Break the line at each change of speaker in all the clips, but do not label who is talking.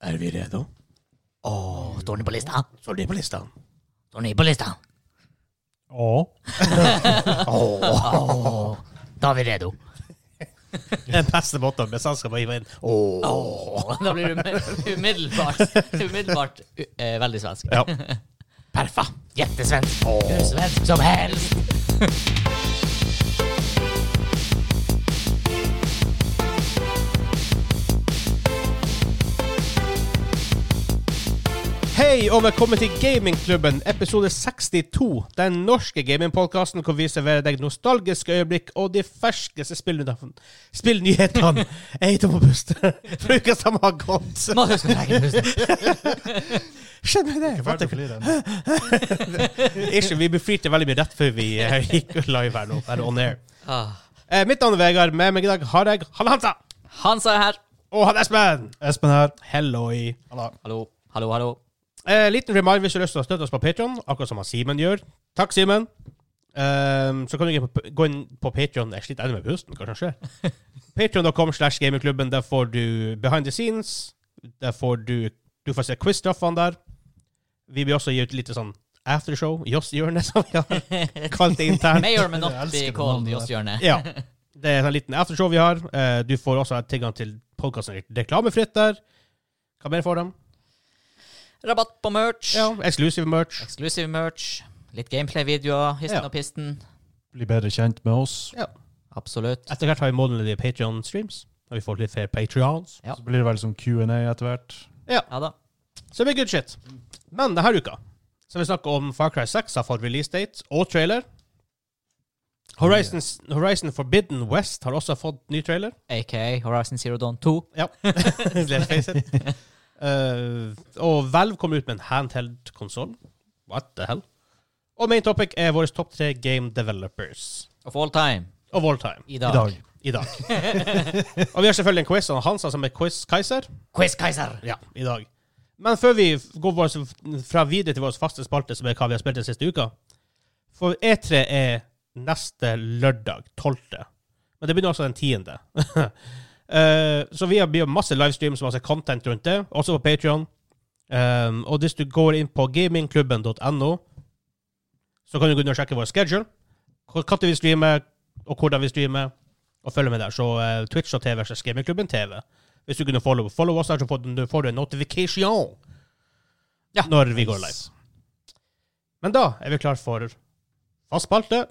Är vi redo?
Åh, står ni på listan?
Står det på listan?
Står ni på listan?
Ja.
Åh, då är vi redo.
Den beste måten med selskapet å hive inn.
Åh, då blir du med- omedelbart, omedelbart eh, väldigt svensk.
Ja.
Perfa, jättesvensk, hur svensk som helst.
Hei og velkommen til Gamingklubben, episode 62. Den norske gamingpodkasten hvor vi serverer deg nostalgiske øyeblikk og de ferskeste spillnyhetene. Spillnyhetene! Jeg er tom og pust. For uka som har gått.
Marius skal trekke pusten.
Skjønner jeg det? Hva
Ferdig
det?
å fly den.
Ikke, vi befrirte veldig mye rett før vi eh, gikk live her nå. Eller on air.
Ah.
Eh, mitt navn er Vegard. Med meg i dag har jeg Halle Hansa
Hans er her.
og han Espen.
Espen her.
Halloi.
Halla.
Hallo, hallå, hallå.
Eh, liten reminder hvis du har lyst til å støtte oss på Patreon, akkurat som han Simen gjør. Takk, Simen. Ehm, så kan du gå inn på- gå inn på Patreon. Jeg sliter ennå med pusten, hva som skjer? Patreon.com slash gamingklubben. Der får du behind the scenes. Der får du Du får se quiz-straffene der. Vi vil også gi ut litt sånn aftershow. Joss Hjørne, som vi har kalt det internt.
Mayor
elsker
Menotti
det
Cold
navnet
i
der.
oss hjørne.
Ja. Det er en sånn liten aftershow vi har. Eh, du får også tilgang til podkasten reklamefritt der. Hva mer får de?
Rabatt på merch.
Ja, exclusive merch.
Exclusive merch. Litt gameplay-videoer, histen
Ja.
og pisten.
Bli bedre kjent med oss.
Absolutt.
Etter hvert har vi månedlige Patreon-streams. Og vi får litt flere Patreons.
Ja.
Så blir det vel som Q&A etter hvert.
Ja da.
Så det blir good shit. Men denne uka så vi snakker om Far Cry 6 har fått release date og trailer. Horizon, Horizon Forbidden West har også fått ny trailer.
AKA Horizon Zero Dawn 2.
Ja. Let's face it. Eh, og Valve kommer ut med en handheld konsoll. What the hell? Og main topic er våre topp tre game developers
Of all time.
of all time
I
I
dag.
dag.
i dag. og vi har selvfølgelig en quiz av Hansa som er quiz-keiser.
Quiz Kaiser.
Ja, i dag. Men før vi går vår, fra videre til vår faste spalte, som er hva vi har spilt den siste uka For E3 er neste lørdag, 12. Men det begynner også den 10. Eh, så vi har vi har masse livestreams masse content rundt det, også på Patrion. og hvis du går inn på gamingklubben.no, så kan du gå inn og sjekke vår schedule. Hvor- Når vi streamer, og hvordan vi streamer, og følge med der. Så eh, Twitch og TV versus Gamingklubben TV. Hvis du kunne follow, follow oss der, så får du, får du en notification når vi går live. Men da er vi klar for fast spalte.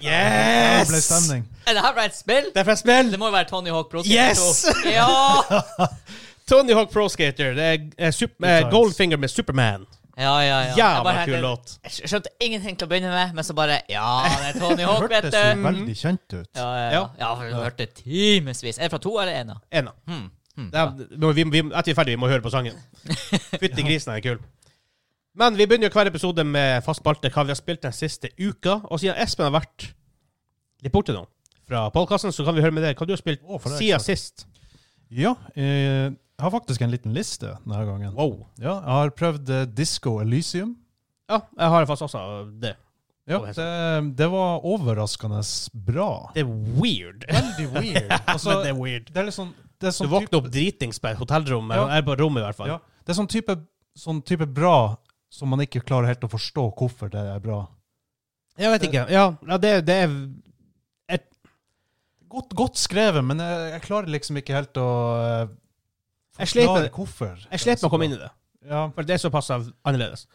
Det
Yes!
ble stemning.
Er det her fra et spill?
Det er fra spill!
Det må jo være Tony Hawk Pro. Skater
Yes!
2. Ja!
Tony Hawk Pro Skater. Det er, er sup- eh,
times.
Goldfinger med Superman.
Ja, ja, ja. Jeg bare
Jævla
hørte-
kul låt.
Jeg skj- skjønte ingenting til å begynne med, men så bare Ja, det er Tony Hawk, vet
Hørtes
du.
mm.
jo veldig kjent ut.
Ja, ja, ja. ja for du hørte timevis. Er det fra to eller én?
Ena.
Hmm.
Det er, nå, vi, vi, etter vi er ferdige, vi må høre på sangen. Fytti grisen, den er kul. Men vi begynner jo hver episode med fast spalte hva vi har spilt den siste uka. Og siden Espen har vært litt borte nå fra podkasten, så kan vi høre med deg. Hva du har spilt
Å, for det
siden
er klart.
sist?
Ja, eh, jeg har faktisk en liten liste denne gangen.
Wow.
Ja, jeg har prøvd eh, Disco Elysium.
Ja, jeg har faktisk også det.
Ja, det, det var overraskende bra.
Det er weird.
Veldig weird. Altså,
Men det er weird.
det er litt sånn det er
Du
sånn type-
våkner opp dritings på et hotellrom, eller
Ja.
er på rommet i hvert fall.
Ja, det er sånn type, sånn type bra som man ikke klarer helt å forstå hvorfor det er bra.
Jeg vet ikke. Ja, ja det, det er
Godt, godt skrevet, men jeg, jeg klarer liksom ikke helt å eh,
Jeg slet
forklare
med-
hvorfor.
Jeg slet med å komme inn i det,
Ja,
for det er såpass av- annerledes.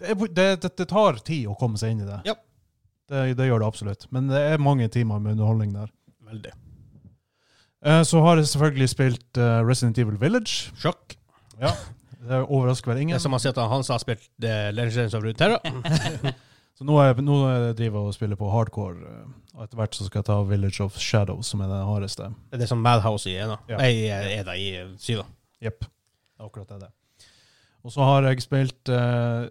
det, er- det, det, det tar tid å komme seg inn i det.
Ja.
Det, det gjør det absolutt. Men det er mange timer med underholdning der.
Veldig.
Eh, Så har jeg selvfølgelig spilt eh, Resident Evil Village.
Sjokk.
Ja. Det overrasker vel
Det er
ingen.
som han sier at han har spilt eh, Legends of Runeterra.
Så nå, er, nå driver jeg og spiller på hardcore. eh, Og etter hvert så skal jeg ta Village of Shadows, som er det hardeste.
Det er det som Madhouse i ena.
Ja.
Nei, eh, er det i eh, syva.
Jepp. Det er akkurat det. det. Og så har jeg spilt eh,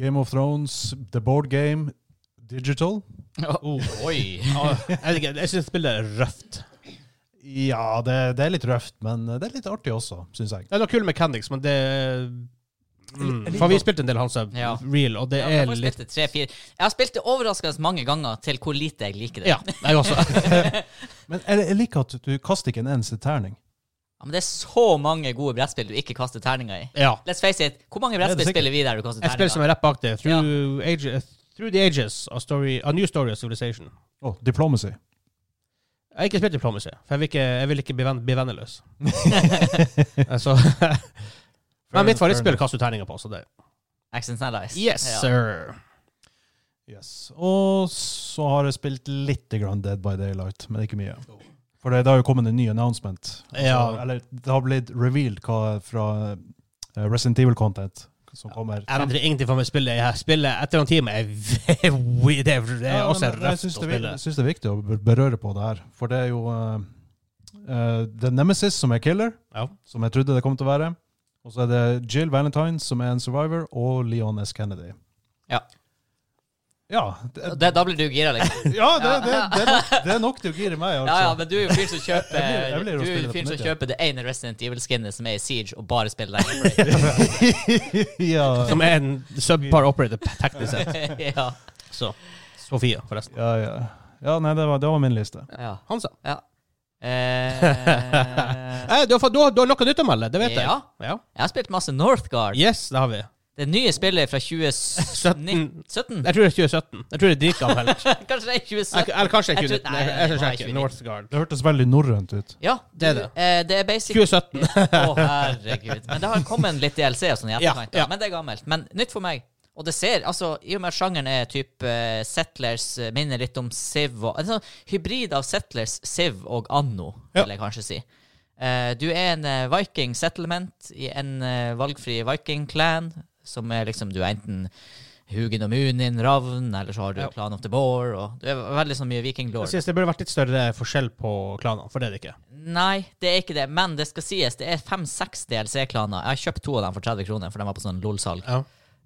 Game of Thrones, The Board Game, Digital.
Oi. Oh,
Ah, jeg vet ikke, jeg syns spillet er røft.
Ja, det, det er litt røft, men det er litt artig også, syns jeg.
Ja, det var kul mechanics, men det
Mm.
For vi spilte en del Hansa
Ja.
Real, og det
Ja,
er
jeg, har
litt
spilt det tre, fire. jeg har spilt det overraskende mange ganger til hvor lite jeg liker det.
Ja, jeg også.
Men jeg, jeg liker at du kaster ikke en eneste terning.
Ja, men det er så mange gode brettspill du ikke kaster terninger i.
Ja.
Let's face it, hvor mange
er det
brettspill
sikkert.
spiller vi der du kaster
Jeg spiller som
terninger?
er rett bak det. Through, ages, through the Ages, a, story, a New Story of Civilization.
Å, diplomacy.
Jeg har ikke spilt Diplomacy, for jeg vil ikke, jeg vil ikke bli, venn, bli venneløs. altså, men mitt favorittspill kaster du terninger på, så det
Accents and Lies.
Yes,
Ja.
sir.
Yes. Og så har jeg spilt litt grann Dead by Daylight, men ikke mye. For det, det har jo kommet en ny announcement.
Ja.
Så, eller det har blitt revealed hva fra eh, Resident Evil Content som kommer.
Jeg endrer ingenting for meg spillet. Jeg spiller etter en time. Jeg, det er, det er
Ja,
også
men jeg
røft å
syns det, er vi-
spille.
jeg syns det er viktig å ber- berøre på det her, for det er jo eh, eh, Det er Nemesis som er killer,
Ja.
som jeg trodde det kom til å være. Og så er det Jill Valentine som er en survivor, og Leon S. Kennedy.
Ja.
Ja,
Og
det,
Det, da blir du gira, liksom.
ja det, det, det, er nok, det er nok til å gire meg, altså.
Ja, ja, men du er jo fyren som kjøper
Jeg blir- jeg blir å
Du er
spille
jo
det på
fyren som
nytt, ja.
kjøper det ene Resident Evil-skinnet som er i Siege, og bare spiller Light
ja.
Som er en subpar operator teknisk sett.
Break. ja.
Så. Sofia, forresten.
Ja, ja. ja nei, det var, det var min liste.
ja.
Hansa.
ja. Eh,
Eh, du, har, fått- du, har, du har noe nytt å melde, det vet
Ja.
jeg. Ja.
jeg har spilt masse Northgard.
Yes, det har vi.
Det nye spillet fra 2017 17?
Jeg tror det er 2017. Jeg tror det er drikka av heller.
Kanskje det er 2017?
Eller kanskje det er
Jeg
2019.
tror-
Jeg, jeg skal
nei,
sjekke.
nei,
Northgard.
Det hørtes veldig norrønt ut.
Ja,
Det er
du,
det.
Eh, det er basic
2017.
Å, herregud. Men det har kommet litt DLC og sånn i
Ja,
etterkant.
ja.
da. Men det er gammelt. Men nytt for meg. Og det ser, altså, I og med at sjangeren er type eh, Settlers, eh, minner litt om Siv og En sånn hybrid av Settlers, Siv og Anno,
Ja.
vil jeg kanskje si. Eh, du er en eh, viking settlement i en eh, valgfri viking-clan, som er liksom Du er enten Hugin og Munin, Ravn, eller så har du
Ja.
Clan of the Boar, og Du er veldig så mye viking-lord.
Jeg synes det burde vært litt større forskjell på klanene, for det er det ikke.
Nei, det er ikke det. Men det skal sies, det er fem-seks DLC-klaner. Jeg har kjøpt to av dem for 30 kroner, for de var på sånn LOL-salg.
Ja.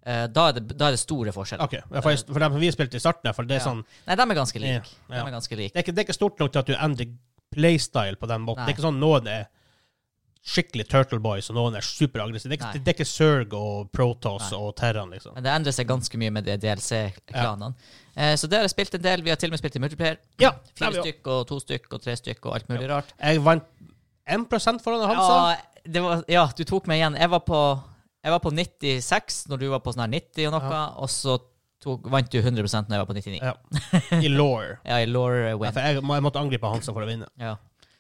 Eh, da, er det- da er det store forskjeller.
Ok, ja, For, jeg, for dem som vi spilte i starten, for det er
Ja.
sånn
Nei, de er ganske like.
Ja,
De
ja.
er ganske like.
Det er, ikke, det er ikke stort nok til at du endrer playstyle på den måten.
Nei.
Det er ikke sånn noen er skikkelig Turtle Boys, og noen er superaggressive. Det, er
Nei.
ikke- det er ikke Zerg og Protoss
Nei.
og Terran, liksom.
Men det endrer seg ganske mye med de DLC-klanene. Eh, så det har jeg spilt en del. Vi har til og med spilt i multiplayer.
Ja,
Fire
det er vi
stykk og to stykk og tre stykk og alt mulig rart.
Jeg vant 1 foran Hansa.
Ja, det var, ja, du tok meg igjen. Jeg var på, jeg var på 96 når du var på sånn her 90 og noe, og så tok, vant du 100 når jeg var på 99.
Ja. I law.
Ja, i law win.
For jeg, må- jeg måtte angripe Hansa for å vinne.
Ja.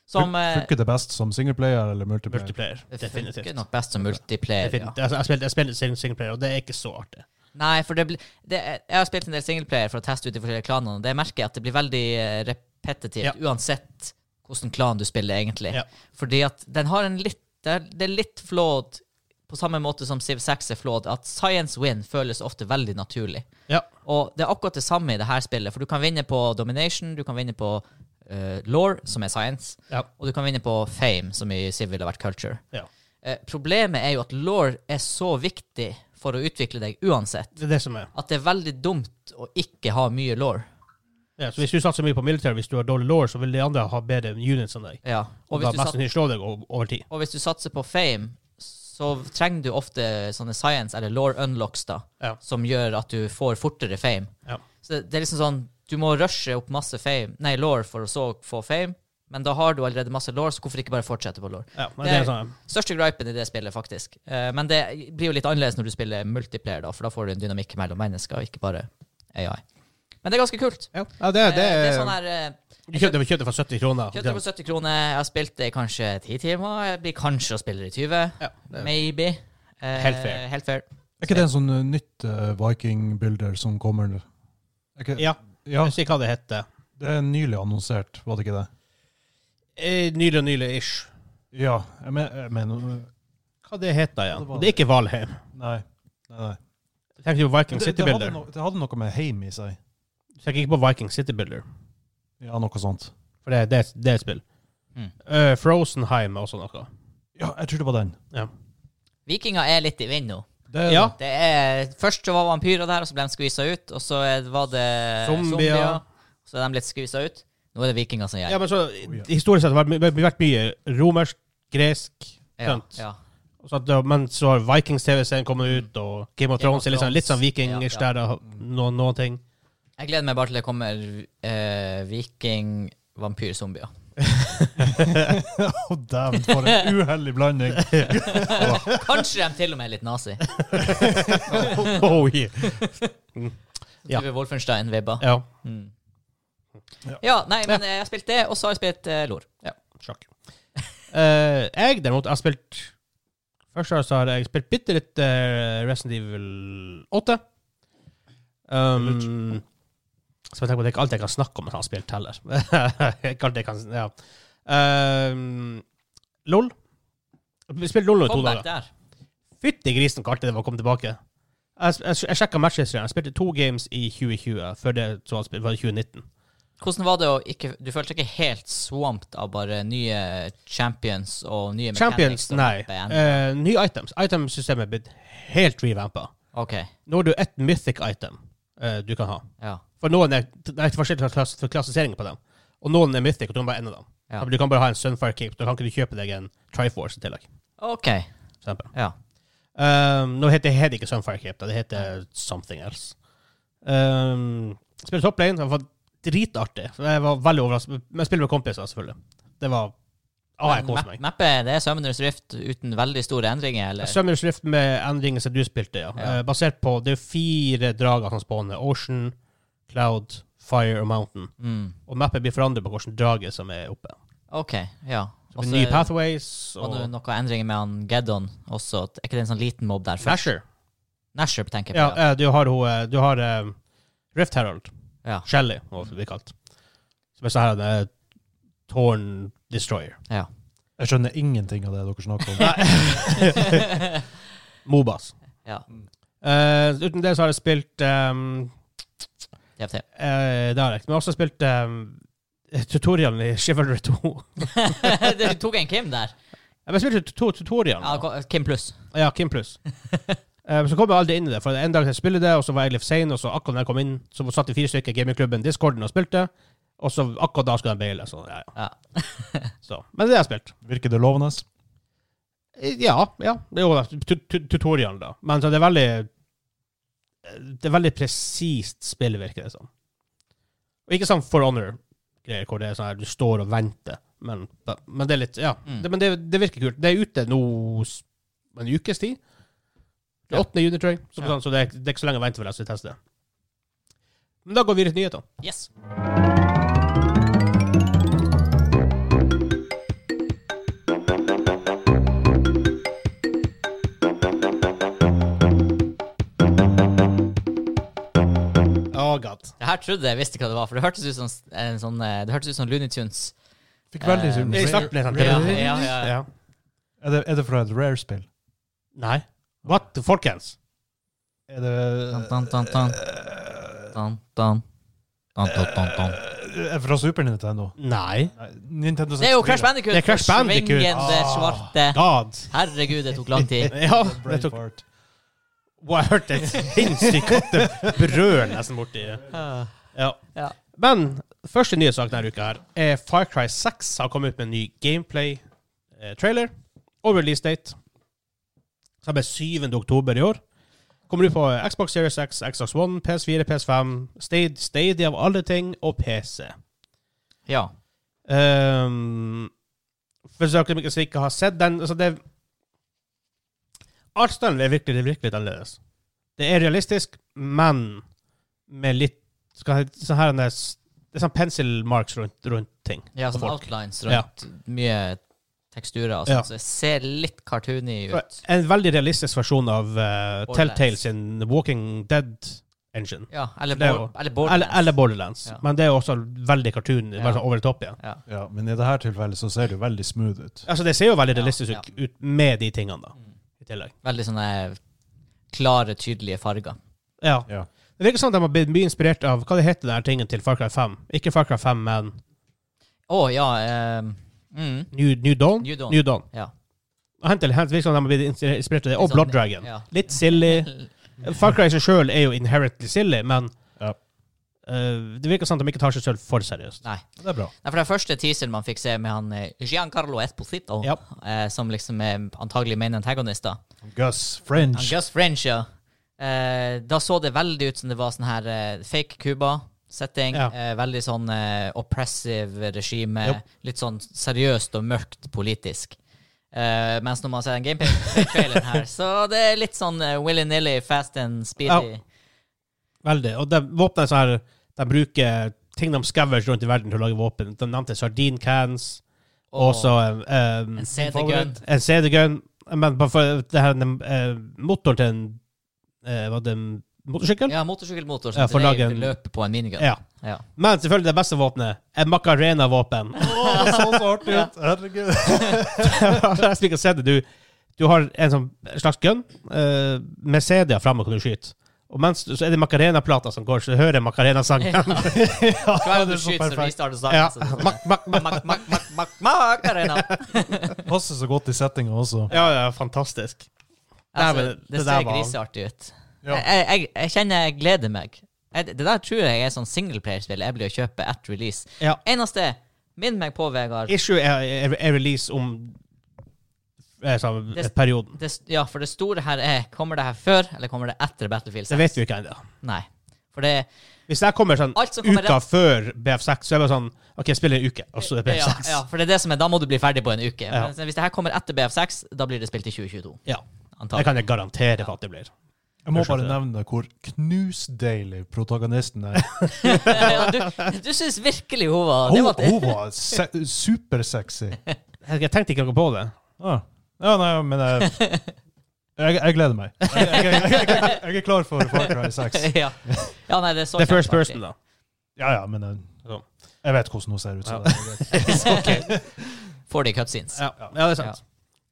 Som, eh,
Funker det best som singleplayer eller multiplayer?
Multiplayer.
Det funker
Definitivt.
nok best som multiplayer. Ja.
Definitivt. Altså, Jeg spilte, jeg spilte sing- singleplayer, og det er ikke så artig.
Nei, for det blir det, er- Jeg har spilt en del singleplayer for å teste ut de forskjellige klanene, og det merker jeg at det blir veldig eh, repetitivt
Ja.
uansett hvordan klan du spiller, egentlig.
Ja.
Fordi at den har en litt Det er, det er litt flawed, på samme måte som Civ 6 er flawed, at science win føles ofte veldig naturlig.
Ja.
Og det er akkurat det samme i det her spillet, for du kan vinne på domination, du kan vinne på uh, law, som er science,
Ja.
og du kan vinne på fame, som i Civ ville vært culture.
ja.
Eh, problemet er jo at law er så viktig for å utvikle deg uansett,
Det er det som er.
at det er veldig dumt å ikke ha mye law.
Ja, så hvis du satser mye på militær, hvis du har dårlig law, så vil de andre ha bedre units enn deg.
Ja.
Og
Og,
da
hvis
mest
du sat,
sannsynlig slå deg o- over tid.
og hvis du satser på fame, så trenger du ofte sånne science eller law unlocks da,
Ja.
som gjør at du får fortere fame.
Ja.
Så det er liksom sånn, du må rushe opp masse fame, nei, law for å så få fame, men da har du allerede masse law, så hvorfor ikke bare fortsette på law?
Ja, men det er sånn.
Største gripen i det spillet, faktisk. Eh, men det blir jo litt annerledes når du spiller multiplayer, da, for da får du en dynamikk mellom mennesker, og ikke bare AI. Men det er ganske kult.
Ja, det,
Eh, det er sånn her eh,
Du kjøpte, kjøpte for 70 kroner.
Kjøpte for 70 kroner, jeg har spilt det i kanskje 10 timer. Jeg blir kanskje å spille det i 20.
Ja, det er-
Maybe. Eh,
Helt fair.
Helt fair.
Er ikke det en sånn eh, nytt eh, Viking-builder som kommer? Er ikke,
Ja,
ja,
jeg husker ikke hva det heter.
det er nylig annonsert, var det ikke det?
Eh, Nylig og nylig ish.
Ja, jeg men- jeg mener eh,
Hva det heter igjen?
Det var-
Det er ikke Valheim.
Nei. nei, nei.
Jeg tenker på Viking
Det,
City
det, hadde
Builder.
no, det hadde noe med heim i seg.
Jeg tenker ikke på Viking City Builder,
Ja, noe sånt.
for det, det, det er et spill.
Mm.
Eh, Frozenheim er også noe.
Ja, jeg tror det var den.
Vikinger er litt i vind nå.
Det er
Ja.
det.
Det er, først så var vampyrer der, og så ble de skvisa ut. Og så er- var det
Zombier.
zombier. Så er de litt skvisa ut. Nå er det vikinger som
Ja,
gjelder.
men så Historisk sett har det vært, my- vært mye romersk, gresk
Ja,
sant.
ja.
og sånt, ja, Men så har Vikings-TV-serien kommet ut, og Game of
Game of
Thrones er litt sånn, litt sånn
Thrones,
vikingish
ja,
der, og noen, noen ting.
Jeg gleder meg bare til det kommer eh, viking, vampyr, zombier.
Å, dæven, for en uheldig blanding.
Kanskje de til og med er litt nazi.
Oh, yeah. Ja.
Ja. Wolfenstein-vibba.
Ja.
Mm.
Ja.
Ja, nei, men eh, jeg har spilt det, og så har jeg spilt eh, LOR. Ja.
Sjakk. Eh, jeg derimot har spilt Først så har jeg spilt bitte litt eh, Resident Evil 8. Um, så jeg tenker på at det er ikke alt jeg kan snakke om jeg har spilt heller. ikke alt jeg kan, ja. Um, LOL. Vi spilte LOL nå i to
Comeback
dager.
der.
Fytti grisen hvor artig det var å komme tilbake. Jeg, jeg, jeg sjekka matchhistorien. Jeg spilte to games i 2020. Før det så var det 2019.
Hvordan var det å ikke Du følte deg ikke helt swamped av bare nye champions og nye
Champions,
mechanics og
nei.
band?
Uh, nye items. Itemsystemet er blitt helt revampa.
OK.
Nå har du ett mythic item eh, du kan ha.
Ja.
For noen er, Det er forskjellige klass, for klassifiseringer på dem. Og noen er mythic, og du kan bare en av dem.
Ja.
Du kan bare ha en Sunfire Cape. Da kan ikke du kjøpe deg en Triforce i tillegg.
OK.
for eksempel.
Ja.
Um, nå heter det ikke Sunfire Cape, da. det heter something else. Um, spille top lane det var dritartig. Jeg var veldig overrasket. Men jeg spiller med kompiser, selvfølgelig. Det var ah, jeg
Men
koser
map-
meg.
Mappet det er Summoners Rift uten veldig store endringer, eller?
Summer's Rift med endringer som du spilte, ja.
Ja.
Eh, basert på Det er fire drager som spawner. Ocean, Cloud, Fire og Mountain.
Mm.
Og mappet blir forandret på hvilken drage som er oppe.
OK, ja.
Så
Og
blir
så
det nye pathways
var eh, det
og
noen endringer med han Geddon også. Er ikke det en sånn liten mobb der? først?
Flasher.
Nasher, tenker jeg
Ja,
på. Ja.
eh, du har, hun, eh, du har eh, Rift Herald.
Ja.
Shelly, hva det blir kalt. Som er sånn her eh, Torn Destroyer.
Jeg skjønner ingenting av det dere snakker om.
Mobas.
Ja.
Eh, uten det så har jeg spilt um,
TFT.
eh, Det har jeg ikke. Men jeg har også spilt eh, tutorialen i Chivalry 2.
du tok en Kim der.
Jeg har spilt to tutorialen.
Ja,
da.
ko- Kim pluss.
ja, Kim Plus. Eh, men så kom jeg aldri inn i det. For En dag jeg spille det, og så var jeg litt sein, og så akkurat da jeg kom inn, så satt det fire stykker i gamingklubben Discorden og spilte. Og så akkurat da skulle de baile. Så, ja,
Ja.
ja. så. Men det har jeg spilt.
Virker det lovende?
Eh, Ja, ja. Det er jo tu- tu- tutorialen, da. Men så det er veldig Det er veldig presist spill, virker det som. Og ikke sånn For Honor-greier, hvor det er sånn her du står og venter. Men, men det er litt Ja.
Mm.
Det, men det, det virker kult. Det er ute nå s- en ukes tid. Det er
Ja.
8. juni, tror jeg. Så,
Ja.
sånn, så det, er, det er ikke så lenge å vente for jeg skal teste det. Men da går vi til nyhetene.
Yes.
Oh, God.
Det her trodde jeg visste hva det var, for det hørtes ut som en sånn eh, Det hørtes ut som Looney Tunes.
Fikk veldig
Eh,
sånn-
I starten er det sånn
Ja, ja, ja.
Ja.
Er det, er det fra et rare-spill?
Nei. What? the- Folkens?
Er det
Tan, tan, tan, tan. Tan, tan. Tan, tan, tan, tan.
Eh,
Eh.
Er det fra Super Nintendo?
Nei.
Nei, Nintendo
Det er jo Crash
64.
Bandicoot.
Det er Crash Bandicoot.
Svingende
Ah,
svarte.
God.
Herregud, det tok lang tid.
Ja, det tok
Braveheart.
Wow, jeg hørte et sinnssykt kattebrøl nesten borti det. Ja.
Ja.
Men første nye sak denne uka her er Far Cry 6 har kommet ut med en ny gameplay-trailer og release date. Som er 7. oktober i år. Kommer ut på Xbox Series X, Xbox One, PS4, PS5, Stadia, Stadia av alle ting, og PC.
ja.
Um, for dere som ikke har sett den altså det, Artsstilen er virkelig, virkelig litt annerledes. Det er realistisk, men med litt skal jeg, sånn her, det er sånn pencil marks rundt, rundt ting.
Ja, sånn
Folk.
outlines rundt mye teksturer og
Ja.
sånn, så det ser litt cartoony ut.
En veldig realistisk versjon av eh,
Borderlands.
Telltale sin Walking Dead-engine.
Ja, eller,
Det er
bo-
jo-
eller
Eller,
Borderlands.
eller Borderlands.
Ja.
Men det er jo også veldig cartoon.
Ja.
Bare sånn over the top igjen.
Ja.
Ja, men i det her tilfellet så ser det jo veldig smooth ut.
Altså, det ser jo veldig
Ja,
realistisk
ja. Mm.
ut, ut med de tingene, da. I tillegg.
Veldig sånne klare, tydelige farger.
Ja.
Ja.
Det virker som de har blitt mye inspirert av Hva det heter den her tingen til Far Cry 5? Ikke Far Cry 5, men
Å ja. ehm, mm,
New, New Dawn?
New Dawn.
New Dawn.
ja.
Og Hent, hent, virker som de har blitt inspirert- inspirert av det. Og
Litt sånn-
Blood Dragon.
ja.
Litt silly. Far Cry i seg sjøl er jo inherently silly, men
Ja.
Eh, det virker som de ikke tar seg selv for seriøst.
Nei.
Det er bra.
Nei, for den første teaseren man fikk se med han eh, Giancarlo Esposito,
Ja.
eh, som liksom er antagelig main antagonist, da.
Gus
Han
French.
Gus French, ja. Eh, da så det veldig ut som det var sånn her eh, fake Cuba-setting.
Ja.
Eh, veldig sånn eh, oppressive regime.
Jopp.
Litt sånn seriøst og mørkt politisk. Eh, mens når man ser den gameplay-traileren her, så det er litt sånn eh, willy-nilly, fast and speedy.
Veldig. Og de våpnene sånn her, de bruker ting de scavenger rundt i verden til å lage våpen. De nevnte sardincans, og så um,
en CD-gun.
En CD-gun. Men bare for det her, den, eh, motoren til en eh, Var det en motorsykkel?
Ja, motorsykkelmotor som
Ja, for å lage
dreier-
en-
løper på en minigun.
Ja.
Ja.
Men selvfølgelig det beste våpenet er Macarena-våpen.
Å, det så så artig ut! Herregud.
Jeg liker å se det. Du, du har en sånn slags gun eh, med CD-er framme hvor du skyter. Og mens, du- så er det Macarena-plater som går, så du hører Macarena-sangen.
Hver gang
det
du skyter,
er så
så
perfekt.
restarter
Ja.
sangen. så-
Mak, mak, mak.
Mak, mak, mak, mak, mak, arena.
Passer så godt i settinga også.
Ja, ja, fantastisk.
Altså,
Nei, men
det,
det der
ser
var-
griseartig ut.
Ja.
Jeg, jeg, jeg kjenner jeg gleder meg. Jeg, det der tror jeg er sånn singleplayerspill jeg blir å kjøpe at release.
Ja.
Eneste Minn meg på, Vegard.
Issue er, er, er release om eh, sånn,
Det-
perioden.
Det, s- ja, for det store her er Kommer det her før, eller kommer det etter Battlefield 6?
Det vet vi ikke ennå.
Nei. For det
Hvis det her kommer sånn
Alt som kommer
uka før BF6, så er det bare sånn OK, jeg spiller en uke, og så er det
ja,
BF6.
ja, for det er det som er Da må du bli ferdig på en uke.
Ja.
Men hvis det her kommer etter BF6, da blir det spilt i 2022.
Ja. Det
Antagelig.
kan jeg garantere at det blir.
Jeg må bare nevne hvor knusdeilig protagonisten er.
ja, du du syns virkelig hun var det
Hun,
var,
hun var se supersexy.
Jeg, jeg tenkte ikke noe på det.
Ja, ja nei, men jeg, jeg, jeg gleder meg. Jeg, jeg, jeg, jeg, jeg, jeg er klar for Far Cry 6.
ja. ja, nei, det så
Det er first
kjempeartig.
person, da.
Ja, ja, men jeg, jeg vet hvordan hun ser ut. Så det er greit.
Får de cutscenes.
Ja, ja det er sant.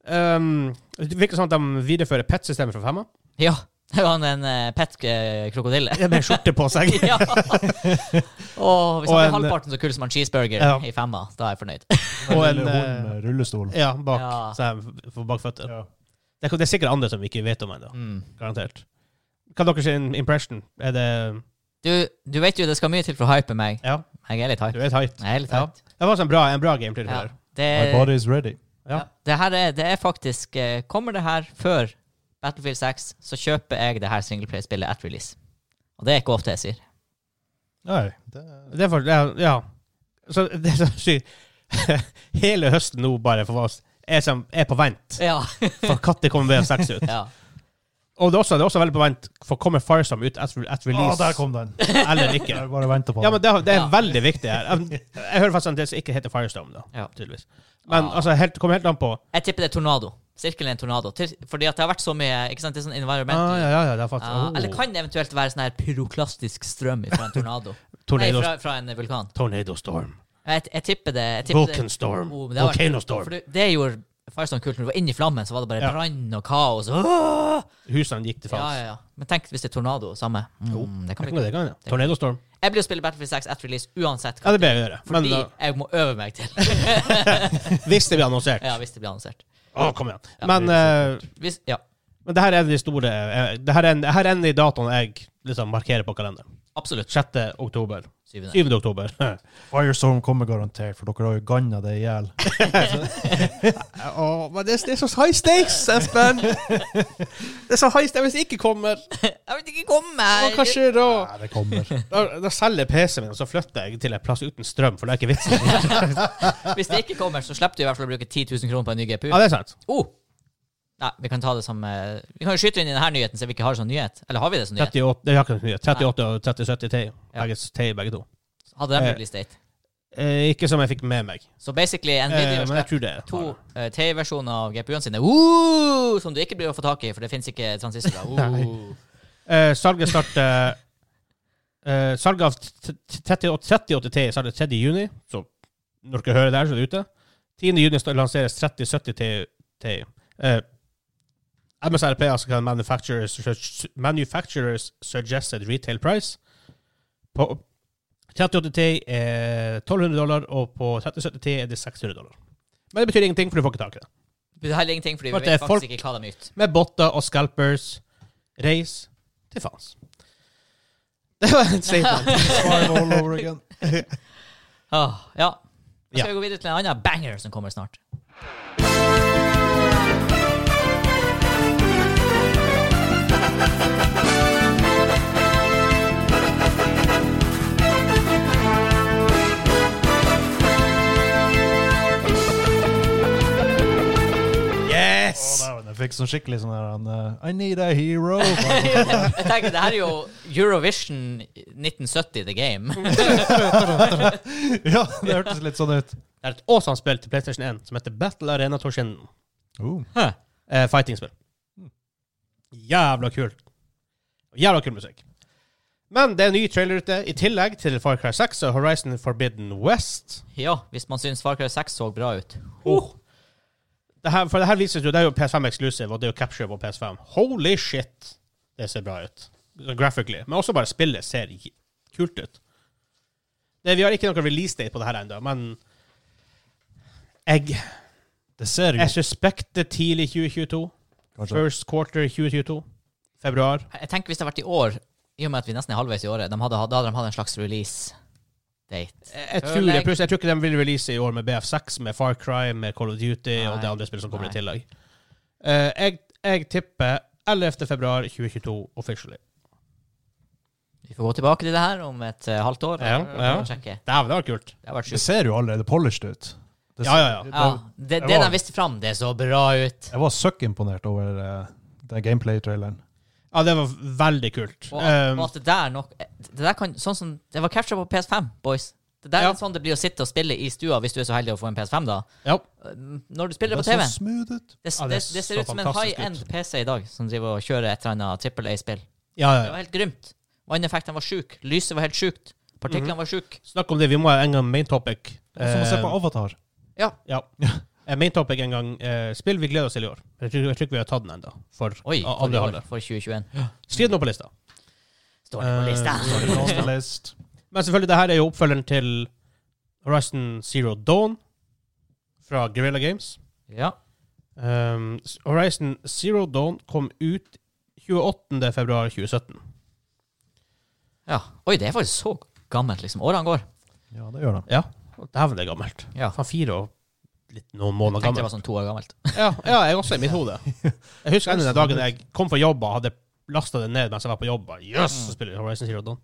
Um, det virker som at de viderefører PET-systemet fra femma.
Ja. Det var en eh, pet-krokodille.
Med skjorte på seg.
ja. Åh,
Og
hvis han blir
en- eh,
halvparten så kul som en cheeseburger
Ja.
i femma, da er jeg fornøyd.
Den
Og en, eh,
lille hunden med rullestol.
Ja, bak.
Ja.
Så jeg får bakføtter.
Ja.
Det, er- det er sikkert andre som vi ikke vet om ennå.
Mm.
Garantert. Kan dere si en impression? Er det
Du, du vet jo det skal mye til for å hype meg.
Ja,
Jeg er litt
du
hype.
er tight.
Jeg er litt
Ja.
hype.
Det var også en bra, en bra gameplay.
Ja.
Ja.
Det,
My body is ready.
Ja.
ja. det her er, det er faktisk eh, Kommer det her før Battlefield 6, så kjøper jeg det her singleplay-spillet at release. Og det er ikke ofte jeg sier.
Nei, det,
Det er for, ja, ja. Så det er så sykt. Hele høsten nå bare for oss er, som, er på vent
Ja.
for når det kommer BF6 ut.
ja.
Og det er, også, det er også veldig på vent for kommer Firestorm ut at, at
Å,
release
Ah, der kom den!
eller ikke.
Jeg bare venter på
Ja, men
den.
det, det er
Ja.
veldig viktig her. Jeg, jeg hører faktisk at det ikke heter Firestorm, da,
Ja.
tydeligvis. Men
Ah.
altså, helt, kommer helt an på
Jeg tipper det er tornado. Sirkelen er en tornado. Til, fordi at det har vært så mye ikke sant, det er sånn environmental
ah, ja, ja, ja, det er faktisk
Ja,
oh.
Eller kan det eventuelt være sånn her pyroklastisk strøm fra en tornado? Nei,
tornado,
fra, fra en vulkan.
tornado Storm.
Jeg, jeg tipper det. Jeg tipper
Vulcan
det.
Storm.
Oh, men det har vært-
Volcano
For
Storm.
det, det gjorde Firestorm kult. Når du var inne i flammen, så var det bare
Ja.
brann og kaos. Åh!
Husene gikk til
Ja, ja,
fans.
ja. Men tenk hvis det er tornado. Samme. Mm, det kan bli.
Det kan, ja. Tornado Storm.
Jeg blir å spille Battlefield 6 etter release uansett.
Ja, det bør jeg gjøre. Men
fordi
da-
jeg må øve meg til
hvis det blir annonsert
Ja, hvis det blir annonsert.
Å, kom igjen.
Ja.
men, eh,
Hvis, ja,
men det her er de store eh, Det her er en, det her er en av de datoene jeg liksom markerer på kalenderen.
absolutt.
6. oktober.
Syvende.
7. oktober.
Firestorm kommer garantert, for dere har jo ganna det i hjel.
Å, men det, er så high stakes, Espen! Det er så high stakes hvis jeg ikke kommer.
Jeg vil ikke komme her!
skjer da?
Nei, det kommer.
Da, da selger jeg PC-en min, og så flytter jeg til en plass uten strøm, for det er ikke vits.
Hvis det ikke kommer, så slipper du i hvert fall å bruke 10 000 kroner på en ny GPU.
Ja, det er sant.
Oh. Nei, vi kan ta det som eh, Vi kan jo skyte inn i denne nyheten, så vi ikke har det som nyhet. Eller har vi det som nyhet?
38, det er akkurat mye. 38 og 3070 Ti. Begge, Ti, begge to.
Hadde de
Eh.
release date?
Eh, ikke som jeg fikk med meg.
Så basically,
Eh,
Nvidia
men jeg
slipper
tror det.
to eh, T-versjoner av GPU-ene sine uh, som du ikke blir å få tak i, for det fins ikke transistorer. Uh.
Eh, salget starter eh, Salget av t- t- 38 3080 Ti starter 3. juni, så når dere hører det her, så er det ute. 10. juni sta- lanseres 3070 Ti. Ti. Eh, MSRP, altså kan manufacturers, manufacturers Suggested Retail Price. På 3080 Ti er 1200 dollar, og på 3070 Ti er det 600 dollar. Men det betyr ingenting, for du får ikke tak i det.
Det er heller ingenting, fordi
For
vi
at
vet
det er
faktisk
folk-
ikke hva de yter.
Med botter og scalpers. Reis til faens. Det var en statement.
Five all over again.
Åh, ja. Nå
Ja.
skal vi gå videre til en annen banger som kommer snart.
Yes!
Å, dæven, Jeg fikk sånn skikkelig sånn her han, eh, I need a hero.
Jeg tenker, Det her er jo Eurovision 1970 The Game.
ja, det hørtes litt sånn ut.
Det er et Åsan-spill til PlayStation 1 som heter Battle Arena Torsin.
Oh.
Eh, Fighting-spill. Jævla kult. Jævla kul musikk. Men det er en ny trailer ute, i tillegg til Far Cry 6 og Horizon Forbidden West.
Ja, hvis man syns Far Cry 6 så bra ut.
Oh. Det her, for det her vises jo, det er jo PS5 exclusive, og det er jo capture på PS5. Holy shit! Det ser bra ut. Graphically. Men også bare spillet ser j- kult ut. Det, vi har ikke noen release date på det her ennå, men jeg,
Det ser jo
jeg suspekter tidlig 2022.
kanskje
First quarter 2022. Februar.
Jeg tenker Hvis det hadde vært i år, i og med at vi nesten er halvveis i året, de hadde, da hadde de hatt en slags release-date.
Eh, Jeg, jeg, tror
Føler
det,
jeg-
pluss, jeg tror ikke de vil release i år med BF6, med Far Cry, med Call of Duty og
Nei.
det andre spillet som kommer
Nei.
i tillegg. Eh, jeg, jeg tipper 11. februar 2022 officially.
Vi får gå tilbake til det her om et eh, halvt år.
Ja,
og
ja.
sjekke.
Dæven, det var kult.
Det har vært
Det
sjukt.
ser jo allerede polished ut. Det,
Ja, ja, ja.
Ja,
det-
det,
det
det
var-
de viste fram, det så bra ut.
Jeg var søkk imponert over eh, den gameplay-traileren.
Ja, det var veldig kult.
Og,
Um,
og at det der nok Det der kan Sånn som Det var capture på PS5, boys. Det der
Ja.
er sånn det blir å sitte og spille i stua hvis du er så heldig å få en PS5, da.
ja.
Når du spiller
Det
på
så
TV.
smooth ut.
Det,
Ja, det
det,
så
det ser ut som en
fantastisk
high-end
ut.
PC i dag, som driver og kjører et eller annet trippel A-spill.
Ja, ja,
Det
ja.
var helt grymt. Vanneffektene var sjuke. Lyset var helt sjukt. Partiklene
Mhm.
var sjuke.
Snakk om det, vi må ha en gang main topic.
Det er Som å se
Eh,
på Avatar.
Ja.
ja. Eh, Main topic en gang. Eh, spill vi gleder oss til i år. Jeg tror, jeg tror ikke vi har tatt den ennå. For a-
Oi, for, i
andre
år,
halvdel.
for 2021.
Skriv den opp på lista.
Står det på
Eh,
lista.
Last.
Men selvfølgelig, det her er jo oppfølgeren til Horizon Zero Dawn fra Guerrilla Games.
Ja.
Um, s- Horizon Zero Dawn kom ut 28. februar 2017.
ja. Oi, det er faktisk så gammelt, liksom. Årene går.
Ja, det gjør de.
Ja, og dæven, det er gammelt.
Ja.
Faen, fire og litt noen måneder
Tenkte det
gammel.
var sånn to år gammelt.
Ja, ja, jeg også i mitt hode. Jeg husker ennå den dagen jeg kom fra jobb og hadde lasta det ned mens jeg var på jobb. Jøss, yes, så spiller jeg Horizon Zero Dawn.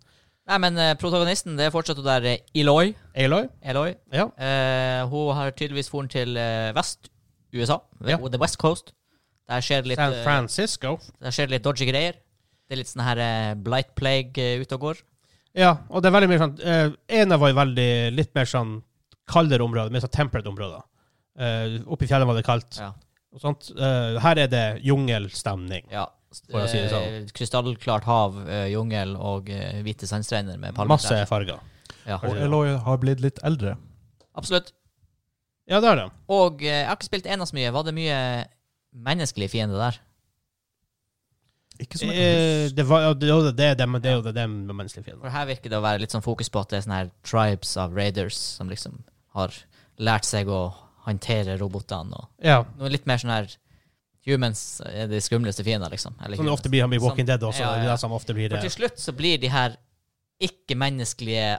Nei, men eh, protagonisten, det er fortsatt hun der eh, Eloy.
Aloy?
Eloy.
Ja.
Eh, hun har tydeligvis foren til eh, Vest-USA,
Ja.
The West Coast. Der skjer det litt,
San
eh,
Francisco.
der skjer det litt dodgy greier. Det er litt sånn her eh, blight plague eh, ute og går.
Ja, og det er veldig mye sånn eh, En av var jo veldig litt mer sånn kaldere områder, mer sånn temperate områder. Eh, oppe i fjellet var det kaldt.
Ja.
Og sånt. Eh, her er det jungelstemning.
ja.
For å si det sånn.
Eh, Krystallklart hav, eh, jungel og eh, hvite sandstrender med palmer.
Masse farger.
Ja.
Og Eloy har blitt litt eldre.
Absolutt.
Ja, det er det.
Og eh, jeg har ikke spilt ena så mye. Var det mye menneskelige fiender der?
Ikke som
Eh, det, var, ja, det, er jo det, det, men det er jo det, det med menneskelige fiender.
For her virker det å være litt sånn fokus på at det er sånne her tribes av raiders som liksom har lært seg å håndtere robotene og
Ja.
noe litt mer sånn her Humans er de skumleste fiendene, liksom. Eller
Som det
humans.
ofte blir i Walking
Sånn.
Dead også.
Ja, ja,
Det er
ja.
det som ofte blir
For
det.
til slutt så blir de her ikke-menneskelige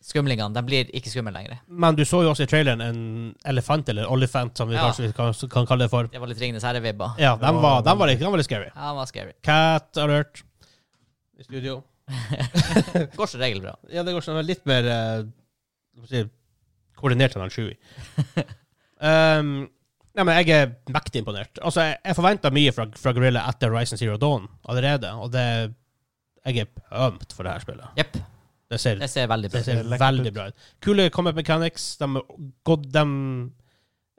skumlingene De blir ikke skumle lenger.
Men du så jo også i traileren en elefant, eller olifant, som vi
Ja.
kanskje kan, kan kalle det for.
Det var litt Ringenes herre-vibber.
Ja, den var, den var, litt- den var litt scary.
Ja, det var scary.
Cat alert. I studio.
Går som regel bra.
Ja, det går sånn litt mer eh, hva skal jeg si, koordinert enn han Chewie. um, nei, men jeg er mektig imponert. Altså, jeg, jeg forventa mye fra, fra Gorilla etter Horizon Zero Dawn allerede, og det Jeg er ømt for det her spillet.
Jepp.
Det ser,
Det ser veldig
det
bra ut.
ser
Det er lekkert
veldig
ut.
bra ut. Kule combat mechanics. De har gått De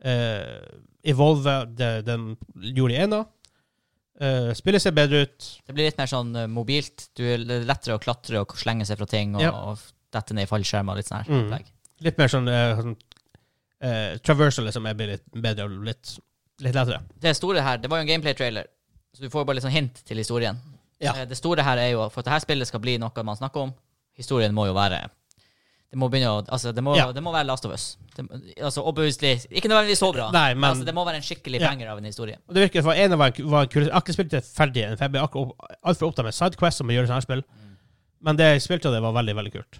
eh, evolver det de gjorde i ena. Eh, spillet ser bedre ut.
Det blir litt mer sånn eh, mobilt. Du er det er lettere å klatre og slenge seg fra ting og,
Ja.
og dette ned i fallskjermer. og Litt sånn her.
Mm.
opplegg.
Litt mer sånn, eh, sånn eh, Traversal liksom er litt bedre og litt, litt lettere.
det store her, det var jo en gameplay-trailer, så du får jo bare litt sånn hint til historien.
Ja.
Eh, Det store her er jo, for at dette spillet skal bli noe man snakker om, historien må jo være Det må begynne å Altså, det må,
Ja.
det må være Last of Us. Det, altså, obviously Ikke nødvendigvis så bra,
Nei, men-
altså, det må være en skikkelig
Ja.
banger av en historie.
Og det virker for en av var, var kul. Jeg har ikke spilt det ferdig igjen, for jeg ble akkurat altfor opptatt med Sidequest, som å gjøre sånne her spill. Men det jeg spilte, det var veldig, veldig kult.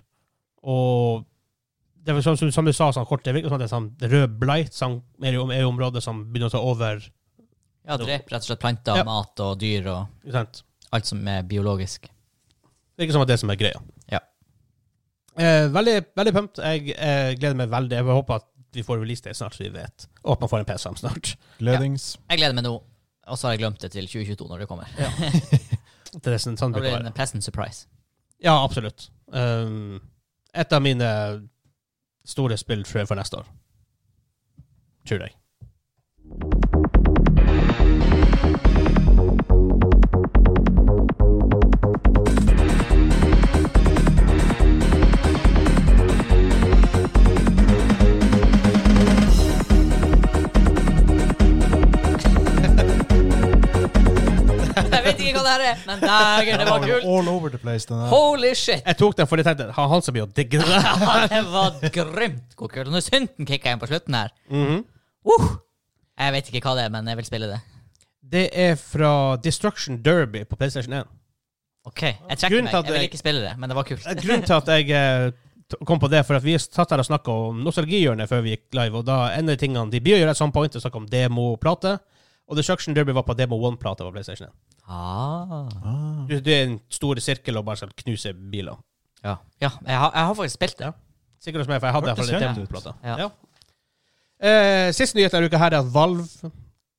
Og det var sånn som, som du sa, sånn kort, det virker som det er sånn rød blight som er i om- er i området som begynner å ta over.
Ja, drep rett og slett planter,
Ja.
mat og dyr og
Ikke sant?
alt som er biologisk.
Det virker som at det er det som er greia.
Ja.
Eh, veldig veldig pumped. Jeg eh, gleder meg veldig. Jeg håper at vi får release det snart, så vi vet. Og at man får en PS5 snart.
Gledings.
Jeg gleder meg nå, og så har jeg glemt det til 2022 når det kommer.
Det er sånn, sånn
Da
det
blir
blir
det en pleasant surprise.
Ja, absolutt. Um, et av mine store spill tror jeg for neste år. Tror jeg.
Jeg vet ikke hva det her er, men dægen, det var kult!
All over the place, den her.
Holy shit!
Jeg tok den fordi jeg tenkte han han som blir å digge det.
Ja, det var grymt hvor kult. Og Når synten kicka inn på slutten her
Mhm.
uh, Jeg vet ikke hva det er, men jeg vil spille det.
Det er fra Destruction Derby på PlayStation 1.
OK, jeg trekker
Grunnen
meg.
til at
Jeg vil
jeg-
ikke spille det, men det var kult.
Grunnen til at jeg eh, t- kom på det, for at vi satt her og snakka om nostalgihjørnet før vi gikk live, og da ender tingene De blir å gjøre et sånt point og snakke om demo-plate, og Destruction Derby var på demo 1-plata på PlayStation 1.
Ah.
Ah.
Du, det er en stor sirkel og bare skal knuse biler.
Ja, ja jeg, har, jeg har faktisk spilt det.
Sikkert hos meg, for jeg hadde i hvert
Hørtes
fall en
kjent ut.
demoplate.
Ja.
Ja. Eh, siste nyhet denne uka her er at Valve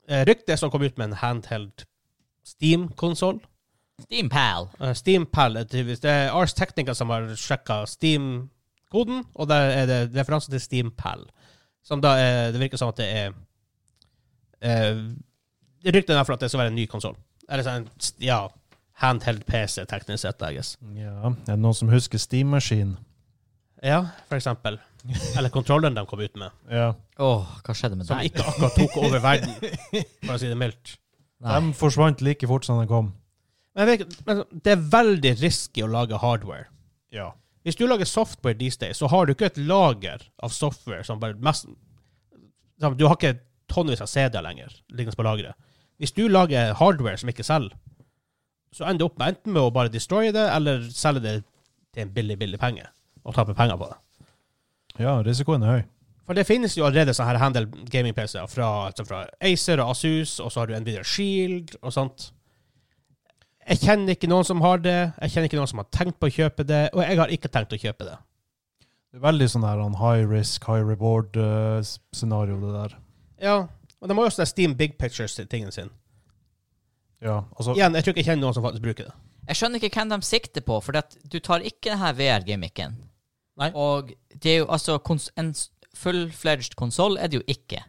eh, ryktet som kom ut med en handheld Steam-konsoll.
Steam Pal.
Eh, Steam Pal er tydeligvis- Det er Ars Technica som har sjekka Steam-koden, og der er det referanse til Steam Pal. Som da er, Det virker som at det er eh, Det Ryktet er for at det skal være en ny konsoll. Eller sånn, ja, handheld PC, teknisk sett, I guess.
Ja. Er det noen som husker Steam Machine?
Ja, for eksempel. Eller kontrollen de kom ut med.
Ja.
Åh, hva skjedde med
Som
deg?
ikke akkurat tok over verden, for å si det mildt.
Nei.
De forsvant like fort som de kom.
Men, jeg vet, men altså, det er veldig risky å lage hardware.
Ja.
Hvis du lager software these days, så har du ikke et lager av software som bare mest, som- Du har ikke tonnevis av CD-er lenger liggende på lageret. Hvis du lager hardware som ikke selger, så ender du opp med enten med å bare destroye det, eller selge det til en billig, billig penge, og tape penger på det.
Ja, risikoen er høy.
For det finnes jo allerede sånne her handle gaming-PC-er fra, altså fra Acer og Asus, og så har du Nvidia Shield og sånt. Jeg kjenner ikke noen som har det, jeg kjenner ikke noen som har tenkt på å kjøpe det, og jeg har ikke tenkt å kjøpe det.
Det er veldig sånn her han high risk, high reward-scenario, det der.
Ja, og de har jo også den Steam Big Pictures-tingen sin.
Ja, altså
Igjen, jeg tror ikke jeg kjenner noen som faktisk bruker det.
Jeg skjønner ikke hvem de sikter på, for at du tar ikke denne VR-gimmicken.
Nei.
Og det er jo altså kons En s- full-fledged konsoll er det jo ikke.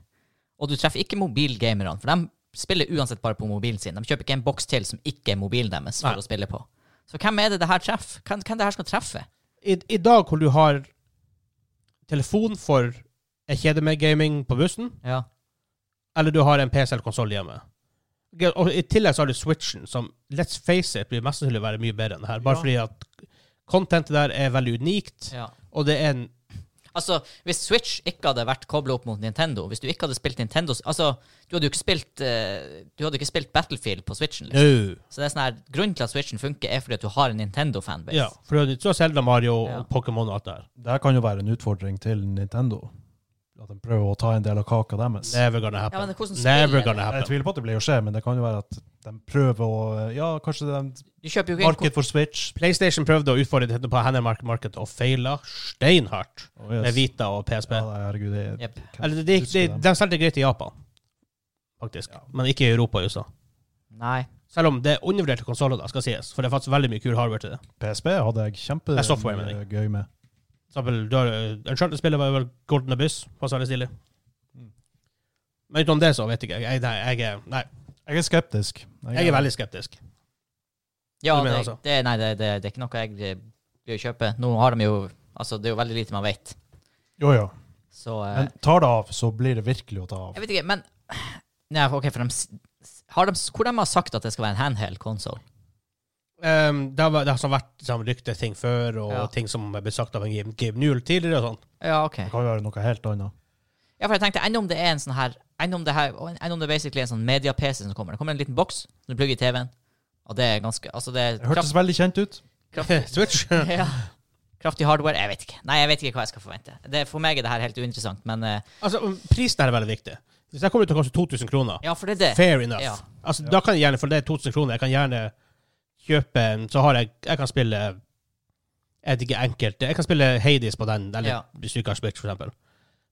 Og du treffer ikke mobilgamerne, for de spiller uansett bare på mobilen sin. De kjøper ikke en boks til som ikke er mobilen deres for
Nei.
å spille på. Så hvem er det det her treffer? Hvem, hvem det her skal treffe?
I, I dag hvor du har telefon for jeg kjeder meg gaming på bussen,
Ja.
eller du har en PC eller konsoll hjemme. Og I tillegg så har du Switchen, som let's face it, blir mest sannsynlig være mye bedre enn det her. Bare
Ja.
fordi at contentet der er veldig unikt,
ja.
og det er en
Altså, hvis Switch ikke hadde vært kobla opp mot Nintendo Hvis du ikke hadde spilt Nintendo Altså, du hadde jo ikke spilt eh, Du hadde ikke spilt Battlefield på Switchen. Liksom. Så det er sånn her Grunnen til at Switchen funker, er fordi at du har en Nintendo-fanbase.
Ja, for du så Selda Mario og
Ja.
Pokémon og alt det der.
Det her kan jo være en utfordring til Nintendo. At de prøver å ta en del av kaka deres.
Never gonna happen.
Ja, men hvordan spiller
Never
det?
gonna
Jeg
happen.
tviler på at det blir å skje, men det kan jo være at de prøver å eh, Ja, kanskje det er
Du kjøper jo ikke en
marked for Switch.
PlayStation prøvde å utfordre dette på Handelmark Market og feila steinhardt
Oh, yes.
med Vita og PSP.
Ja, nei, herregud, det er
kon- Jep.
Eller, de, de,
Husker dem.
de solgte greit i Japan, faktisk, men ikke i Europa og USA.
Nei.
Selv om det er undervurderte konsoller, skal sies, for det er faktisk veldig mye kul hardware til det.
PSP hadde jeg
Det er software, mener
kjempegøy med.
For eksempel, du har eh, Uncharted-spillet var jo vel Golden Abyss, passer veldig stilig.
Mm.
Men utenom det så vet jeg ikke. Jeg, nei, jeg, er- nei,
Jeg er skeptisk.
jeg er veldig skeptisk.
Ja,
Du
det,
mener altså?
det, nei, det, det, det er ikke noe jeg eh, vil kjøpe. Nå har de jo Altså, det er jo veldig lite man vet.
Jo, ja.
Så eh,
Men tar det av, så blir det virkelig å ta av.
Jeg vet ikke, men Nei, OK, for de, s- s- har de s- Hvor de har sagt at det skal være en handheld konsoll?
Ehm, det, har, vært- det har sånn vært sånn rykteting før, og
Ja.
ting som er blitt sagt av en Gabe, Gabe Newell tidligere og sånn.
Ja, OK.
Det kan jo være noe helt annet.
Ja, for jeg tenkte, enn om det er en sånn her Enn om det, her, enn om det er basically en sånn media-PC som kommer. Det kommer en liten boks som du plugger i TV-en. Og det er ganske Altså, det er
Det hørtes veldig kjent ut.
Switch?
ja. Kraftig hardware? Jeg vet ikke. Nei, jeg vet ikke hva jeg skal forvente. Det, for meg er det her helt uinteressant, men eh,
altså, prisen her er veldig viktig. Hvis jeg kommer ut til å koste 2000 kroner,
ja, for det er det.
fair enough.
Ja.
Altså,
Ja.
Da kan jeg gjerne, for det er 2000 kroner, jeg kan gjerne kjøpe en- Så har jeg Jeg kan spille Jeg vet ikke enkelt Jeg kan spille Hades på den, eller
Ja.
hvis du ikke har spilt, for eksempel.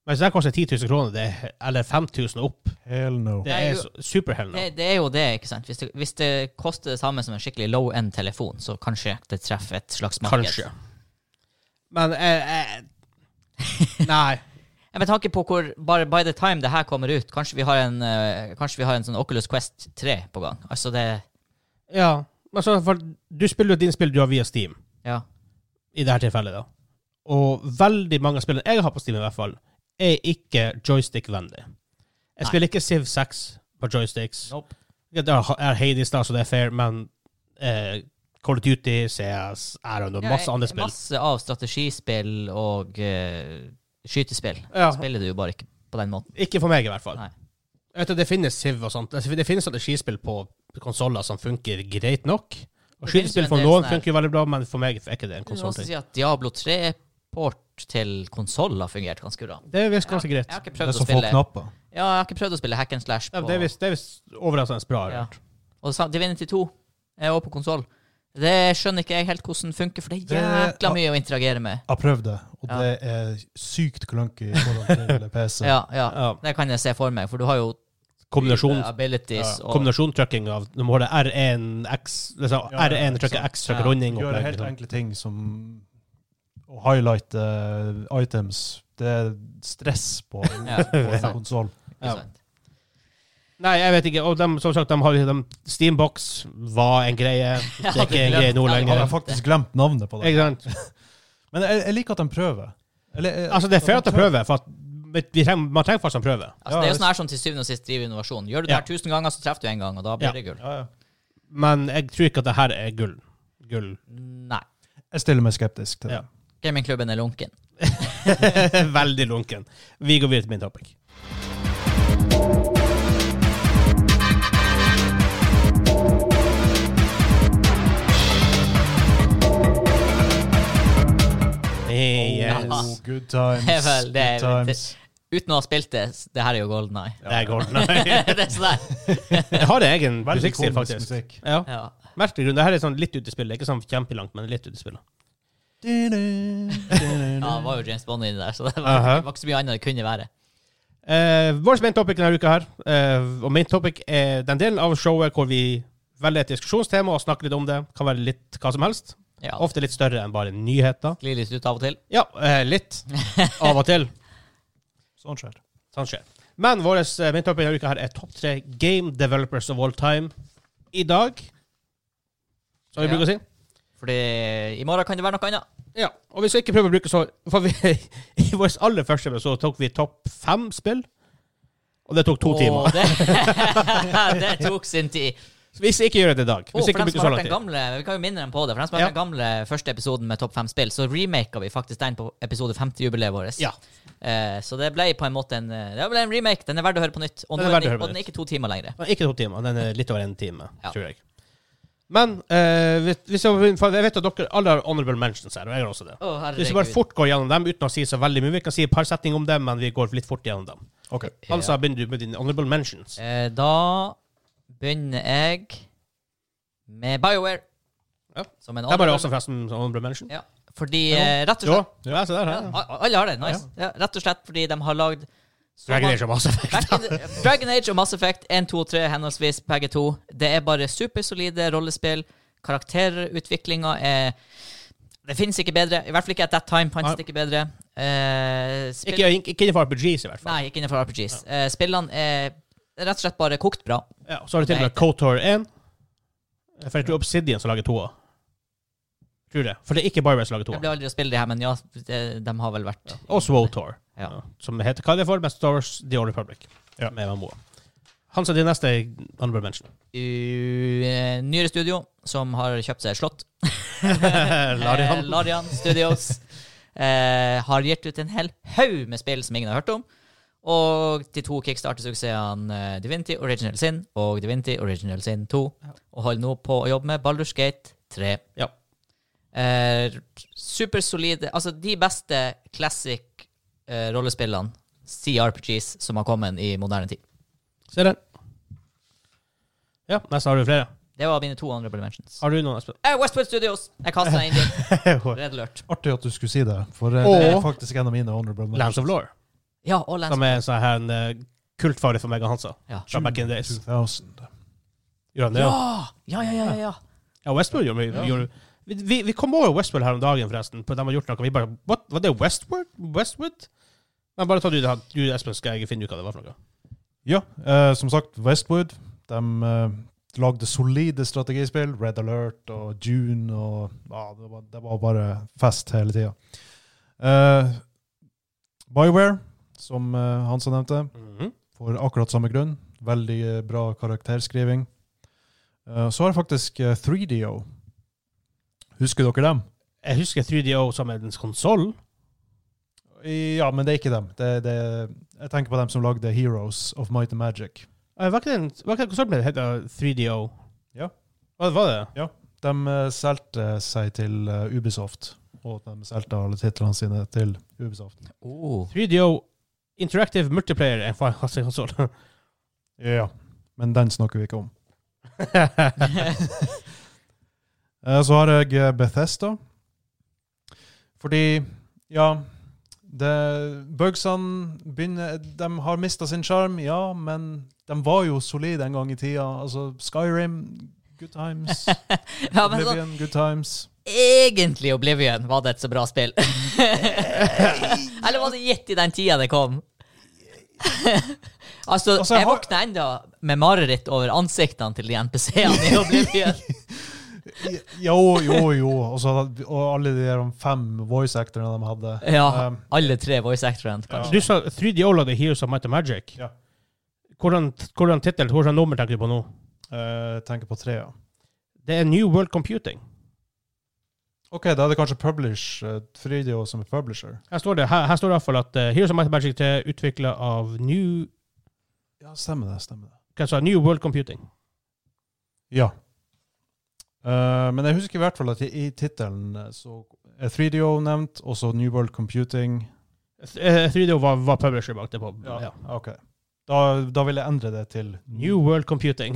Men hvis den koster 10 000 kroner, det er, eller 5000 og opp,
Hell no.
det
Nei,
er
jo.
så- superhell nå.
Det, det er jo det, ikke sant. Hvis det, hvis det koster det samme som en skikkelig low end-telefon, så kanskje det treffer et slags marked.
Kanskje. Men eh, eh, Nei.
Ja, Med tanke på hvor bare By the time det her kommer ut, kanskje vi har en, eh, kanskje vi har en sånn Oculus Quest 3 på gang. Altså det
Ja. Altså, for du spiller jo din spill du har via Steam.
Ja.
i dette tilfellet, da. Og veldig mange av spillene jeg har på Steam, i hvert fall, er ikke joystick-vennlig. Jeg
Nei.
spiller ikke Civ 6 på joysticks.
Nope.
Det er- er Hades, da, så det er fair, men eh, Call of Duty, CS, I don't know, masse andre spill.
Masse av strategispill og eh, skytespill.
Ja,
Spiller du jo bare ikke på den måten.
ikke for meg, i hvert fall.
Nei.
Jeg vet at Det finnes Civ og sånt. Altså, Det finnes strategispill på konsoller som funker greit nok. Og
Det finnes jo
Skytespill
en
for
del
noen
sånne her-
funker jo veldig bra, men for meg er ikke det en
Du kan også
konsollting.
si at Diablo 3-port til konsoll har fungert ganske bra.
Det virker ganske greit.
Jeg har ikke
Det
prøvd
er
å
som få
spille
knapper.
Ja, jeg har ikke prøvd å spille hack and slash på
Ja, Det er visst- det er visst overraskende bra.
Ja.
Ja.
Og sa- Divinity 2 er også på konsoll. Det skjønner ikke jeg helt hvordan funker, for det
Det-
er jækla mye å interagere med.
Jeg har prøvd det, og
Ja.
det er sykt klunky i forhold til PC.
Ja, ja.
Ja.
Det kan jeg se for meg, for du har jo eh,
Kombinasjon
abilities
Ja,
og
Kombinasjontrykking av Du må ha det R1, X liksom,
Ja, ja,
R1 trykker
sant.
X, trykker
Ja.
runding
Gjøre
opplegg,
helt
liksom.
enkle ting som å highlighte eh, items. Det er stress på,
Ja,
på
ikke
en
sant.
konsoll.
Ikke
Ja.
sant.
Nei, jeg vet ikke. Og de, som sagt, de har de, Steambox var en greie. Det er ikke en
glemt.
greie nå
Ja,
Jeg har
lenger.
faktisk glemt navnet på det.
Ikke sant?
Men jeg, jeg liker at de prøver. Eller, eh,
Altså, det er fair at de prøver, for at vi trenger, man trenger faktisk en prøve.
Altså,
Ja,
det er jo
hvis-
sånn her som til syvende og sist driver innovasjon. Gjør du det
Ja.
her tusen ganger, så treffer du en gang, og da blir
Ja.
det gull.
Ja, ja.
Men jeg tror ikke at det her er gull. Gull.
Nei.
Jeg stiller meg skeptisk til det.
Ja.
Gamingklubben er lunken.
Veldig lunken. Vi går videre til min topic. Yes.
Oh, good times.
Det er vel- det er
good
vel-
times.
Uten å ha spilt det, s- det her er jo golden eye.
Det er golden.
det er sånn der.
Jeg har en egen
Veldig
musikkstil,
komisk
faktisk.
musikk.
Ja.
Ja.
Merkelig grunn. Det her er sånn litt ute i spillet. Ikke sånn kjempelangt, men litt ute i spillet.
ja, det var jo James Bond inni der, så det var,
Aha.
det var ikke så mye annet det kunne være.
Eh, vår main topic denne uka her, eh, og main topic er den delen av showet hvor vi velger et diskusjonstema og snakker litt om det. Kan være litt hva som helst.
Ja.
Ofte litt større enn bare nyheter.
Glir litt ut av og til.
Ja, eh, litt. Av og til.
Sånn skjer.
Sånn skjer. Men vår eh, main topic denne uka her er topp tre game developers of all time i dag. Som vi
Ja.
bruker å si.
Fordi i morgen kan det være noe annet.
Ja, og vi skal ikke prøve å bruke så For vi, i vår aller første episode tok vi topp fem spill. Og det tok to
Og
timer.
Det, det tok sin tid.
Så vi skal ikke gjøre det i dag.
Å,
Vi skal
for
ikke
dem
bruke
som
så
har
lang
hørt den
tid.
gamle, Vi kan jo minne dem på det. For dem som har
Ja.
hørt den gamle første episoden med Topp 5-spill, så remaka vi faktisk den på episode 50-jubileet vårt.
Ja.
Eh, så det ble på en måte en, eh, det ble en remake. Den er verdt å høre på nytt. Og,
Den
nå
er
er
verdt å
den,
høre på
og den er ikke to timer lenger.
Nei, Ikke to timer. Den er litt over en time,
Ja.
tror jeg. Men eh, vi, vi skal, for jeg vet at dere alle har honorable mentions her, og jeg har også det.
Å,
Vi skal bare fort gå gjennom dem uten å si så veldig mye. Vi kan si et par setninger om dem, men vi går litt fort gjennom dem.
Ok.
Altså begynner du med dine honorable mentions.
Eh, da begynner jeg med BioWare.
Ja.
Som en
Det er bare
honorable-
også forresten honorable mention.
ja. Fordi eh, rett og
Jo,
slett
ja, se der.
ja,
her.
a- Alle har det. Nice. Ja. rett og slett fordi de har lagd så
Dragon
mange-
Age og Mass Effect.
Back- Dragon Age og Mass Effect 1, 2 og 3 henholdsvis begge to. Det er bare supersolide rollespill. Karakterutviklinga er Det fins ikke bedre. I hvert fall ikke at that time fantes
Nei.
det ikke bedre. Eh, spill-
Ikke, ikke innenfor RPGs, i hvert fall.
Nei, ikke innenfor RPGs. Eh, spillene er rett og slett bare kokt bra.
Ja, så har du til og med Kotor 1. For jeg tror Obsidian som lager toa. Tror det. For det er ikke Byware som lager
Jeg
toa.
blir aldri å spille de her, men ja, de, de har vel vært
Og Swotor.
Ja.
Som heter hva er det for? Best Star Wars The Old Republic.
Ja.
Med MMO. Han som er din neste honorable mention.
U- eh, Nyere studio som har kjøpt seg et slott. Eh,
Larian.
Larian Studios eh, har gitt ut en hel haug med spill som ingen har hørt om. Og de to kickstarter-suksessene eh, Divinity Original Sin og Divinity Original Sin 2. Og holder nå på å jobbe med Baldur's Gate 3.
Ja.
Eh, supersolide Altså, de beste classic eh, rollespillene, CRPGs, som har kommet i moderne tid.
Ser den. Ja, nesten har du flere.
Det var mine to andre dimensions.
Har du noen, Espen?
Eh, Westwood Studios! Jeg kasta inn din. Red alert.
Artig at du skulle si det, for eh, det er
Og-
faktisk en av mine honorable
Lands of Law,
mentions.
Ja, og Lance.
som er en sånn her en eh, kultfavoritt for meg og Hansa.
Ja.
Fra back in the days.
2000.
Gjorde han det?
Ja!
Ja,
Ja, ja, ja, ja, ja.
ja Westworld gjorde vi.
Ja.
Gjorde, vi, vi, vi kom over Westworld her om dagen, forresten. På, de har gjort noe. Vi bare What? Var det Westworld? Westwood? Men bare ta du det her. Du, Espen, skal jeg finne ut hva det var for noe.
Ja, eh, som sagt, Westwood. De eh, lagde solide strategispill. Red Alert og June og ja, det, var, det var bare fest hele tida. Eh, Bioware, som eh, Hansa nevnte, for akkurat samme grunn. Veldig eh, bra karakterskriving. Eh, så har jeg faktisk eh, 3DO. Husker dere dem?
Jeg husker 3DO som en konsoll.
Ja, men det er ikke dem. Det, det, jeg tenker på dem som lagde Heroes of Might and Magic.
Eh, Var ikke det en, var ikke det en konsoll som het eh, 3DO?
Ja.
Hva var det?
De eh, solgte seg til eh, Ubisoft, og de solgte alle titlene sine til Ubisoft.
Oh.
3DO Interactive Multiplayer er en fantastisk konsoll.
Ja. Men den snakker vi ikke om. Eh, Så har jeg eh, Bethesda. Fordi, ja det, Bugsene begynner De har mista sin sjarm, ja, men de var jo solide en gang i tida. Altså Skyrim, good times.
ja, men sånn,
Oblivion, good times.
egentlig Oblivion var det et så bra spill. Eller var det gitt i den tida det kom? altså,
Altså, jeg
jeg,
har-
våkna enda med mareritt over ansiktene til de NPC-ene i Oblivion.
Jo, jo, jo. Og, så, hadde- og alle de der fem voice actorene de hadde.
ja,
Um,
alle tre voice actorene.
Ja.
Du sa 3DO lagde Heroes of Might and Magic.
Ja.
Hvordan, hvordan tittel, hvordan nummer tenker du på nå?
eh, tenker på tre, ja.
Det er New World Computing.
OK, da er det kanskje Publish, eh, Fridio som er publisher.
Her står det, her, her står det i hvert fall at eh, Heroes of Might and Magic 3 er utvikla av New,
Ja, stemmer det. stemmer det.
hva sa jeg, New World Computing.
Ja. Eh, men jeg husker i hvert fall at i, i tittelen eh, så er 3DO nevnt, og så New World Computing.
Eh, 3DO var, var publisher bak det. på. Ja.
OK. Da, da vil jeg endre det til
New World Computing.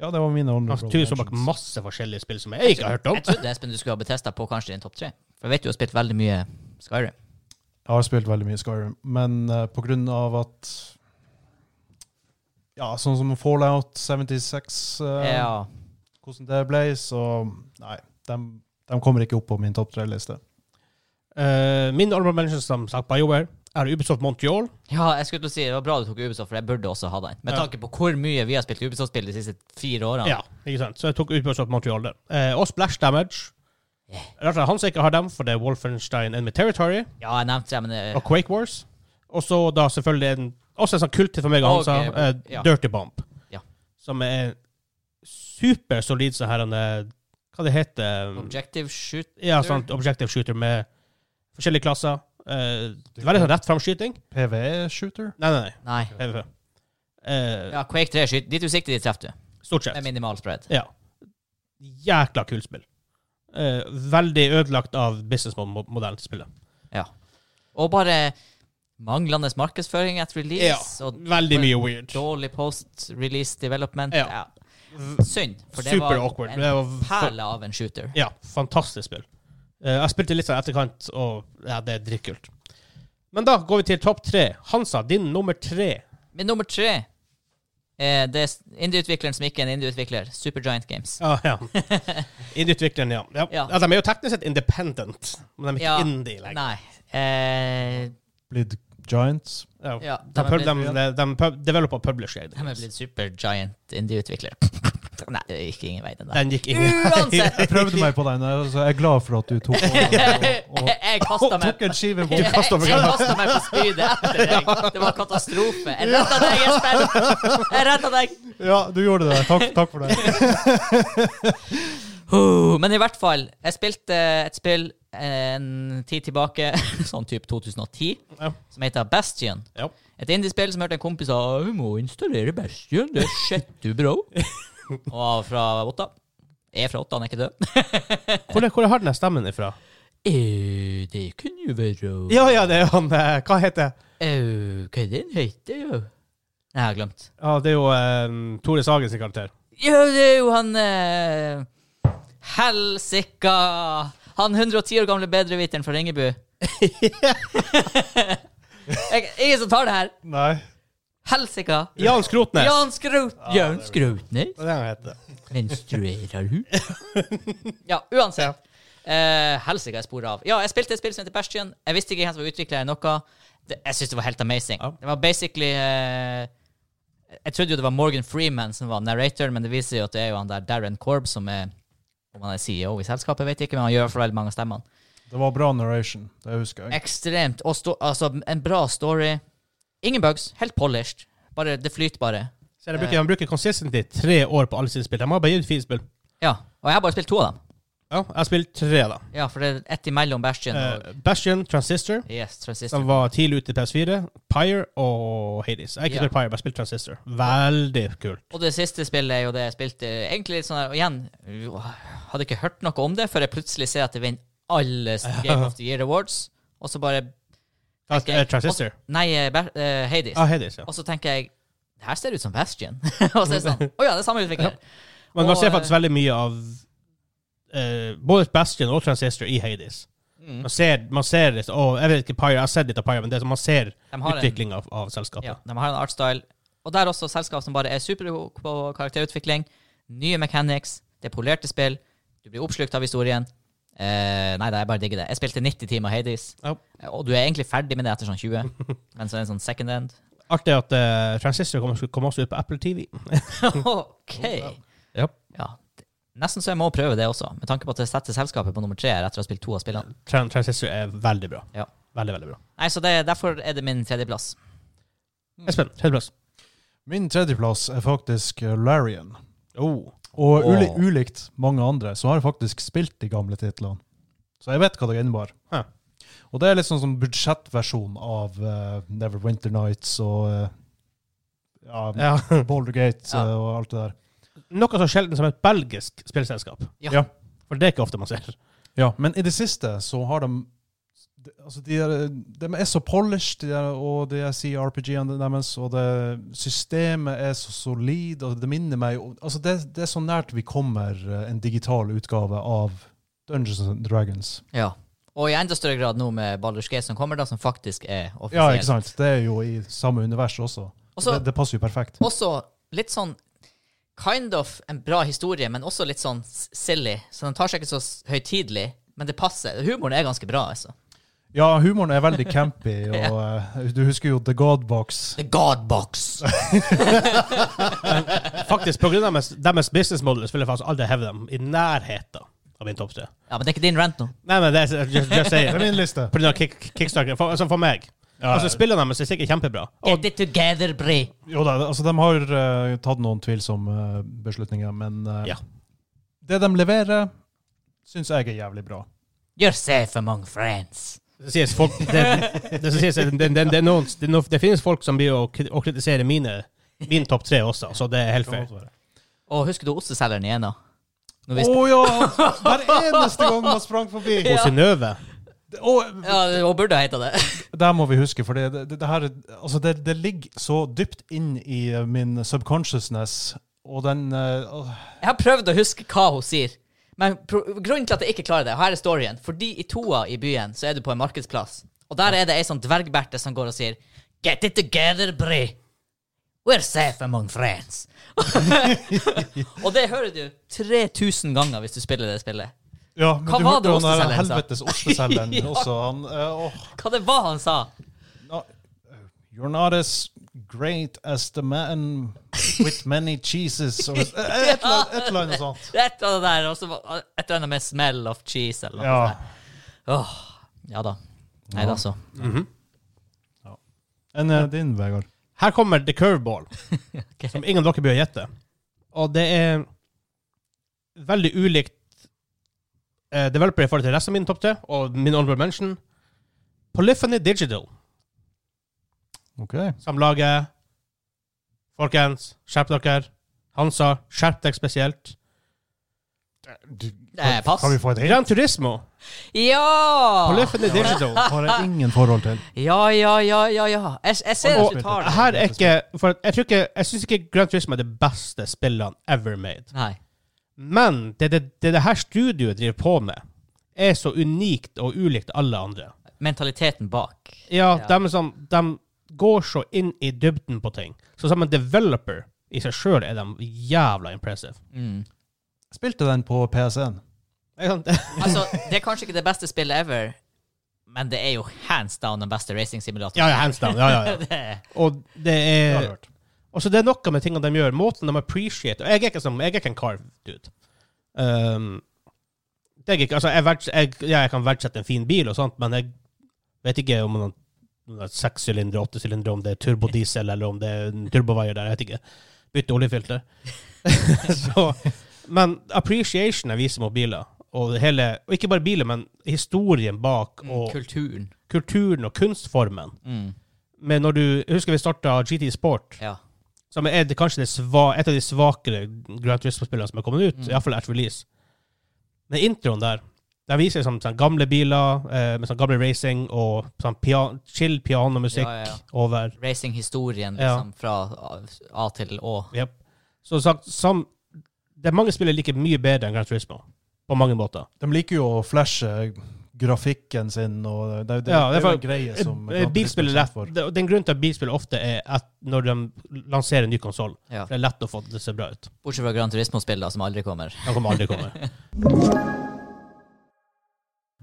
Ja, det var mine
Han
honorable
tydeligvis står bak
mentions.
masse forskjellige spill som jeg ikke har hørt om.
Jeg trodde Espen du skulle ha Bethesda på kanskje din topp tre. For jeg vet du har spilt veldig mye Skyrim.
Jeg har spilt veldig mye Skyrim, men eh, på grunn av at Ja, sånn som Fallout 76, eh,
Ja.
hvordan det ble, så Nei, de, de kommer ikke opp på min topp tre-liste.
Eh, min honorable mention, som sagt, BioWare, er Ubisoft Montreal.
ja, jeg skulle til å si det var bra du tok Ubisoft, for jeg burde også ha den. Med
Ja.
tanke på hvor mye vi har spilt Ubisoft-spill de siste fire årene.
Ja, ikke sant? Så jeg tok Ubisoft Montreal der. Eh, og Splash Damage. Rart at Hans ikke har dem, for det er Wolfenstein Enemy Territory
Ja, jeg nevnte det, men eh,
og Quake Wars. Og så da selvfølgelig en, også en sånn kult for meg og Hansa,
Ok,
eh,
ja.
Dirty Bomb.
Ja.
Som er supersolid sånn her en, eh, Hva det heter eh,
Objective Shoot
Ja, sånn objective shooter med forskjellige klasser. Eh, veldig sånn rett fram-skyting.
PVE-shooter?
Nei, nei, nei.
Nei.
PvP. Eh,
Ja, Quake 3 skyter. Dit du sikter, dit treffer du.
Stort sett.
Med minimal spread.
Ja. Jækla kult spill. Eh, veldig ødelagt av businessmodellen til spillet.
Og bare manglende markedsføring etter release, og
Veldig mye weird.
dårlig post-release development.
Ja.
Ja. Synd, for det
Super
var
awkward.
en
Det var fa-
perle av en shooter.
ja, fantastisk spill. Eh, jeg spilte litt sånn etterkant, og ja, det er dritkult. Men da går vi til topp tre. Hansa, din nummer tre.
Min nummer tre eh, det er s- indieutvikleren som ikke er en indieutvikler. Supergiant Games.
Ah, ja. Indieutvikleren, ja. Ja.
Ja.
ja. De er jo teknisk sett independent, men de er ikke
Ja.
indie lenger.
Nei. Eh,
Blitt Giants?
Ja.
ja,
De,
de er
pub-
blitt-
de, de, de pub- developer og publisher. jeg.
de er blitt Supergiant indieutvikler. Nei, det gikk ingen vei, den der.
Den gikk ingen
Uansett!
Jeg prøvde meg på den, så jeg er glad for at du tok over og, og,
Jeg
og
kasta meg
tok en skive
Jeg
bort.
kastet meg på spydet etter deg. Det var katastrofe. Jeg redda deg, Espen. Jeg redda deg.
Ja, du gjorde det. Takk, takk for det.
Huh, Men i hvert fall, jeg spilte et spill eh, en tid tilbake, sånn type 2010,
Ja.
som heter Bastion.
Ja.
Et indiespill som hørte en kompis sa Du må installere Bastion, det er shit du, bro. Og var fra Otta. Jeg er fra Otta, han er ikke død.
Hvor, hvor har den der stemmen ifra?
Eh, det kunne jo være
Ja, ja, det er han eh, Hva heter
Au, hva er den heter, jo? Nei, jeg har glemt.
Ja, det er jo eh, Tore Sagen sin karakter.
Ja, det er jo han eh, Helsika! Han 110 år gamle bedreviteren fra Ringebu. jeg, ingen som tar det her.
Nei.
Helsika!
Jan Skrotnes.
Jan Skraut... Jan Skrautnes?
Det er det han heter.
Menstruerer hun? ja, uansett. Eh, helsike, jeg sporer av. Ja, jeg spilte et spill som heter Bastion. Jeg visste ikke hvem som var utvikler eller noe. Det, jeg syns det var helt amazing.
Ja.
Det var basically eh, Jeg trodde jo det var Morgan Freeman som var narrator, men det viser jo at det er jo han der Darren Korb som er om han er CEO i selskapet, vet jeg ikke, men han gjør for veldig mange av stemmene.
Det var bra narration, det husker jeg.
Ekstremt. Og sto, altså, en bra story. Ingen bugs. Helt polished. Bare, det flyter bare.
Så de bruker, de bruker consistently tre år på alle sine spill. De har bare gitt fire spill.
Ja. Og jeg har bare spilt to av dem.
Ja, jeg har spilt tre, da.
Ja, for det er ett imellom Bastion og
Eh, Bastion, Transistor,
Yes, Transistor.
som var tidlig ute i PS4, Pyre og Hades. Jeg har ikke
Ja.
spilt Pyre, bare spilt Transistor. Veldig kult.
Og det siste spillet er jo det jeg spilte egentlig litt sånn her, og igjen, jo, hadde ikke hørt noe om det før jeg plutselig ser at det vinner alle Game of the Year Awards, og så bare
Ja,
tenker
eh,
jeg-
Transistor.
og så- Nei, eh, Ba- eh, Hades.
Ja, Hades, ja.
Og så tenker jeg det her ser ut som Bastion. og så er det sånn Å ja, det er samme utvikler.
Men
og,
man ser
eh,
faktisk veldig mye av eh, både Bastion og Transistor i Hades.
Mm.
Man ser, man ser litt, å, Jeg vet ikke Pyre, jeg har sett litt av Pyre, men det er som man ser
De har en,
utvikling av, av selskapet.
ja, de har en artstyle. Og der også selskap som bare er supergode på karakterutvikling. Nye mechanics. Det er polerte spill. Du blir oppslukt av historien. Eh, nei da, jeg bare digger det. Jeg spilte 90 timer Hades. Eh,
Ja.
Og du er egentlig ferdig med det etter sånn 20, men så er det en sånn second end.
Artig at eh, Transistor kommer kom også ut på Apple TV.
OK!
Ja.
Ja. det- Nesten så jeg må prøve det også, med tanke på at jeg setter selskapet på nummer tre her etter å ha spilt to av spillene.
Tran Transistor er veldig bra.
Ja.
Veldig, veldig bra.
Nei, så det, Derfor er det min tredjeplass. Mm.
Espen, tredjeplass.
Min tredjeplass er faktisk eh, Larian.
Oh.
Og uli
Åh.
ulikt mange andre, så har jeg faktisk spilt de gamle titlene. Så jeg vet hva det innebar.
Hæ.
Og det er litt sånn som budsjettversjon av eh, Neverwinter Nights og eh, ja,
Ja.
Boulder Gate
Ja.
eh, og alt det der.
Noe så sjelden som et belgisk spillselskap.
Ja.
Ja.
For det er ikke ofte man ser.
Ja, men i det siste så har de de- Altså, de er, de er så polished, de er, og det jeg sier RPG-ene deres, og det, systemet er så solid, og det minner meg om- Altså, det, det er så nært vi kommer eh, en digital utgave av Dungeons and Dragons.
Ja. Og i enda større grad nå med Baldur's Gate som kommer, da, som faktisk er
Ja,
offisiell.
ikke sant. Det er jo i samme univers også.
Også-
det, det passer jo perfekt.
også litt sånn Kind of en bra historie, men også litt sånn s- silly. Så den tar seg ikke så s- høytidelig, men det passer. Humoren er ganske bra, altså.
Ja, humoren er veldig campy, og eh, du husker jo The God Box.
The God Box.
Faktisk, på grunn av deres, deres business model så vil jeg faktisk aldri heve dem i nærheten av min topp tre.
Ja, men det er ikke din rant nå.
Nei, men det er just, just say
Det er
it.
min liste.
På grunn av kick, Kickstarter. For, altså for meg. Altså, spillene deres er sikkert kjempebra.
Get it together, Bri.
Jo da, altså de har eh, tatt noen tvilsomme eh, beslutninger, men eh,
Ja.
det de leverer, syns jeg er jævlig bra.
You're safe among friends.
Det sies folk det, det, som sies, det, det, det, er noen, det, er noen, det finnes folk som blir å, kri- å kritisere mine, min topp tre også, så det er helt fair.
Og husker du osteselgeren igjen, da? Når
Å
vi sp-
ja! Hver eneste gang man sprang forbi.
Og Synnøve
Og
Ja, det- hun burde ha heta det.
Det her må vi huske, for det, det, det, her, altså det, det ligger så dypt inn i eh, min subconsciousness, og den eh, åh,
Jeg har prøvd å huske hva hun sier. Men pro grunnen til at jeg ikke klarer det, her er storyen. Fordi i toa i byen så er du på en markedsplass. Og der er det ei sånn dvergberte som går og sier Get it together, Bri. We're safe among friends. og det hører du 3000 ganger hvis du spiller det spillet.
Ja,
Hva
men du
var
hørte
det
jo den her
osteselgeren sa?
helvetes osteselgeren
Ja.
også. Han, eh, åh,
Hva det var han sa?
no, You're not as great as the man with many cheeses. Or, et, eller annet- et eller annet sånt.
Det er Et eller annet der, og så var- et eller annet med 'smell of cheese' eller noe.
Ja.
Åh, ja da. Nei da, så.
Enn eh, din, Vegard?
Her kommer The Curveball,
Ok.
som ingen av dere bør gjette. Og det er veldig ulikt eh, developer i forhold til resten av min topp tre, og min honorable mention. Polyphony Digital,
OK.
som lager Folkens, skjerp dere. Hansa, skjerp deg spesielt.
Du,
Nei, pass.
Kan vi få et hint?
Gran Turismo på
Ja!
Løffende Digital.
Har jeg ingen forhold til.
Ja, ja, ja, ja. ja. Jeg, jeg ser
Og-
at du tar det.
Her er ikke for at Jeg, tror ikke- jeg syns ikke Gran Turismo er det beste spillene ever made.
Nei.
Men det det, det, det her studioet driver på med, er så unikt og ulikt alle andre.
Mentaliteten bak.
Ja,
Ja.
De, er sånn, de går så inn i dybden på ting. Så som en developer i seg sjøl er de jævla impressive.
Mm.
Spilte den på PSN.
Det er sånn- det-
Altså, det er kanskje ikke det beste spillet ever, men det er jo hands down den beste racing-simulatoren.
Ja, ja, hands down. Ja, ja, ja. Og det
Det har jeg
er
hørt.
Og så det er noe med tingene de gjør, måten de appreciate Og jeg er ikke, som, jeg er ikke en carve dude. Um, det er jeg ikke, altså, jeg, verds, jeg, ja, jeg kan verdsette en fin bil og sånt, men jeg vet ikke om noen om det er sekssylindere, åttesylindere, om det er turbodiesel eller om det er en turbovaier der. Jeg vet ikke. Bytte oljefilter. så, men appreciation jeg viser mot biler, og, det hele, og ikke bare biler, men historien bak,
Mm,
og
Kulturen.
kulturen og kunstformen.
Mm.
Men når du, jeg husker vi starta GT Sport,
Ja.
som er det, kanskje det sva, et av de svakere Grand Turismo-spillene som er kommet ut,
Mm.
i hvert fall etter release. Den introen der, der viser liksom, sånn, gamle biler eh, med sånn gamle racing og sånn pia- chill pianomusikk
Ja, ja, ja.
over.
Racing-historien
Ja.
liksom, fra A- A til Å.
Jep. Så sagt, som, det er mange spillere liker mye bedre enn Grand Turismo, på mange måter.
De liker jo å flashe grafikken sin, og det, det,
Ja, det
det er jo
er
en greie som
Eh, Bilspill er lett.
Grand Prix blir kjent for.
Det, og den grunnen til at bilspill ofte er at når de lanserer en ny konsoll,
Ja.
det er lett å få det til å se bra ut.
Bortsett fra Gran Turismo-spill, da, som aldri kommer.
Han kommer aldri komme.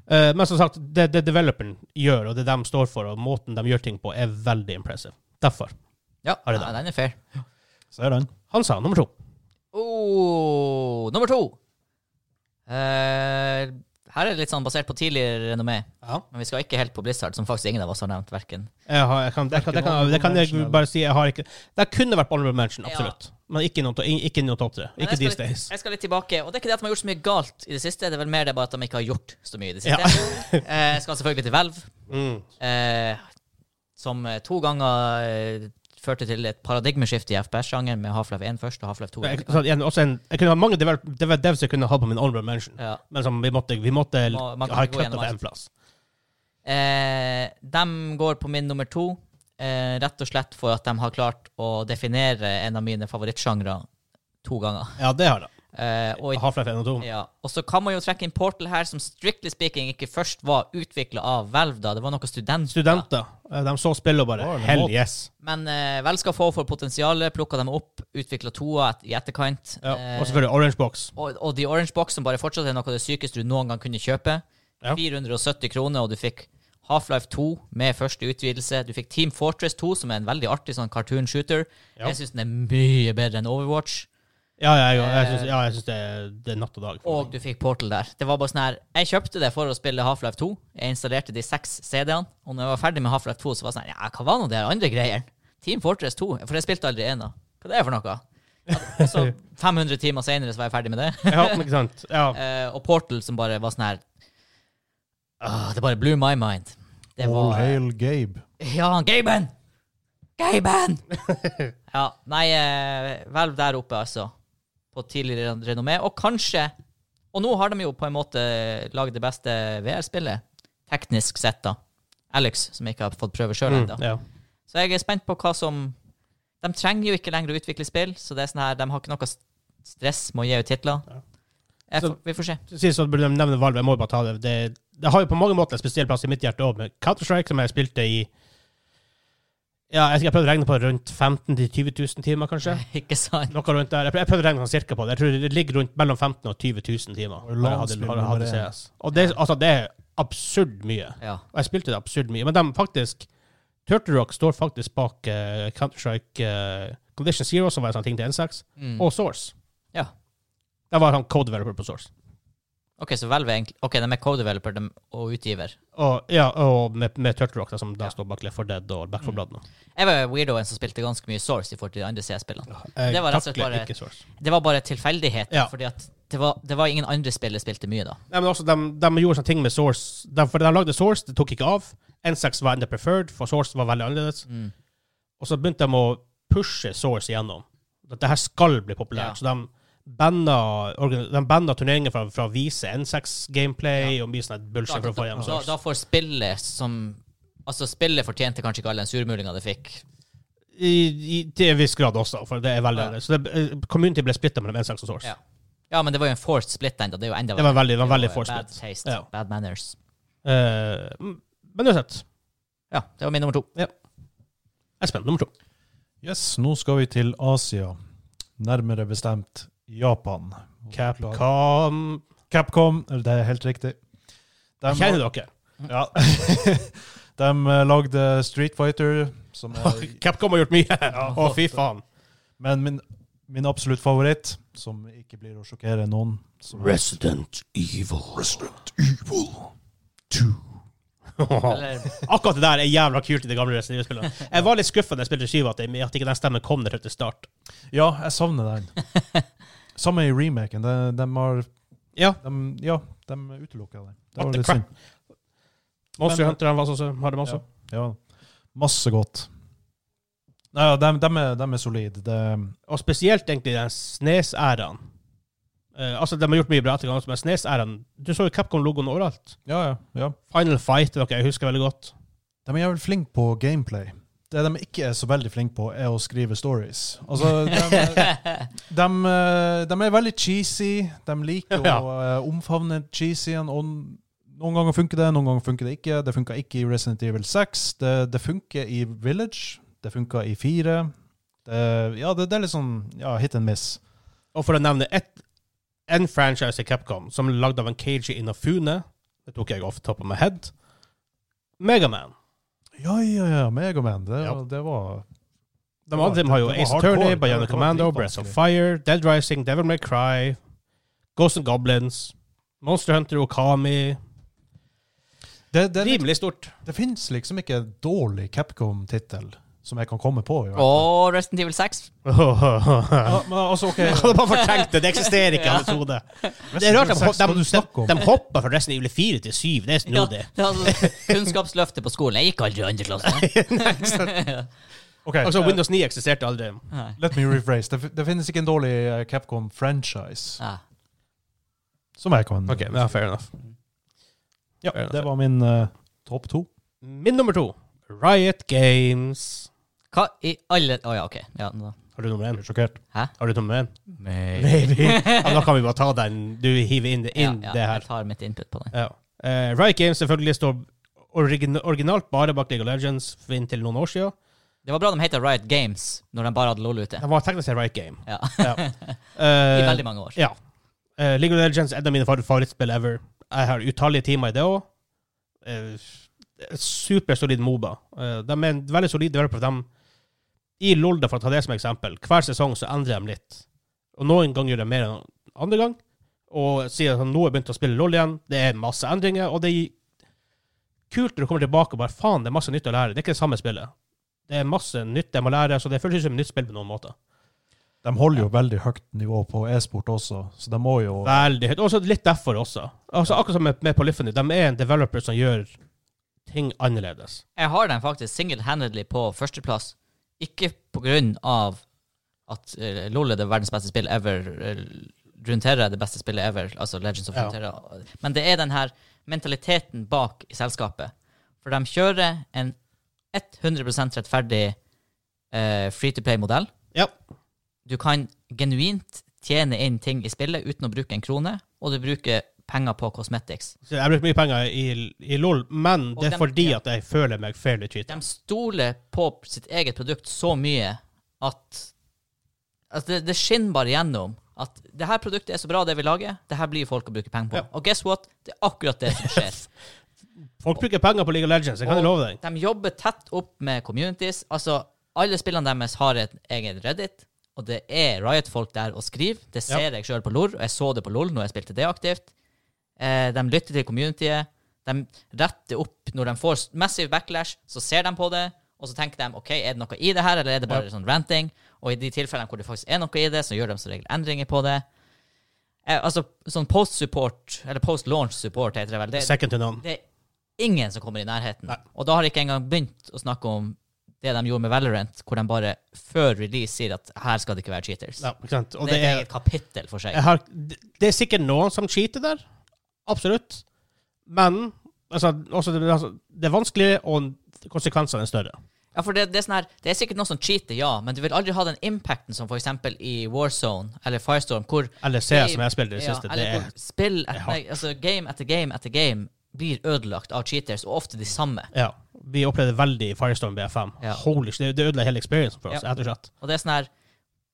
Eh, men som sagt, det, det developeren gjør, og det de står for, og måten de gjør ting på, er veldig impressive. Derfor.
Ja,
Har det
ja,
da.
den er fair.
Ser den.
Han sa nummer to.
Oh, nummer to. Eh, her er det litt sånn basert på tidligere renommé, men vi skal ikke helt på Blizzard, som faktisk ingen av oss har nevnt, verken.
Jeg har, jeg kan, det, kan, det, kan, det kan jeg bare si. Jeg har ikke, det kunne vært honorable mention, absolutt. Men ikke noe, to- ikke noe topp tre.
Men
Ikke
jeg
these
skal
days.
litt- Jeg skal litt tilbake, og det er ikke det at de har gjort så mye galt i det siste, det er vel mer det bare at de ikke har gjort så mye i det siste. Eh, jeg skal selvfølgelig til Valve,
Mm.
eh, som eh, to ganger eh, førte til et paradigmeskifte i FPS-sjangeren med Half-Life 1 først og Half-Life 2.
Jeg, så, igjen, også en, jeg kunne ha mange develop, dev- devs jeg kunne ha på min honorable mention,
Ja.
men som vi måtte, vi måtte
Må- man kan
ha
ikke gå
kutta
gjennom
på
alt.
én plass.
Eh, de går på min nummer to, eh, rett og slett for at de har klart å definere en av mine favorittsjangre to ganger.
Ja, det har det.
Eh, og, i-
Half-Life 1 og 2.
ja. og så kan man jo trekke inn Portal her, som strictly speaking ikke først var utvikla av Valve, da. Det var noen studenter.
Studenter. eh, De så spillet og bare
Ja, det er
Hell
måten.
yes.
Men eh, Valve skal få for potensialet, plukka dem opp, utvikla toa et, i etterkant.
Ja, og
Eh,
selvfølgelig Orange Box.
og, og The Orange Box, som bare fortsatt er noe av det sykeste du noen gang kunne kjøpe.
Ja.
470 kroner, og du fikk Half-Life 2 med første utvidelse. Du fikk Team Fortress 2, som er en veldig artig sånn cartoon shooter.
Ja.
Jeg syns den er mye bedre enn Overwatch.
Ja, ja, jeg, jeg syns, ja, jeg synes det, er, det er natt og dag. for
Og
meg.
du fikk Portal der. Det var bare sånn her Jeg kjøpte det for å spille Half-Life 2. Jeg installerte de seks CD-ene, og når jeg var ferdig med Half-Life 2, så var det sånn her, Ja, hva var nå det her andre greiene? Team Fortress 2. For jeg spilte aldri ena. Hva det er for noe? Ja, Så 500 timer senere så var jeg ferdig med det.
ja, men ikke sant? Ja.
Eh, og Portal som bare var sånn her Åh, Det bare blew my mind. Det
All
var
hail Gabe.
Ja, Gaben! Gaben! ja, nei, eh, Valve der oppe, altså. På tidligere ren- renommé. Og kanskje Og nå har de jo på en måte lagd det beste VR-spillet, teknisk sett, da. Alex, som jeg ikke har fått prøve sjøl
Mm,
ennå.
ja.
Så jeg er spent på hva som De trenger jo ikke lenger å utvikle spill, så det er sånn her, de har ikke noe s- stress med å gi ut titler.
Ja.
Jeg,
Så-
får- vi får se.
Sist så burde de nevne Valve. Jeg må bare ta det. det. Det har jo på mange måter en spesiell plass i mitt hjerte òg, med Counter-Strike, som jeg spilte i Ja, jeg, jeg prøvde å regne på rundt 15 000-20 000 timer, kanskje.
ikke sant?
Noe rundt der. Jeg prøv- Jeg prøvde å regne sånn cirka på det. Jeg tror det ligger rundt mellom 15 000 og 20 000 timer. har
Og
jeg hadde-
landsspill
har jeg hadde
nummer én.
CS. Og det, altså, det er absurd mye.
Ja.
Og jeg spilte det absurd mye. Men de faktisk Turtle Rock står faktisk bak eh, Counter-Strike eh, Condition Zero, som var en sånn ting til N6,
Mm.
og Source.
Ja.
Det var han code-developer på Source.
OK, så Valve er egentlig OK, de er co-developer dem, og utgiver.
Og, ja, og med, med Turtle Rock, da, som da
Ja.
står bak Left 4 Dead og Back 4
Mm.
Blood nå.
Jeg var weirdoen som spilte ganske mye Source i forhold til de andre CS-spillene.
Jeg
Det var rett og slett
takler
bare-
ikke Source.
Det var bare tilfeldighet,
Ja.
fordi at det var, det var ingen andre spill jeg spilte mye da.
Nei, men også, de, de gjorde sånne ting med Source. De, for de lagde Source, det tok ikke av. N6 var enda preferred, for Source var veldig annerledes.
Mm.
Og så begynte de å pushe Source igjennom. At det her skal bli
Ja.
populært. Så de, banna, organ- de banna turneringer fra, fra å vise N6-gameplay og mye sånn bullshit for å få
da,
igjen.
da, da får spillet som Altså, spillet fortjente kanskje ikke all den surmulinga det fikk.
I, I til en viss grad også, for det er veldig
Ja.
Så det, eh, community ble splitta mellom N6 og Source.
Ja. ja, men det var jo en forced split enda. Det er jo enda
Det var veldig, det var
det
veldig
er jo
forspilt.
Bad taste.
Ja.
Bad manners.
Eh, men uansett.
Ja, det var min nummer to.
Espen, nummer to.
Yes, nå skal vi til Asia. Nærmere bestemt Japan.
Capcom
Capcom, eller det er helt riktig. De,
Kjenner dere?
Ja. de eh, lagde Street Fighter, som er
Capcom har gjort mye! Å, fy faen.
Men min, min absolutt favoritt, som ikke blir å sjokkere noen som er
Resident Evil. Resident
Eller,
Akkurat det der er jævla kult i det gamle Resident Evil-spillet. Jeg var litt skuffa da jeg spilte skiva, at, jeg- at ikke den stemmen kom der til start.
Ja, jeg savner den. Samme i remaken. De, de har
Ja.
de, Ja, de utelukka den. Det
What
var
the
litt
crap?
synd.
Monster
Men-
Hunter han var også, hadde masse.
Ja. Ja, masse godt. Nei, ja, de, de, er, de er solide. Det,
Og spesielt egentlig den Snes-æraen. Eh, altså, De har gjort mye bra etter hverandre, men Snes-æraen Du så jo Capcom-logoen overalt.
ja, ja, ja.
Final Fight dere, jeg husker veldig godt.
De er jævlig flinke på gameplay. Det de ikke er så veldig flinke på, er å skrive stories. Altså, de, de, eh, de er veldig cheesy. De liker
Ja.
å eh, omfavne cheesyen. Og noen ganger funker det, noen ganger funker det ikke. Det funka ikke i Resident Evil 6. Det, det funker i Village. Det funka i 4. Det, ja, det, det er litt sånn ja, hit and miss.
Og for å nevne ett en franchise i Capcom som er lagd av en Keiji Inafune Det tok jeg off the top of my head. Megaman.
Ja, ja, ja. Megaman. Det,
Ja.
det var
De andre har jo
Det var
Ace
hardcore.
Attorney,
Det
Bionic
var
Commando,
dritvanskelig.
Breath of Fire, Dead Rising, Devil May Cry, Ghost and Goblins, Monster Hunter, Okami
Det, det, det,
Rimelig stort.
det fins liksom ikke en dårlig Capcom-tittel som jeg kan komme på. i hvert fall.
og Resten Evil 6.
Jeg
Ja, men altså, ok
hadde bare fortrengt det. Det eksisterer ikke i hans hode. Det er rart de,
Hva
hop-
du
de,
snakker
de,
om?
de hopper fra Resident Evil 4 til 7. Det er
Ja,
snodig.
det er altså, kunnskapsløftet på skolen. Jeg gikk aldri i andre klasse.
Ok,
Altså,
eh,
Windows 9 eksisterte aldri.
Nei.
let me rephrase. Det, f- det finnes ikke en dårlig eh, Capcom-franchise
Ja.
som jeg kan
Ok, ja, fair enough.
Ja,
fair enough.
det var min eh, topp to.
Min nummer to, Riot Games.
Hva i alle Å ja, OK. Ja, nå.
Har du nummer én?
Jeg er sjokkert.
Har du nummer én?
Nei.
Maybe. ja, men da kan vi bare ta den. Du hiver inn,
Ja,
inn
ja,
det
jeg
her.
tar mitt input på den.
Ja. Eh, Riot Games selvfølgelig står origin originalt bare bak League of Legends for inntil noen år siden.
Det var bra de het Riot Games når de bare hadde LOL ute.
Det var teknisk sett Riot Game.
Ja.
Ja.
I
Eh,
veldig mange år.
ja. Eh, League of Legends er et av mine favor- favorittspill ever. Jeg har utallige timer i det òg. Supersolid Moba. Eh, de er en veldig solid developer. De, I Lolda, for å ta det som eksempel, hver sesong så endrer de litt. Og noen ganger gjør de mer enn andre gang. Og sier at nå har jeg begynt å spille LOL igjen. Det er masse endringer. Og det er kult når du kommer tilbake og bare faen, det er masse nytt å lære. Det er ikke det samme spillet. Det er masse nytt jeg må lære, så det føles ikke som et nytt spill på noen måte.
De holder jo veldig høyt nivå på e-sport også, så de må jo
Veldig høyt. Også litt derfor også. Altså, akkurat som med, med Polyphony. De er en developer som gjør ting annerledes.
Jeg har den faktisk single-handedly på førsteplass. Ikke på grunn av at eh, LOL er det verdens beste spill ever. eh, Runeterra er det beste spillet ever, altså Legends of
Ja.
Runeterra. Men det er den her mentaliteten bak i selskapet. For de kjører en 100 rettferdig eh, free-to-play-modell.
Ja.
Du kan genuint tjene inn ting i spillet uten å bruke en krone, og du bruker penger på cosmetics.
Så jeg bruker mye penger i, i LOL, men
Og
det er
dem-
fordi
ja.
at jeg føler meg fairly cheated.
de stoler på sitt eget produkt så mye at, at det, det skinner bare gjennom at det her produktet er så bra, det vi lager. Det her blir folk å bruke penger på.
Ja.
Og guess what? Det er akkurat det som skjer.
Folk bruker penger på League of Legends, jeg kan
Og-
love deg.
de jobber tett opp med communities. Altså, alle spillene deres har et egen Reddit, og det er Riot-folk der og skriver. Det ser jeg sjøl på LOL, og jeg så det på LOL når jeg spilte det aktivt. Eh, de lytter til communityet. De retter opp når de får s- massive backlash, så ser de på det, og så tenker de OK, er det noe i det her, eller er det bare sånn ranting? Og i de tilfellene hvor det faktisk er noe i det, så gjør de som regel endringer på det. Eh, altså, sånn post-support, eller post-launch-support heter det vel. Det,
Second to none.
det er ingen som kommer i nærheten.
Nei.
Og da har jeg ikke engang begynt å snakke om det de gjorde med Valorant, hvor de bare før release sier at her skal det ikke være cheaters.
Ja, ikke sant? Og
det,
det
er
er,
et eget kapittel for seg.
jeg har, det det er sikkert noen som cheater der. Absolutt. Men altså, også, det, altså, det er vanskeligere, og konsekvensene er større.
Ja, for det, det, er sånn her, det er sikkert noen som cheater, ja, men du vil aldri ha den impacten som for eksempel i Warzone eller Firestorm, hvor
Eller CS, som jeg spilte i det
Ja,
siste.
eller
Det er,
hvor spill etter,
hardt.
nei, altså game etter game etter game blir ødelagt av cheaters, og ofte de samme.
ja, vi opplevde veldig i Firestorm BFM.
Ja.
Holy shit, det- det ødela hele experiencen for oss,
Ja.
rett og slett.
Og det er sånn her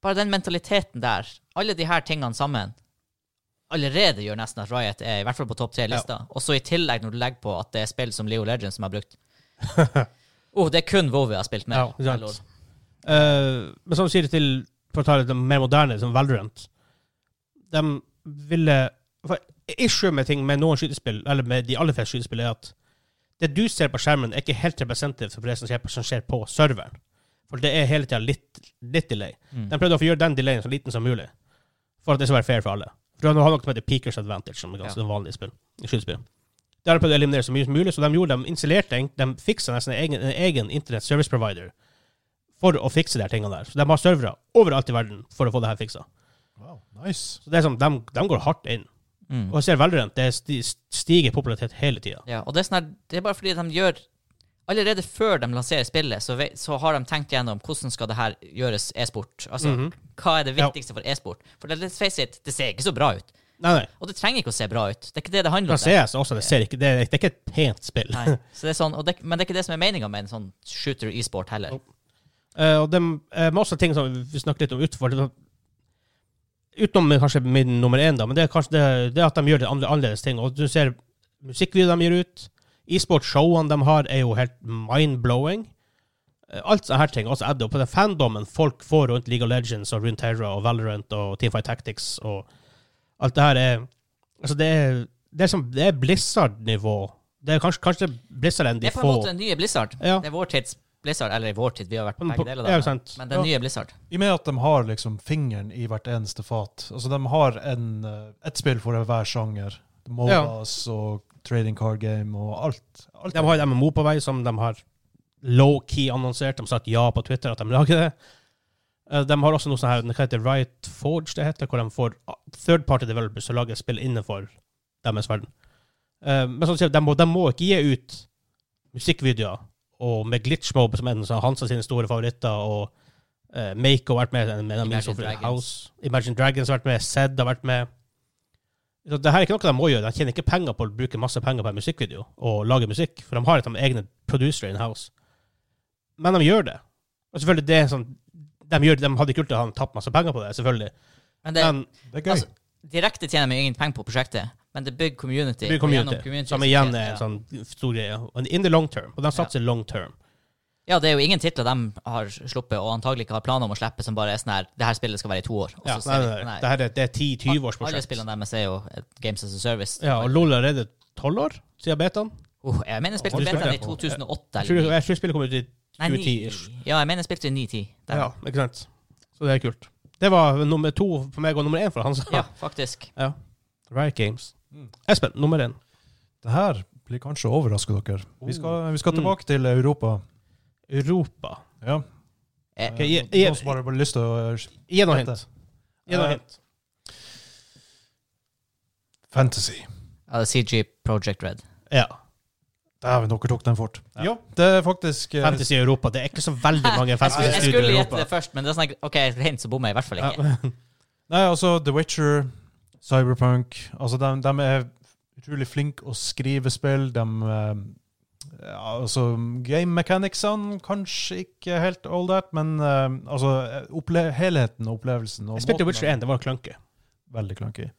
Bare den mentaliteten der, alle de her tingene sammen, allerede gjør nesten at Riot er i hvert fall på topp tre-lista. Og så i tillegg, når du legger på at det er spill som Leo Legends som jeg har brukt Oh, det er kun WoW jeg har spilt med.
Ja, ikke sant.
Lol.
Eh, men som du sier til For å ta det mer moderne, som Valorant De ville for Issue med ting med noen skytespill, eller med de aller fleste skytespill, er at det du ser på skjermen, er ikke helt representativt for det som skjer, som skjer på serveren. For det er hele tida litt, litt delay.
Mm.
De prøvde å få gjøre den delayen så liten som mulig, for at det skal være fair for alle. For Nå har noe som heter Peakers Advantage, som er ganske vanlig i spill, i skytespill. Det har de prøvd å eliminere så mye som mulig, så de gjorde de installerte en, de fiksa nesten en egen, en egen internet service provider for å fikse de her tingene der. Så de har servere overalt i verden for å få det her fiksa.
Wow, nice.
Så det er sånn, de, de går hardt inn.
Mm.
Og jeg ser Valorant, det sti- stiger i popularitet hele tida.
Ja, og det er, sånn her, det er bare fordi de gjør Allerede før de lanserer spillet, så, ve- så har de tenkt gjennom hvordan skal det her gjøres e-sport. Altså, Hva er det
Mhm. Ja.
viktigste for e-sport? For det- let's face it, det ser ikke så bra ut.
Nei, nei.
Og det trenger ikke å se bra ut. Det er ikke det det handler
Fra
om. det.
CS også, det, ser ikke, det, er, det er ikke et pent spill.
Nei. Så det er sånn, og det, men det er ikke det som er meninga med en sånn shooter e-sport heller.
Eh, og det er masse ting som vi snakker litt om utenfor. det- Utenom kanskje min nummer én, da, men det er kanskje det, det at de gjør det andre, annerledes ting. Og du ser musikkvideoer de gir ut. E-sportshowene de har, er jo helt mind-blowing. Eh, Alt sånne her ting. Også add up på den fandomen folk får rundt League of Legends og rundt Terra og Valorant og Teamfight Tactics og alt det her er Altså, det er, det er, som, det er Blizzard-nivå. Det er kanskje, kanskje Blizzard enn de
Det er på en
få.
måte den nye Blizzard.
Ja.
Det er vår tids Blizzard. Eller i vår tid, vi har vært på
Men på-
begge deler,
ja,
da.
ikke
Men,
sant.
men den
Ja.
nye Blizzard.
I og med at de har liksom fingeren i hvert eneste fat. Altså, de har en, eh, ett spill for hver sjanger. Modas og trading card game og alt. alt.
De har et MMO på vei som de har low-key annonsert. De har sagt ja på Twitter at de lager det. Eh, De har også noe sånn her, det heter Riot Forge, det heter, hvor de får ah, third-party developers til å lage spill innenfor deres verden. Eh, Men som du sier, de må, de må ikke gi ut musikkvideoer og med glitchmob som en av Hansa sine store favoritter, og eh, Mako har vært med, en en av mine
Imagine
store
Dragons.
House. Imagine Dragons har vært med, Zed har vært med. Så det her er ikke noe de må gjøre. De tjener ikke penger på å bruke masse penger på en musikkvideo og lage musikk, for de har et av egne producere in house. Men de gjør det. Og selvfølgelig, det er sånn de, gjør, de hadde ikke gjort det, han tapt masse penger på det, selvfølgelig.
Men det,
Men
Det er gøy.
altså, direkte tjener vi ingen penger på prosjektet, men det bygger community.
det blir
og
community,
gjennom community
som
så
igjen
tjener-
er
ja.
en sånn stor greie. Og In the long term. Og de satser long term.
Ja, det er jo ingen titler de har sluppet, og antagelig ikke har planer om å slippe, som bare er sånn her Det her spillet skal være i to år. Og
Ja,
så
nei,
ser vi-
nei, nei. Det her er, det er 10-20 års
Alle
prosjekt.
spillene deres er jo et Games as a Service.
Ja, og LOL er allerede 12 år siden betaen.
Oh, jeg mener jeg spilte
Og du
betaen i
spilte-
2008
Jeg tror,
eller 9.
jeg tror spillet kom ut i
Nei,
2010
9.
-ish.
Ja, jeg mener jeg spilte i 9-10. Der.
Ja, ikke sant. Så det er kult. Det var nummer to for meg, og nummer én for han. sa.
ja, faktisk.
Ja. Riot Games.
Mm.
Espen, nummer én.
Det her blir kanskje å overraske dere. Vi skal, vi skal
Mm.
tilbake til Europa.
Europa.
Ja.
Eh,
Eh,
Ok, jeg- jeg-
Noen som har bare lyst til å eh,
Gi noe
Dette.
hint. Gi noe
Eh,
hint.
Fantasy.
Ja, det er CG Project Red.
Ja.
Dæven, dere tok den fort.
Ja.
Ja, det er faktisk eh,
Fantasy i Europa. Det er ikke så veldig mange
Jeg skulle,
fantasy
jeg
studier
skulle
i
gjette
Europa.
det først, men det er sånn at- OK, jeg skal hente, så bommer jeg i hvert fall ikke.
Ja.
Nei, altså The Witcher, Cyberpunk Altså, de, de er utrolig flinke å skrive spill. De eh, ja, Altså, game mechanicsene kanskje ikke helt all that, men eh, altså opple helheten og opplevelsen og
Jeg spilte
måten
Witcher 1, det var klønke.
Veldig clunky.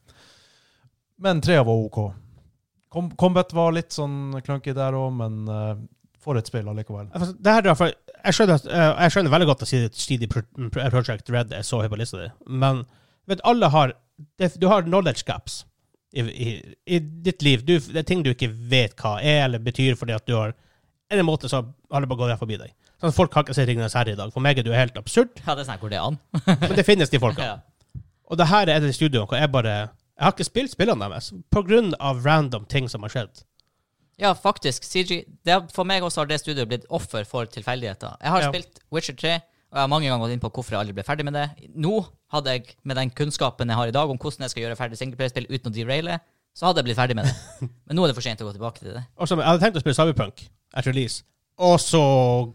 Men trea var OK. Com Combat var litt sånn clunky der òg, men eh, for et spill allikevel.
Altså, Det her, er derfor- jeg, skjønner, at- eh, jeg skjønner veldig godt at CD CD Pro- Pro- Project Red er så høy på lista di, men vet, alle har det, Du har knowledge gaps i, i, i ditt liv. Du, det er ting du ikke vet hva er eller betyr, fordi at du har En eller annen måte så har det bare gått rett forbi deg. Sånn, Folk har ikke sett Ringenes herre i dag. For meg er det jo helt absurd,
Ja, det er sånn her, Går det an?
men det finnes de folka.
Ja.
Og det her er et studio hvor jeg bare Jeg har ikke spilt spillene deres på grunn av random ting som har skjedd.
Ja, faktisk. CG det har, For meg også har det studioet blitt offer for tilfeldigheter. Jeg har
Ja.
spilt Witcher 3, og jeg har mange ganger gått inn på hvorfor jeg aldri ble ferdig med det. Nå hadde jeg, med den kunnskapen jeg har i dag om hvordan jeg skal gjøre ferdig singleplayerspill uten å deraile, så hadde jeg blitt ferdig med det. Men nå er det for sent å gå tilbake til det.
Og så, jeg hadde tenkt å spille Cyberpunk at release, og så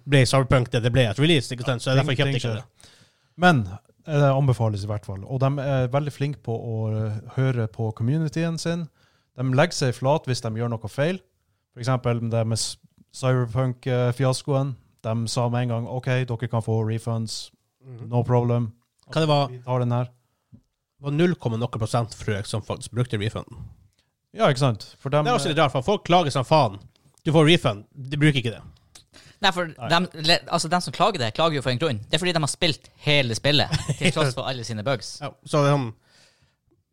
ble Cyberpunk det det ble at release, ikke sant? Så
Ja,
derfor
ting-
kjøpte jeg ikke
ting
det.
Men eh, det anbefales i hvert fall. Og de er veldig flinke på å eh, høre på communityen sin. De legger seg flat hvis de gjør noe feil. For eksempel det med s- Cyberpunk-fiaskoen. De sa med en gang OK, dere kan få refunds.
Mhm.
No problem.
Hva det var,
Vi tar den her.
var 0, noe prosent frøk som faktisk brukte refunden.
Ja, ikke sant? For dem,
Det er også litt rart, for folk klager som faen. Du får refund, de bruker ikke det.
Nei, for dem, le- altså, dem som klager det, klager jo for en grunn. Det er fordi de har spilt hele spillet, til tross for alle sine bugs.
Ja, så det er sånn,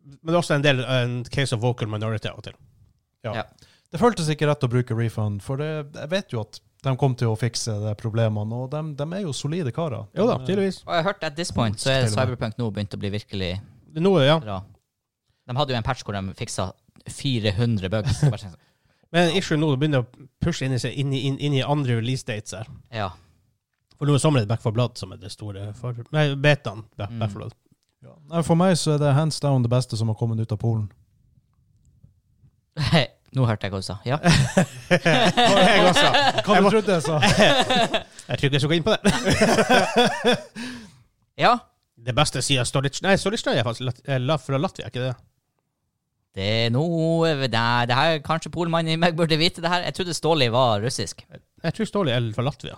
men det er også en del en case of vocal minority av og til.
Det føltes ikke rett å bruke refund, for det, jeg vet jo at de kom til å fikse de problemene, og de, de er jo solide karer.
Jo da,
De-
tydeligvis.
Og jeg har hørt at this point så er
Til og med.
Cyberpunk nå begynt å bli virkelig
Nå, ja.
bra. De hadde jo en patch hvor de fiksa 400 bugs. Det var sånn-
Men issue nå, det begynner å pushe inn i, seg, inn i, inn, inn i andre release dates her.
Ja.
For nå er sommeren Back for Blood som er det store for... Nei, betaen Back,
Mm.
Back for Blood.
Ja. Nei, For meg så er det hands down det beste som har kommet ut av Polen.
Nå hørte jeg hva du sa. Ja.
Mm. jeg også.
Hva du trodde jeg sa?
Jeg tror ikke jeg skal gå inn på det.
ja.
Det beste siden Stolic... Nei, Stolic er faktisk lat- eh, la- fra Latvia, ikke det?
Det er noe det, er- det her Kanskje polmannen i meg burde vite det her. Jeg trodde Ståli var russisk.
Jeg tror Stoli er fra Latvia.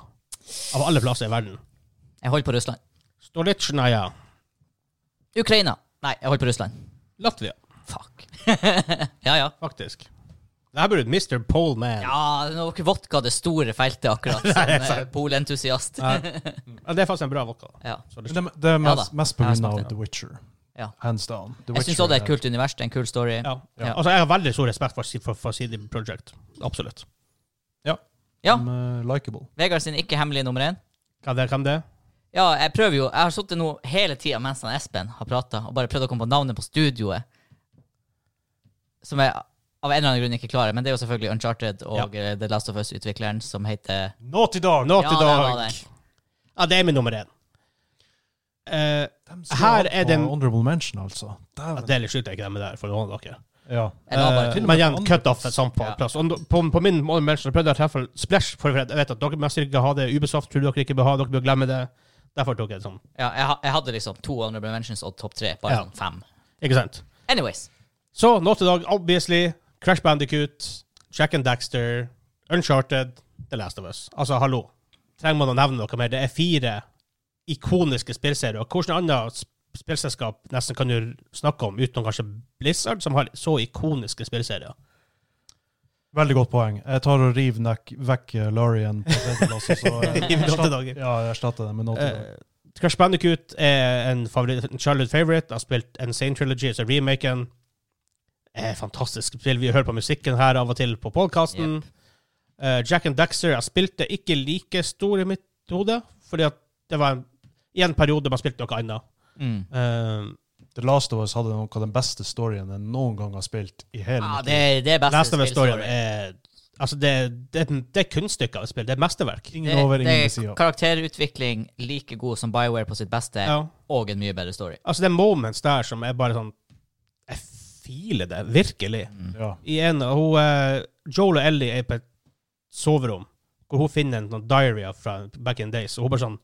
Av alle plasser i verden.
Jeg holder på Russland.
Stolicna, ja.
Ukraina. Nei, jeg holder på Russland.
Latvia,
Fuck. ja, ja.
faktisk. Det her burde Mr. Poleman.
Ja, det var ikke vodka det store feltet akkurat, som eh, polentusiast.
Ja, Det er faktisk en bra vokal.
Ja.
Det, det er mest,
da.
mest på
Jeg har
grunn av
smakt det.
The Witcher.
Ja.
Hands down. The
Jeg syns
Witcher
òg det er et kult univers, det er en kul story.
Ja.
Ja.
Altså, jeg har veldig stor respekt for, for, for CD Projekt. Absolutt.
Ja,
som, eh, likeable.
Vegard sin ikke-hemmelige nummer én.
Hva det, hvem det? er?
Ja, jeg prøver jo. Jeg har sittet nå hele tida mens han Espen har prata, og bare prøvd å komme på navnet på studioet. Som jeg av en eller annen grunn ikke klarer, men det er jo selvfølgelig Uncharted og eh, The Last of Us-utvikleren som heter
Naughty Dog!
Naughty
Ja, det var
Dog.
det.
Ja, det er min nummer én. Eh, Her er det-
Honorable mention, altså.
ja,
Dæven.
det er litt sjukt jeg ikke det med der, for noen av dere.
Ja.
Jeg la bare
Eh,
til.
men igjen, cut off et sånt på
Ja.
plass. Og på, på min mention prøvde jeg å treffe Splash, for jeg vet at dere mest ikke har det. Ubisoft tror dere ikke bør ha, dere bør glemme det. Derfor tok jeg det sånn.
Ja, jeg, ha- jeg hadde liksom to honorable mentions og topp tre. Bare
Ja.
sånn fem.
Ikke sant?
Anyways.
Så nå til dag, obviously, Crash Bandicoot, Jack and Daxter, Uncharted, The Last of Us. Altså, hallo. Trenger man å nevne noe mer? Det er fire ikoniske spillserier. Hvilket annet sp- spillselskap nesten kan du snakke om, utenom kanskje Blizzard, som har så ikoniske spillserier?
Veldig godt poeng. Jeg tar og river nek- vekk eh, Lorien på tredjeplass, og så eh,
Give Naughty Dog.
Ja, jeg erstatter det med Naughty Dog.
Eh, Crash Bandicoot er en, favoritt, en Charlotte favorite. Jeg har spilt Insane Trilogy, så remaken er fantastisk spill. Vi hører på musikken her av og til på podkasten. Jack and Daxter jeg spilte ikke like stor i mitt hode, fordi at det var en, i en periode man spilte noe annet.
Mm.
Eh,
The Last of Us hadde noe av den beste storyen jeg noen gang har spilt i hele
Ja,
mitt
det, det er beste
Last of Us-storyen
spillstory.
er Altså, det, det, det er kunststykker av et spill. Det er mesterverk.
liv. Ingen over, ingen ved
det
sida.
er karakterutvikling like god som Bioware på sitt beste,
Ja.
og en mye bedre story.
Altså, det er moments der som er bare sånn Jeg filer det, virkelig.
Ja.
i en av hun, eh, Joel og Ellie er på et soverom, hvor hun finner en sånn diary fra back in days, og hun bare sånn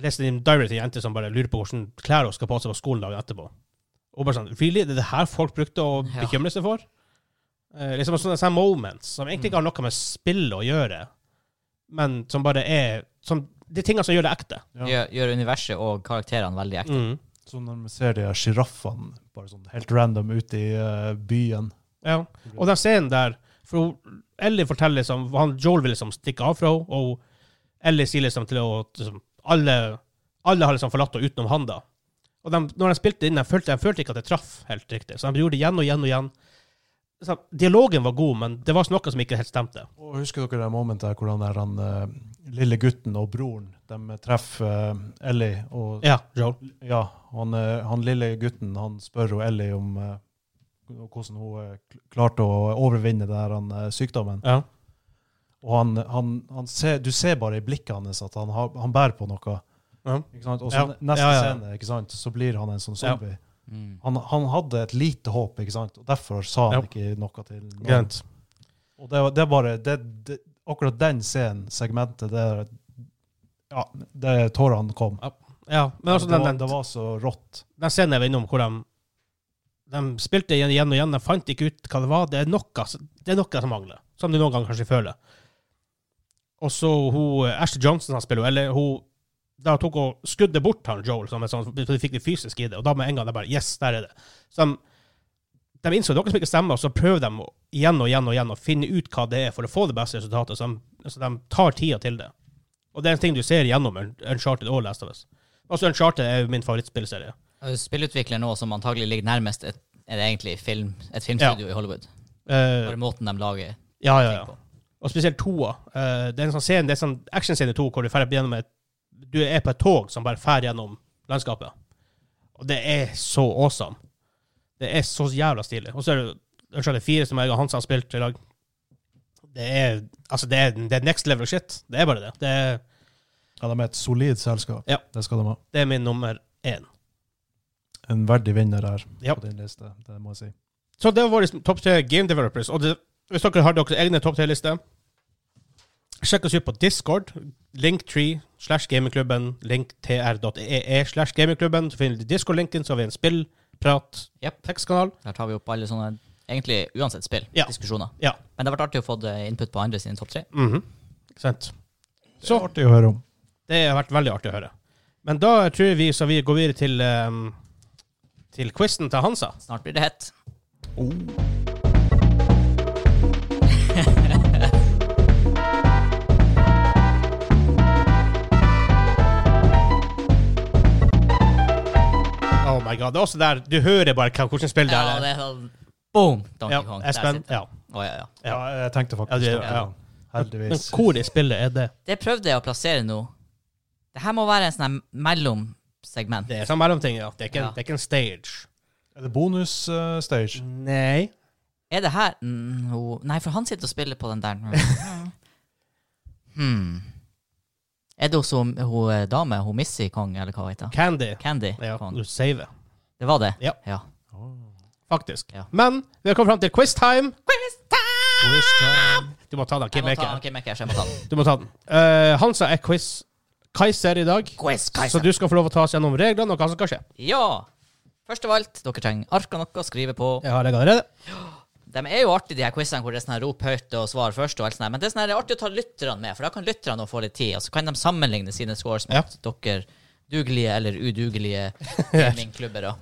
leser en diary til en jente som bare lurer på hvordan klær hun skal på seg på skolen dagen etterpå. Og hun bare sånn, really? Det er det her folk brukte å
Ja.
bekymre seg for? Eh, liksom sånne, sånne moments som egentlig ikke har noe med spillet å gjøre, men som bare er som, De tingene som gjør det ekte.
Ja.
Gjør, gjør universet og karakterene veldig ekte.
Mm.
Så når man ser de her sjiraffene bare sånn helt random ute i eh, byen
Ja. Og den scenen der for hun, Ellie forteller liksom hva han, Joel vil liksom stikke av fra henne, og Ellie sier liksom til henne at liksom, alle, alle har liksom forlatt henne utenom han, da. Og de, når de spilte inn, de følte, de følte ikke at det traff helt riktig, så de gjorde det igjen og igjen og igjen. Så dialogen var god, men det var noe som ikke helt stemte.
Og husker dere det momentet der hvordan der han eh, lille gutten og broren de treffer eh, Ellie? Og,
Ja, Joel.
ja, han, eh, han lille gutten han spør jo Ellie om eh, og hvordan hun eh, kl- klarte å overvinne det her, han, eh, sykdommen.
Ja.
Og han, han, han ser, du ser bare i blikket hans at han, har, han bærer på noe.
Ja.
Ikke sant? Og så
Ja.
ne- neste
Ja, ja, ja.
scene ikke sant? så blir han en sånn
Ja.
zombie.
Mm.
Han, han hadde et lite håp, ikke sant? og derfor sa han
Ja.
ikke noe til noen.
Greit.
Og det, var- det er bare det, det, Akkurat den scenen, segmentet, der ja, der tårene kom.
Ja, men altså,
det,
den,
var,
den,
det var så rått.
den scenen jeg var innom, hvor de, de spilte igjen, igjen og igjen, de fant ikke ut hva det var. Det er noe, som- det er noe som mangler, som du noen ganger kanskje føler. Og så hun, eh, Ashley Johnson han spiller, jo, eller hun da tok hun skuddet bort han, Joel, som en sånn, så de fikk det fysisk i det, og da med en gang de bare, yes, der er det. Så de, de innså noe som ikke stemmer, og så prøver de å- igjen og igjen og igjen å finne ut hva det er for å få det beste resultatet, så de, så de tar tida til det. Og det er en ting du ser gjennom Un- Uncharted og Last of Us. Altså, Uncharted er jo min favorittspillserie.
Og Spillutvikler Eh, nå som antagelig ligger nærmest et, er det egentlig film, et filmstudio i Hollywood.
Eh,
Bare måten de lager
ja, ja,
ting
ja.
på.
Og spesielt toa. Eh, det er en sånn scene, det er en sånn actionscene i to hvor du, fer gjennom et, du er på et tog som bare fer gjennom landskapet. Og det er så awesome. Det er så jævla stilig. Og så er det Uncharted 4, som jeg og Hans har spilt i lag. Det er, altså det er, det er next level shit. Det er bare det. Det er,
Ja, de er et solid selskap.
Ja.
Det skal de ha.
det er min nummer én.
En verdig vinner her
Ja.
på din liste, det må jeg si.
Så det var våre topp tre game developers. Og det, hvis dere har deres egne topp tre-lister, sjekk oss ut på Discord. Linktree slash gamingklubben. Linktr.ee slash gamingklubben. Så finner du Discord-linken, så har vi en spillprat.
Jep.
Tekstkanal.
Der tar vi opp alle sånne Egentlig uansett spill.
Ja.
Diskusjoner.
Ja.
Men det har vært artig å få eh, input på andre sine topp tre.
Mhm. Ikke Sant.
Så artig å høre om.
Det har vært veldig artig å høre. Men da tror vi så vi går videre til ehm, til quizen til Hansa.
Snart blir det hett.
Oh my god. Det er også der du hører bare hva- hvordan spill det
Ja,
er.
det er sånn Boom! Donkey
Ja,
Kong. Der
Espen.
sitter-
Ja.
Å, ja, ja.
Ja, jeg tenkte
Ja,
faktisk
det-
på det.
ja. Men
Heldigvis.
hvor i spillet er det?
Det prøvde jeg å plassere nå. Det her må være en sånn her mellomsegment.
Det er sånn mellomting, ja. Det er ikke en,
Ja.
det er ikke en stage.
Er det bonus eh, stage?
Nei.
Er det her mm, ho- Nei, for han sitter og spiller på den der. Hmm. Er det hos hun, hun eh, dame, hun Missy Kong, eller hva hun heter?
Candy.
Candy
Ja,
Kong.
du saver.
Det var det?
Ja.
ja.
Faktisk.
Ja.
Men vi har kommet fram til quiz time.
Quiz time.
Du må ta den,
Ah! Jeg
Kim
må ta
Eke.
den, Kim Eker, så jeg må ta den.
Du må ta den. Eh, Hansa er quiz Kaiser i dag,
Quiz,
så du skal få lov å ta oss gjennom reglene og hva som skal skje.
Ja! Først av alt, dere trenger ark og noe å skrive på.
Jeg har det allerede.
De er jo artige, de her quizene hvor det er sånn her rop høyt og svar først. og alt sånt her. Men det er sånn her, det er artig å ta lytterne med, for da kan lytterne nå få litt tid. Og så kan de sammenligne sine scores med dere dugelige eller udugelige gamingklubbere.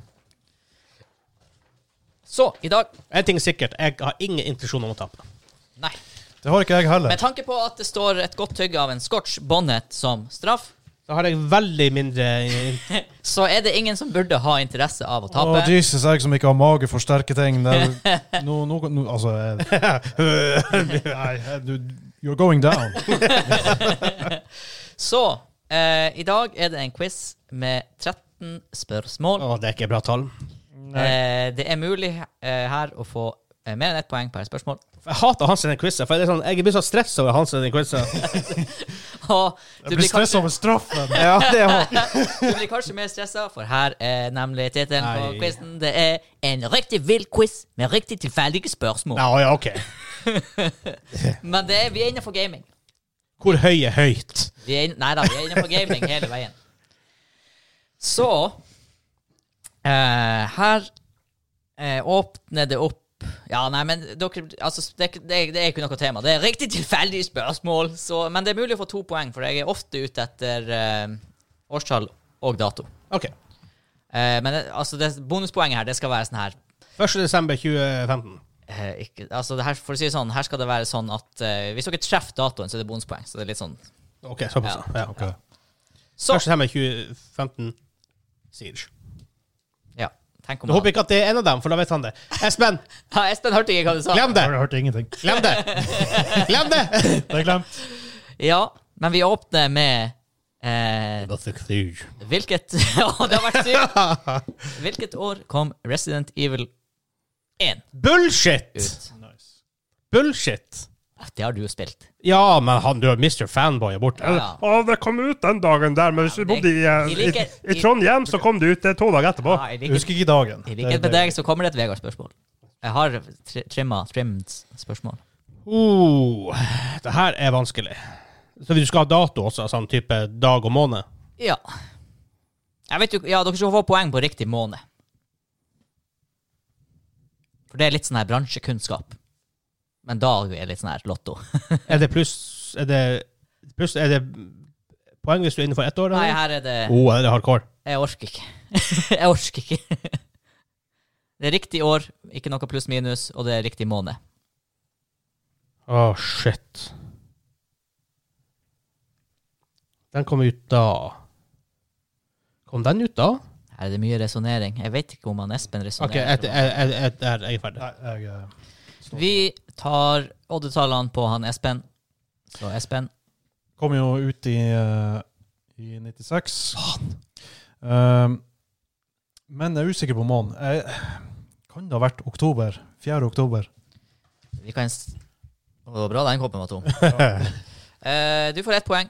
Så i dag
En ting er sikkert, jeg har ingen intensjon om å tape.
Nei.
Det har ikke jeg heller.
Med tanke på at det står et godt tygg av en scotch bonnet som straff,
Da har jeg veldig mindre in-
så er det ingen som burde ha interesse av å
Å,
tape.
Jesus, jeg som ikke har mage for sterke ting. Det, nå, nå, nå, altså jeg, Nei, jeg- du, You're going down.
Så eh, i dag er det en quiz med 13 spørsmål.
Å, det er ikke bra tall.
Eh, det er mulig eh, her å få eh, mer enn ett poeng per spørsmål.
Jeg hater Hans sine quizer, for det er sånn, jeg blir så stressa over Hans sine quizer.
Og du
Jeg
blir, kanskje,
blir stressa over straffen.
ja, det er han.
du blir kanskje mer stressa, for her er nemlig tittelen på
Nei.
quizen. Det er en riktig vill quiz med riktig tilfeldige spørsmål.
Ja, ja, ok.
Men det er, vi er innenfor gaming.
Hvor høy er høyt?
Vi er, inn- nei da, vi er innenfor gaming hele veien. Så eh, Her eh, åpner det opp Ja, nei, men dere, altså, det, er ikke- det, er- det er ikke noe tema. Det er riktig tilfeldige spørsmål, så, men det er mulig å få to poeng, for jeg er ofte ute etter eh, årstall og dato.
OK.
Eh, men det- altså, det, bonuspoenget her, det skal være sånn her
1. desember 2015.
eh, ikke, altså, det her, For å si det sånn, her skal det være sånn at eh, hvis dere treffer datoen, så er det bonuspoeng. Så det er litt sånn
OK, såpass. Ja.
Ja.
Ok.
Så!
1. desember 2015. Siege.
Ja, tenk om
Du håper ikke at det er en av dem, for da vet han det. Espen,
Ja, Espen hørte ikke hva du sa.
glem det!
Jeg hørte ingenting.
Glem det! Glem det!
Det er glemt.
Ja, men vi åpner med eh, Hvilket Å, det har vært sykt! Hvilket år kom Resident Evil 1
Bullshit!
ut.
Nice.
Bullshit!
Det har du jo spilt.
Ja, men han, du har Mr. Fanboy er borte.
Ja, ja.
Å, det kom ut den dagen der, men hvis
Ja,
vi bodde i, eh,
de liker-
i, i Trondheim, så kom det ut eh, to dager etterpå.
Ja, I
Jeg
likhet
husker ikke dagen.
i likhet med deg så kommer det et Vegard-spørsmål. Jeg har tri- trimma trimmed spørsmål.
Oh, det her er vanskelig. Så du skal ha dato også, sånn type dag og måned?
Ja. Jeg vet jo, ja, dere skal få poeng på riktig måned. For det er litt sånn her bransjekunnskap. Men dag er litt sånn her lotto.
Er det pluss Er det, pluss, er det poeng hvis du er innenfor ett år?
Nei,
eller?
her er det
Oh, er det hardcore?
Jeg orker ikke. Jeg orker ikke. Det er riktig år, ikke noe pluss-minus, og det er riktig måned.
Å, Ah, shit. Den kom ut da Kom den ut da?
Her er det mye resonnering. Jeg vet ikke om han Espen
OK,
resonnerer.
et, et, et, et, er jeg er ferdig.
Nei, jeg eh,
Vi tar oddetallene på han Espen. Så Espen
kom jo ut i, eh, i 96. Ehm, men jeg er usikker på måneden. Jeg- Kan det ha vært oktober? 4. oktober?
Vi kan s- Å, Det var bra den koppen var tom. Eh, du får ett poeng.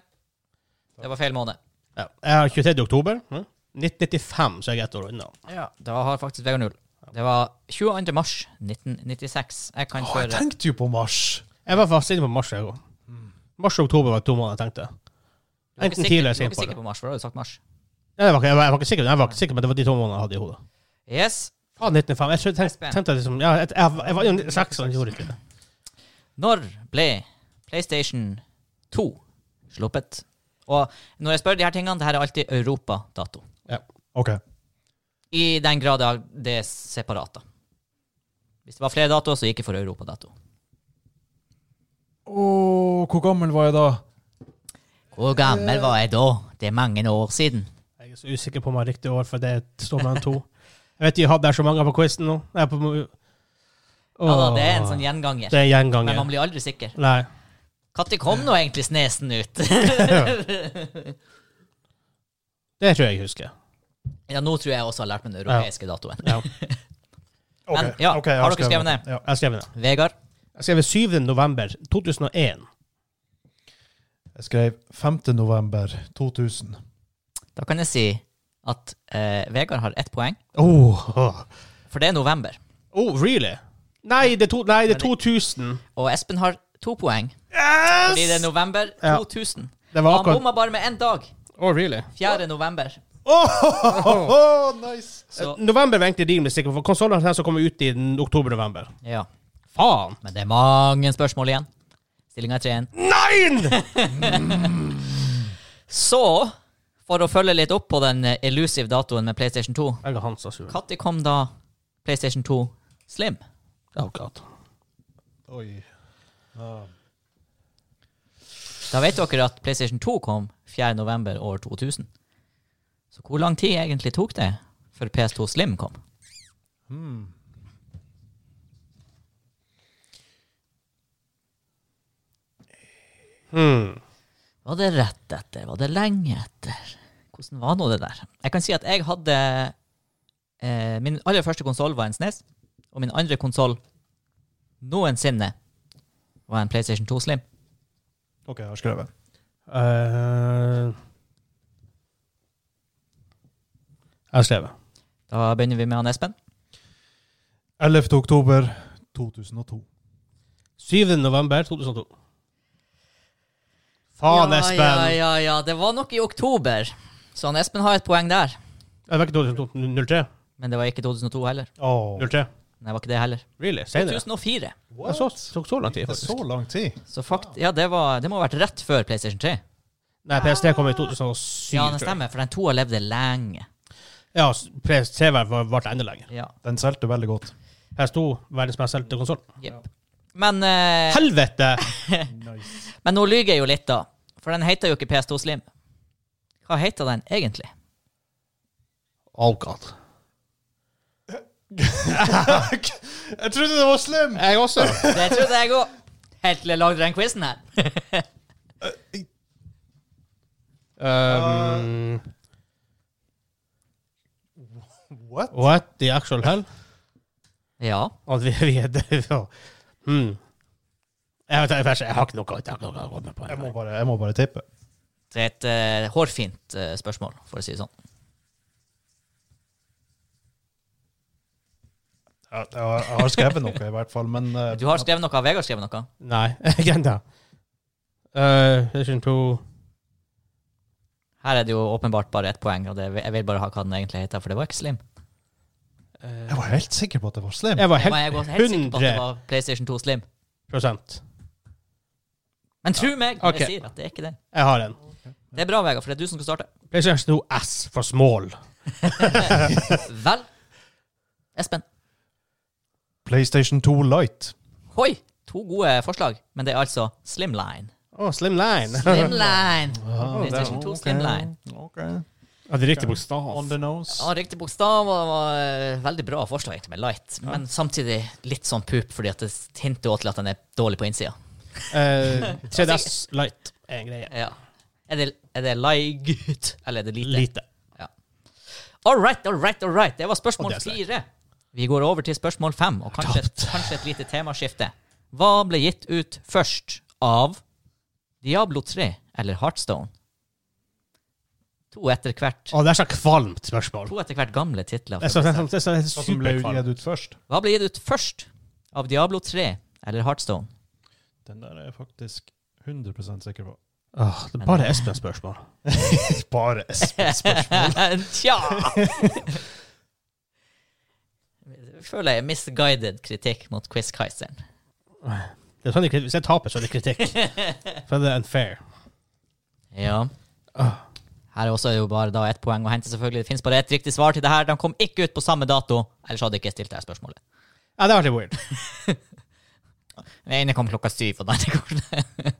Det var feil måned.
Ja. Jeg har 23. oktober. hm? 1995, så jeg er ett år unna.
Da har faktisk Vegard null. Det var 22. mars 1996. Jeg kan
Å, jeg
føre
tenkte jo på mars!
Jeg var fast inne på mars. Jeg. også.
Mm.
Mars og oktober var to måneder, jeg tenkte
Du var ikke
Enten
sikker-
tidligere
du var
eller
ikke
senere.
sikker på mars, for da hadde du sagt mars.
Nei, jeg, var ikke, jeg, var, jeg var ikke sikker, jeg var ikke sikker, men det var de to månedene jeg hadde i hodet.
Yes.
Faen, 1905. Jeg tenkte, tenkte, tenkte liksom, ja, jeg, jeg, jeg var jo 96, så jeg gjorde ikke det.
Når ble PlayStation 2 sluppet? Og når jeg spør de her tingene, det her er alltid europadato.
OK.
I den grad jeg- det er separat, da. Hvis det var flere datoer, så gikk jeg for europadato.
Å, hvor gammel var jeg da?
Hvor gammel var jeg da? Det er mange år siden.
Jeg er så usikker på om jeg har riktig år, for det står mellom to. Jeg vet de hadde der så mange på quizen nå. Nei, på,
Ja, da, det er en sånn gjenganger.
Det er
Men man
gjenganger.
blir aldri sikker.
Nei.
Når kom nå egentlig snesen ut?
Det tror jeg jeg husker.
ja, nå tror jeg også har lært meg den europeiske datoen.
Ja.
Ok,
Men, ja,
ok, jeg
har dere skrevet ned?
Ja.
Jeg skrev det.
Vegard,
Jeg skrev 7. november 2001.
Jeg skrev 5. november 2000.
da kan jeg si at eh, Vegard har ett poeng,
Oh,
for det er november.
oh really? Nei, det er, to, nei, det er 2000.
Og Espen har to poeng, fordi det er november
Ja.
2000.
Det var
Han
akkurat
bomma bare med én dag.
Oh, really?
4. november.
Oh, nice!
Så
November var egentlig rimelig sikker, for konsollene her som kommer ut i n- oktober-november.
ja.
Faen!
Men det er mange spørsmål igjen. Stillinga er 3-1.
Nei!
Så, for å følge litt opp på den eh, elusive datoen med PlayStation 2
Jeg er Hansa sur.
Når kom da PlayStation 2 Slim?
Oh, God.
Oi.
Da vet dere at PlayStation 2 kom 4. november år 2000. Så hvor lang tid egentlig tok det før PS2 Slim kom?
Hmm.
Var det rett etter? Var det lenge etter? Hvordan var nå det der? Jeg kan si at jeg hadde eh, Min aller første konsoll var en SNES, og min andre konsoll noensinne var en PlayStation 2 Slim.
OK, jeg har skrevet.
Eh, jeg skrev det.
Da begynner vi med han Espen.
11. oktober 2002.
7. november 2002. Faen, Espen!
Ja, ja, ja. Det var nok i oktober, så han Espen har et poeng der.
Eh, Det var ikke 2002. 03?
Men det var ikke 2002 heller.
Oh.
03?
Nei, det var ikke det heller.
Really? Senere?
2004.
Det så, tok så lang tid,
Det er
faktisk.
så lang tid.
Så fakt ja, det, var, det må ha vært rett før PlayStation 3.
Nei, PS3 kom i 2007.
Ja,
tror
det
jeg.
stemmer, for den to har levd lenge.
Ja, s- PS3 var- var- varte enda lenger.
Ja,
Den solgte veldig godt.
PS2, verdens mest solgte konsoll.
jepp. Men, eh,
Helvete!
Nice.
men nå lyver jeg jo litt, da. For den heter jo ikke PS2 Slim. Hva heter den egentlig?
Oh god.
jeg trodde det var slim!
Jeg også.
Det trodde jeg òg. Helt til jeg lagde den quizen her.
Um,
What?
what the actual hell?
Ja.
At vi, vi er døde. ja. Mm. Jeg, vet, jeg, vet ikke, jeg har ikke noe jeg har ikke noe å komme på.
Jeg må bare, jeg må bare tippe.
Det er et eh, hårfint eh, spørsmål, for å si det sånn.
Ja, Jeg har, jeg har skrevet noe, i hvert fall, men eh,
Du har skrevet noe, Vegard har skrevet noe.
Nei, ikke ennå. Uh, Session 2
Her er det jo åpenbart bare ett poeng, og det, jeg vil bare ha hva den egentlig heter, for det var ikke Slim.
Jeg var helt sikker på at det Eh, var Slim.
Jeg var
Men jeg var
helt,
helt sikker på at det
100
var PlayStation 2 Slim.
Jeg
Men tro meg når
Ok.
jeg sier at det er ikke det.
har en.
Det er bra, Vegard, for det er du som skal starte.
PlayStation 2 S for small.
Vel, Espen.
PlayStation 2 Lite.
Hoi! To gode forslag, men det er altså Slimline.
Å, slimline.
Slimline! PlayStation 2 Slimline.
Ja, det er riktig bokstav.
On the nose.
Ja, riktig bokstav og var eh, veldig bra forslag egentlig med light, men samtidig litt sånn pup, fordi at det hinter jo til at den er dårlig på innsida.
Eh, 3DS Light er en greie.
Ja. Er det, er det light, eller er det lite?
Lite.
All right, all right, all right. Det var spørsmål
Og det er sterkt.
fire. Vi går over til spørsmål fem, og kanskje, et- kanskje et lite temaskifte. Hva ble gitt ut først av Diablo 3 eller Heartstone? To etter hvert,
Å, det er så kvalmt spørsmål.
to etter hvert gamle titler.
Det er så, det er så, det er så, det er
Hva
så
Sånn som ble
superkvalmt.
gitt ut først?
Hva ble gitt ut først av Diablo 3 eller Heartstone?
Den der er jeg faktisk 100 sikker på.
Åh, det er bare Espen spørsmål.
Bare Espen-spørsmål.
Tja! Jeg føler jeg misguided kritikk mot Quizkaiseren.
Det er sånn det er kritikk. Hvis jeg taper, så er det kritikk. For det er unfair.
Ja.
Ah.
Her også er det jo bare da ett poeng å hente, selvfølgelig. Det finnes bare ett riktig svar til det her. De kom ikke ut på samme dato, ellers hadde jeg ikke stilt det her spørsmålet.
Ja, det var litt weird.
Den ene kom klokka syv, og den andre kom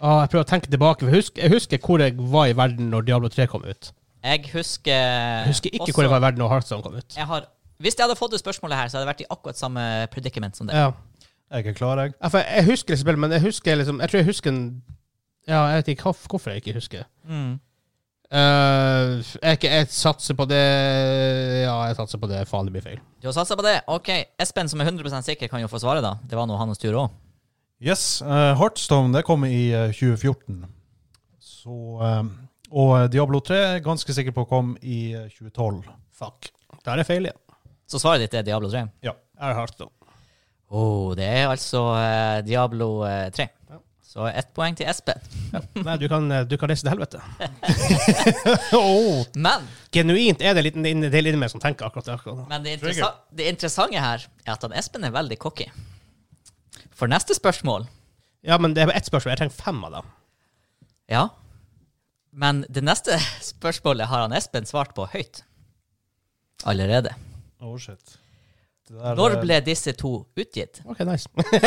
Åh, Ah, jeg prøver å tenke tilbake. for Jeg husker, jeg husker hvor jeg var i verden når Diablo 3 kom ut.
Jeg husker Jeg
Jeg husker ikke hvor jeg var i verden når Heartstone kom ut.
Jeg har, hvis jeg hadde fått det spørsmålet her, så hadde jeg vært i akkurat samme predicament som det.
Ja.
Jeg er klar, jeg.
Ja, for jeg husker det spillet, men jeg husker liksom Jeg tror jeg husker en Ja, jeg vet ikke hvorf- hvorfor jeg ikke husker.
Mm.
Eh, jeg, ikke- jeg satser på det Ja, jeg satser på det. Faen, det blir feil.
Du har satsa på det? OK. Espen, som er 100 sikker, kan jo få svaret, da. Det var nå hans tur òg.
Yes, eh, Heartstone det kom i eh, 2014. Så, eh, og eh, Diablo 3 er jeg ganske sikker på kom i eh, 2012.
Fuck. Da er det feil, ja.
Så svaret ditt er Diablo 3?
Er Heartstone.
Å, det er altså eh, Diablo eh, 3.
Ja.
Så ett poeng til Espen.
Nei, du kan, eh, du kan reise til helvete.
Men
Genuint er det en liten en del inni meg som tenker akkurat det. akkurat det.
Men det, interessa det interessante her er at han Espen er veldig cocky. For neste spørsmål
Ja, men det er bare ett spørsmål. Jeg trenger fem av dem.
Ja. Men det neste spørsmålet har han Espen svart på høyt. Allerede.
Oh, shit. Det der,
Når
eh,
ble disse to utgitt?
Ok, nice.
Hvorfor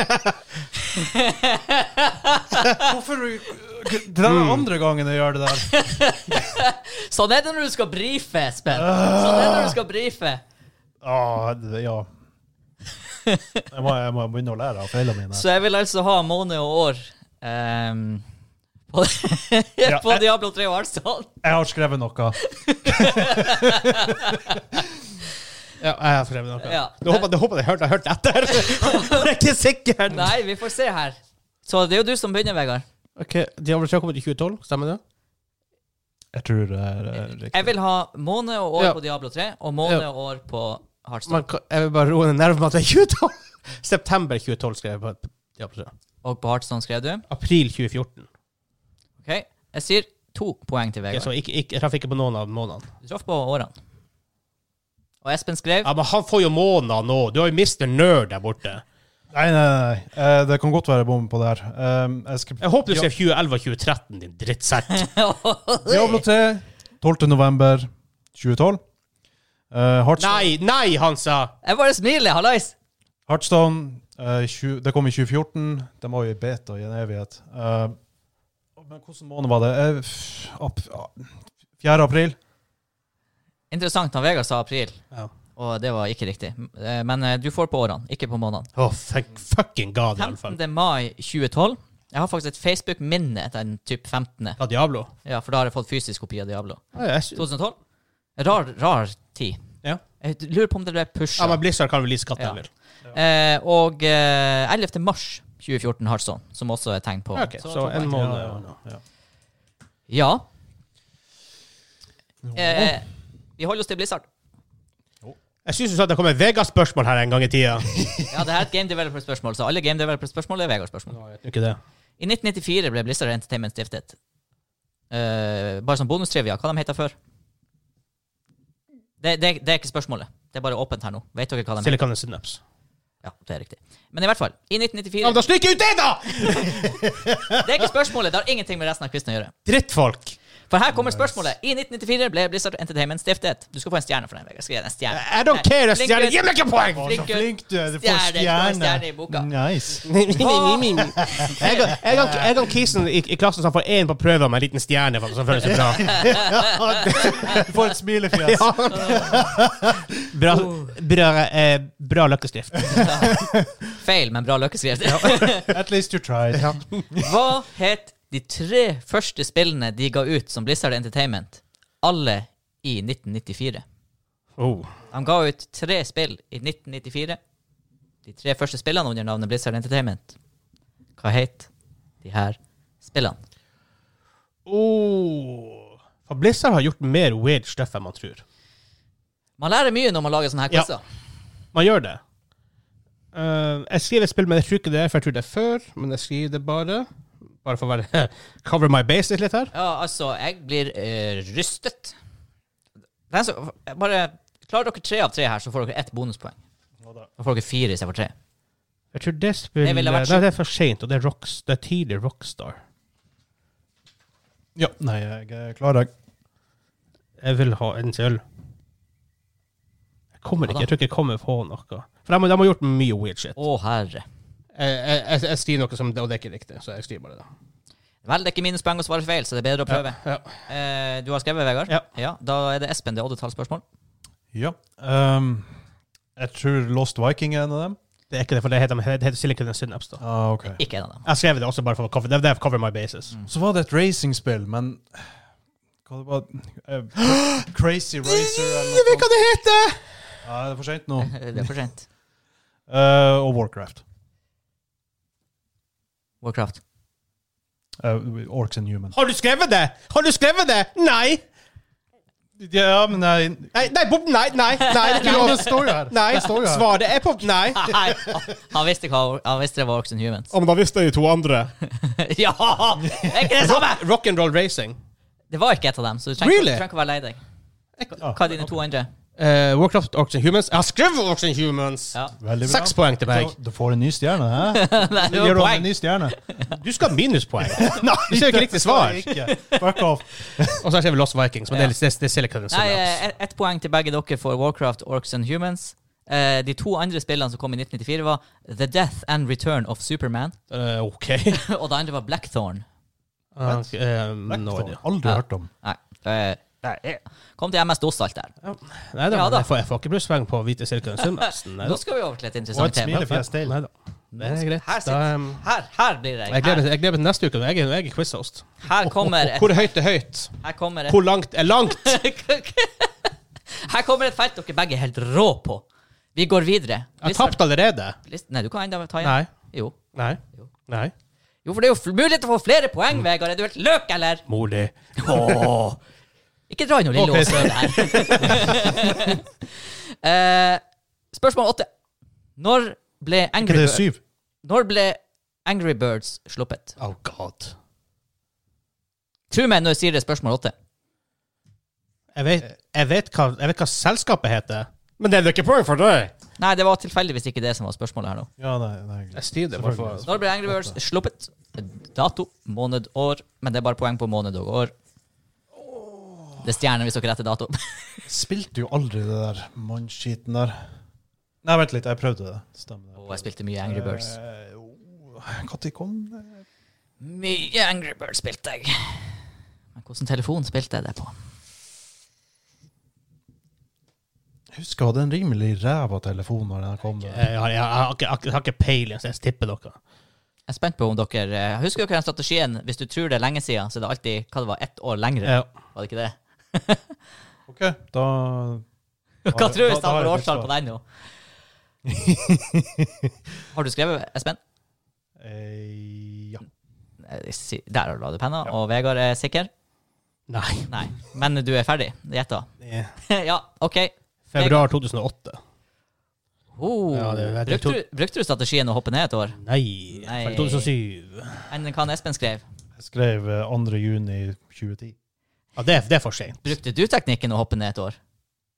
Det der er andre gangen jeg gjør det der.
Sånn er det når du skal brife, Espen! Sånn er det når du skal brife.
Ah, det, ja. Jeg må, jeg må begynne å lære av feilene mine.
Så jeg vil altså ha måned og år ehm, på,
Ja,
på
jeg-
Diablo 3 og Arnstad.
Jeg har skrevet noe.
Ja, jeg har skrevet noe.
Ja.
Nå håper jeg- jeg håper jeg hørte jeg hørte etter. Jeg er ikke sikker.
Nei, vi får se her. Så det er jo du som begynner, Vegard.
Ok, Diablo 3 kom ut i 2012, stemmer det?
Jeg tror det er eh,
Jeg
riktig.
vil ha måned og år
Ja.
på Diablo 3 og måned
Ja.
og år på Heartstone.
Man, kan- jeg vil bare roe ned nervene med at det er 2012. September 2012 skrev jeg på Diablo 3.
Og på Heartstone skrev du.
April 2014.
Ok, Jeg sier to poeng til
Ok,
Vegard.
så ikke, ikke, jeg traff ikke på noen av månedene.
Du traff på årene. Og Espen skrev
Ja, Men han får jo måneder nå. Du har jo Mr. Nerd der borte.
Nei, nei, nei. Eh, Det kan godt være bom på det her. Eh, Jeg skal
Jeg håper du skrev 2011 og 2013, din drittsekk.
Diablo 3, 12. november 2012. Eh, Heartstone,
Nei, nei, Hansa!
Jeg bare smiler, hallais!
Heartstone eh, tju- det kom i 2014. De var jo i beta i en evighet. Eh, men hvilken måned var det? Eh, f- ap- ah, 4. april?
Interessant. Han Vegard sa april,
Ja.
og det var ikke riktig. M- eh, Men eh, du får på årene, ikke på månedene.
Åh, thank fucking god, i alle fall.
15. mai 2012. Jeg har faktisk et Facebook-minne den type 15.
Ja, Diablo.
Ja, For da har jeg fått fysisk kopi av Diablo.
Ja, jeg sy-
2012. Rar, rar tid.
Ja.
Jeg lurer på om det ble pusha.
Ja, men Blizzard kan release katten
Ja.
vil.
Eh, og eh, 11. mars 2014 har sånn, som også er tegn på.
Ok,
Så-
så en måned.
Ja,
og noe, ja.
Ja. Eh, vi holder oss til Blizzard.
Jeg syns du sa at det kom et Vegas-spørsmål her en gang i tida.
Ja, det her er et Game Developer-spørsmål, så alle Game Developer-spørsmål er Vegard-spørsmål.
Ikke det.
I 1994 ble Blizzard Entertainment stiftet. Eh, bare som bonustrivia, hva de heter før? Det, det, det er ikke spørsmålet. Det er bare åpent her nå. Vet dere hva de heter?
Silicon Synapse.
Ja, det er riktig. Men i hvert fall, i 1994
Ja, men da stryker jeg ut det, da!
Det er ikke spørsmålet, det har ingenting med resten av quizen å gjøre.
Drittfolk.
For her kommer spørsmålet. I 1994 ble Blizzard Entertainment stiftet. Du skal få en stjerne for den, Vegard. Skriv en stjerne.
I don't care. jeg
Blink
stjeler-
ut.
Gi meg ikke poeng!
Å, så
Flink gutt.
flink du er. Du får
Stjerne, du får en
stjerne.
stjerne i boka.
Nice.
Jeg har- jeg har- jeg har Kisen i, i klassen som får én på prøve med en liten stjerne for at han føler seg bra.
Du får et smilefjes.
Ja. Bra, bra, eh, bra løkkeskrift.
Feil, men bra løkkeskrift.
At least you tried.
Hva het de tre første spillene de ga ut som Blizzard Entertainment, alle i 1994?
Oh.
De ga ut tre spill i 1994. De tre første spillene under navnet Blizzard Entertainment. Hva het de her spillene?
Oh. For Blizzard har gjort mer weird stuff enn man tror.
Man lærer mye når man lager sånne her
Ja.
quizer.
Man gjør det. Eh, jeg skriver et spill, men jeg tror ikke det er, for jeg tror det er før. Men jeg skriver det bare. Bare for å være cover my bases litt her.
Ja. altså, jeg blir eh, rystet. Det er så, bare Klarer dere tre av tre her, så får dere ett bonuspoeng. Da får dere fire istedenfor tre.
Jeg tror det spillet
Det ville vært
Nei, det er for seint, og det er, rocks, det er tidlig Rockstar.
Ja. Nei, jeg er klar, jeg.
Jeg vil ha en til. Jeg kommer ikke, jeg tror ikke jeg kommer på noe. For de, har- de har gjort mye weird shit.
Å, herre.
Jeg, jeg, jeg skriver noe som det, og det er ikke riktig, så jeg skriver bare det.
Vel, det er ikke minuspoeng å svare feil, så det er bedre å prøve.
Ja.
Eh, du har skrevet, Vegard?
Ja.
Da er det Espen. Det er oddetallsspørsmål.
Ja. Ehm, jeg tror Lost Viking er en av dem.
Det er ikke det, for det heter, det heter Silicon and Synapse. da.
Ah, ok.
Ikke en av dem.
Jeg skrev det også bare for å cover, det er for å cover my bases.
Mm.
Så var det et racingspill, men Hva det var eh, Crazy Racer eller noe sånt.
det heter!
Ja, er det for sent nå?
Det er for sent.
Eh, og Warcraft.
Warcraft.
Eh, Orcs and Humans.
Har du skrevet det?! Har du skrevet det?! Nei!
Ja, men nei,
Nei, nei, Bob, nei, nei, nei, det er ikke
Ja, det
lov!
står jo her.
Nei,
Det står jo her.
svaret er på Nei!
Ah, Nei, han visste, hva, han visste det var Orcs and Humans.
men da visste jeg de to andre.
ja! Er ikke det samme?!
Rock'n'roll racing.
Det var ikke et av dem, så du trenger,
Really?
du trenger ikke å være lei deg. Hva er dine to andre?
Eh, Warcraft, Orcs and Humans. Jeg har skrevet Orcs and Humans!
Ja.
Veldig bra.
Seks poeng til meg.
Du får en ny stjerne, hæ?
Nei, det
Gir
var
du han en
poeng.
ny stjerne?
Du skal ha minuspoeng. Nei, du ser jo ikke riktig svar.
Det skal jeg ikke. Fuck off.
Og så har jeg skrevet Lost Vikings, men det er, det, det er Silicon
Nei,
Synapse.
eh, ett poeng til begge dere for Warcraft, Orcs and Humans. Eh, de to andre spillene som kom i 1994, var The Death and Return of Superman,
Eh, ok.
og det andre var Blackthorn.
Ok, eh, nå er det-
Aldri hørt om.
Nei, det er- Kom til MS-DOS, alt der.
Nei da,
Ja da.
jeg får, jeg får ikke plusspoeng på å vite Silicon Synapse. Nei da.
Nå skal vi over til et
Og
interessant
et
tema.
smilefjes til.
Nei da. Det er greit.
Her
Da,
sitter-
em,
Her, her blir det.
jeg gleder meg- jeg gleder meg til neste uke. når Jeg er, når jeg er quiz-host.
Her kommer
Hvor
et,
høyt er høyt?
her kommer et,
Hvor langt er langt?
her kommer et felt dere begge er helt rå på. Vi går videre.
Jeg har tapt allerede.
List- Nei, du kan enda ta igjen.
Nei.
Jo.
Nei. Nei.
jo, for det er jo fl- mulighet til å få flere poeng,
Mm.
Vegard. Er du helt løk, eller?
Mulig.
Ikke dra inn noe lille
Ok,
Åse der. Eh, spørsmål åtte. Når ble
Ikke
Angry
det er
Birds
syv?
Når ble Angry Birds sluppet?
Oh god.
Tro meg når jeg sier det spørsmål åtte.
Jeg vet, jeg vet, hva, jeg vet hva selskapet heter. Men det er det ikke poeng for deg.
Nei, det var tilfeldigvis ikke det som var spørsmålet her nå.
Ja, nei, nei.
Jeg styrer det bare for
Når ble Angry Birds sluppet? Dato, måned, år. Men det er bare poeng på måned og år. Det er stjerner hvis dere retter dato.
Spilte jo aldri det der mannskiten der. Nei, vent litt, jeg prøvde det. Stemmer det.
Og jeg spilte mye Angry Birds.
Eh, oh, Når kom det?
Mye Angry Birds spilte jeg. Men hvilken telefon spilte jeg det på?
Jeg husker jeg hadde en rimelig ræva telefon når den her kom.
Jeg har, jeg, har, jeg, har ikke, jeg har ikke peiling, så jeg tipper dere.
Jeg er spent på om dere eh, Husker dere den strategien? Hvis du tror det er lenge siden, så er det alltid hva det var, ett år lengre.
Ja.
Var det ikke det?
Ok, da
Hva tror du
Da-
hvis
da
han
har
får
jeg
årstall på
mitt
den nå? Har du skrevet, Espen?
Eh, ja.
Eh, si- Der har du ladepenna, og Vegard er sikker?
Nei.
Nei. Men du er ferdig? Gjetta.
det er
ja, OK.
Februar 2008.
Oh.
Ja, det vet jeg.
brukte, du, brukte du strategien å hoppe ned et år?
Nei.
Nei.
2007.
Enn hva han Espen skrev?
Jeg skrev eh, 2. juni 2010.
Ja, det, er- det er for sent.
Brukte du teknikken å hoppe ned et år?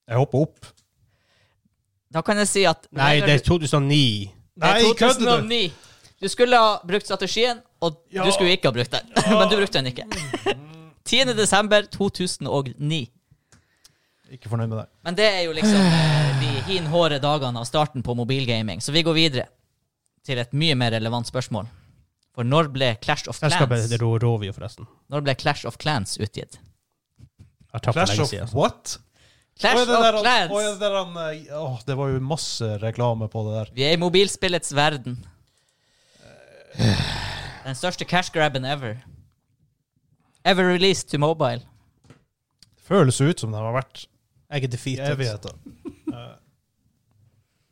Jeg hoppa opp.
Da kan jeg si at
Nei, det er 2009.
Det er
Nei, kødder du?
2009. Du skulle ha brukt strategien, og du skulle ikke ha brukt den. Men du brukte den ikke. 10. desember 2009.
Ikke fornøyd med det.
Men det er jo liksom eh, de hinhåre dagene av starten på mobilgaming. Så vi går videre til et mye mer relevant spørsmål. For når ble Clash of
Selskapet
Clans,
heter Rå- Rovio, forresten.
når ble Clash of Clans utgitt?
Jeg har tapt for
Clash
lenge
of
siden. altså.
what?
Clash
Oi, det der
of
han- oi, det,
Clans!
der han, eh, åh, det var jo masse reklame på det der.
Vi er i mobilspillets verden. Den største cash grabben ever. Ever released to mobile.
Føles jo ut som den har vært
Jeg er
i
defeated.
evigheter. Eh,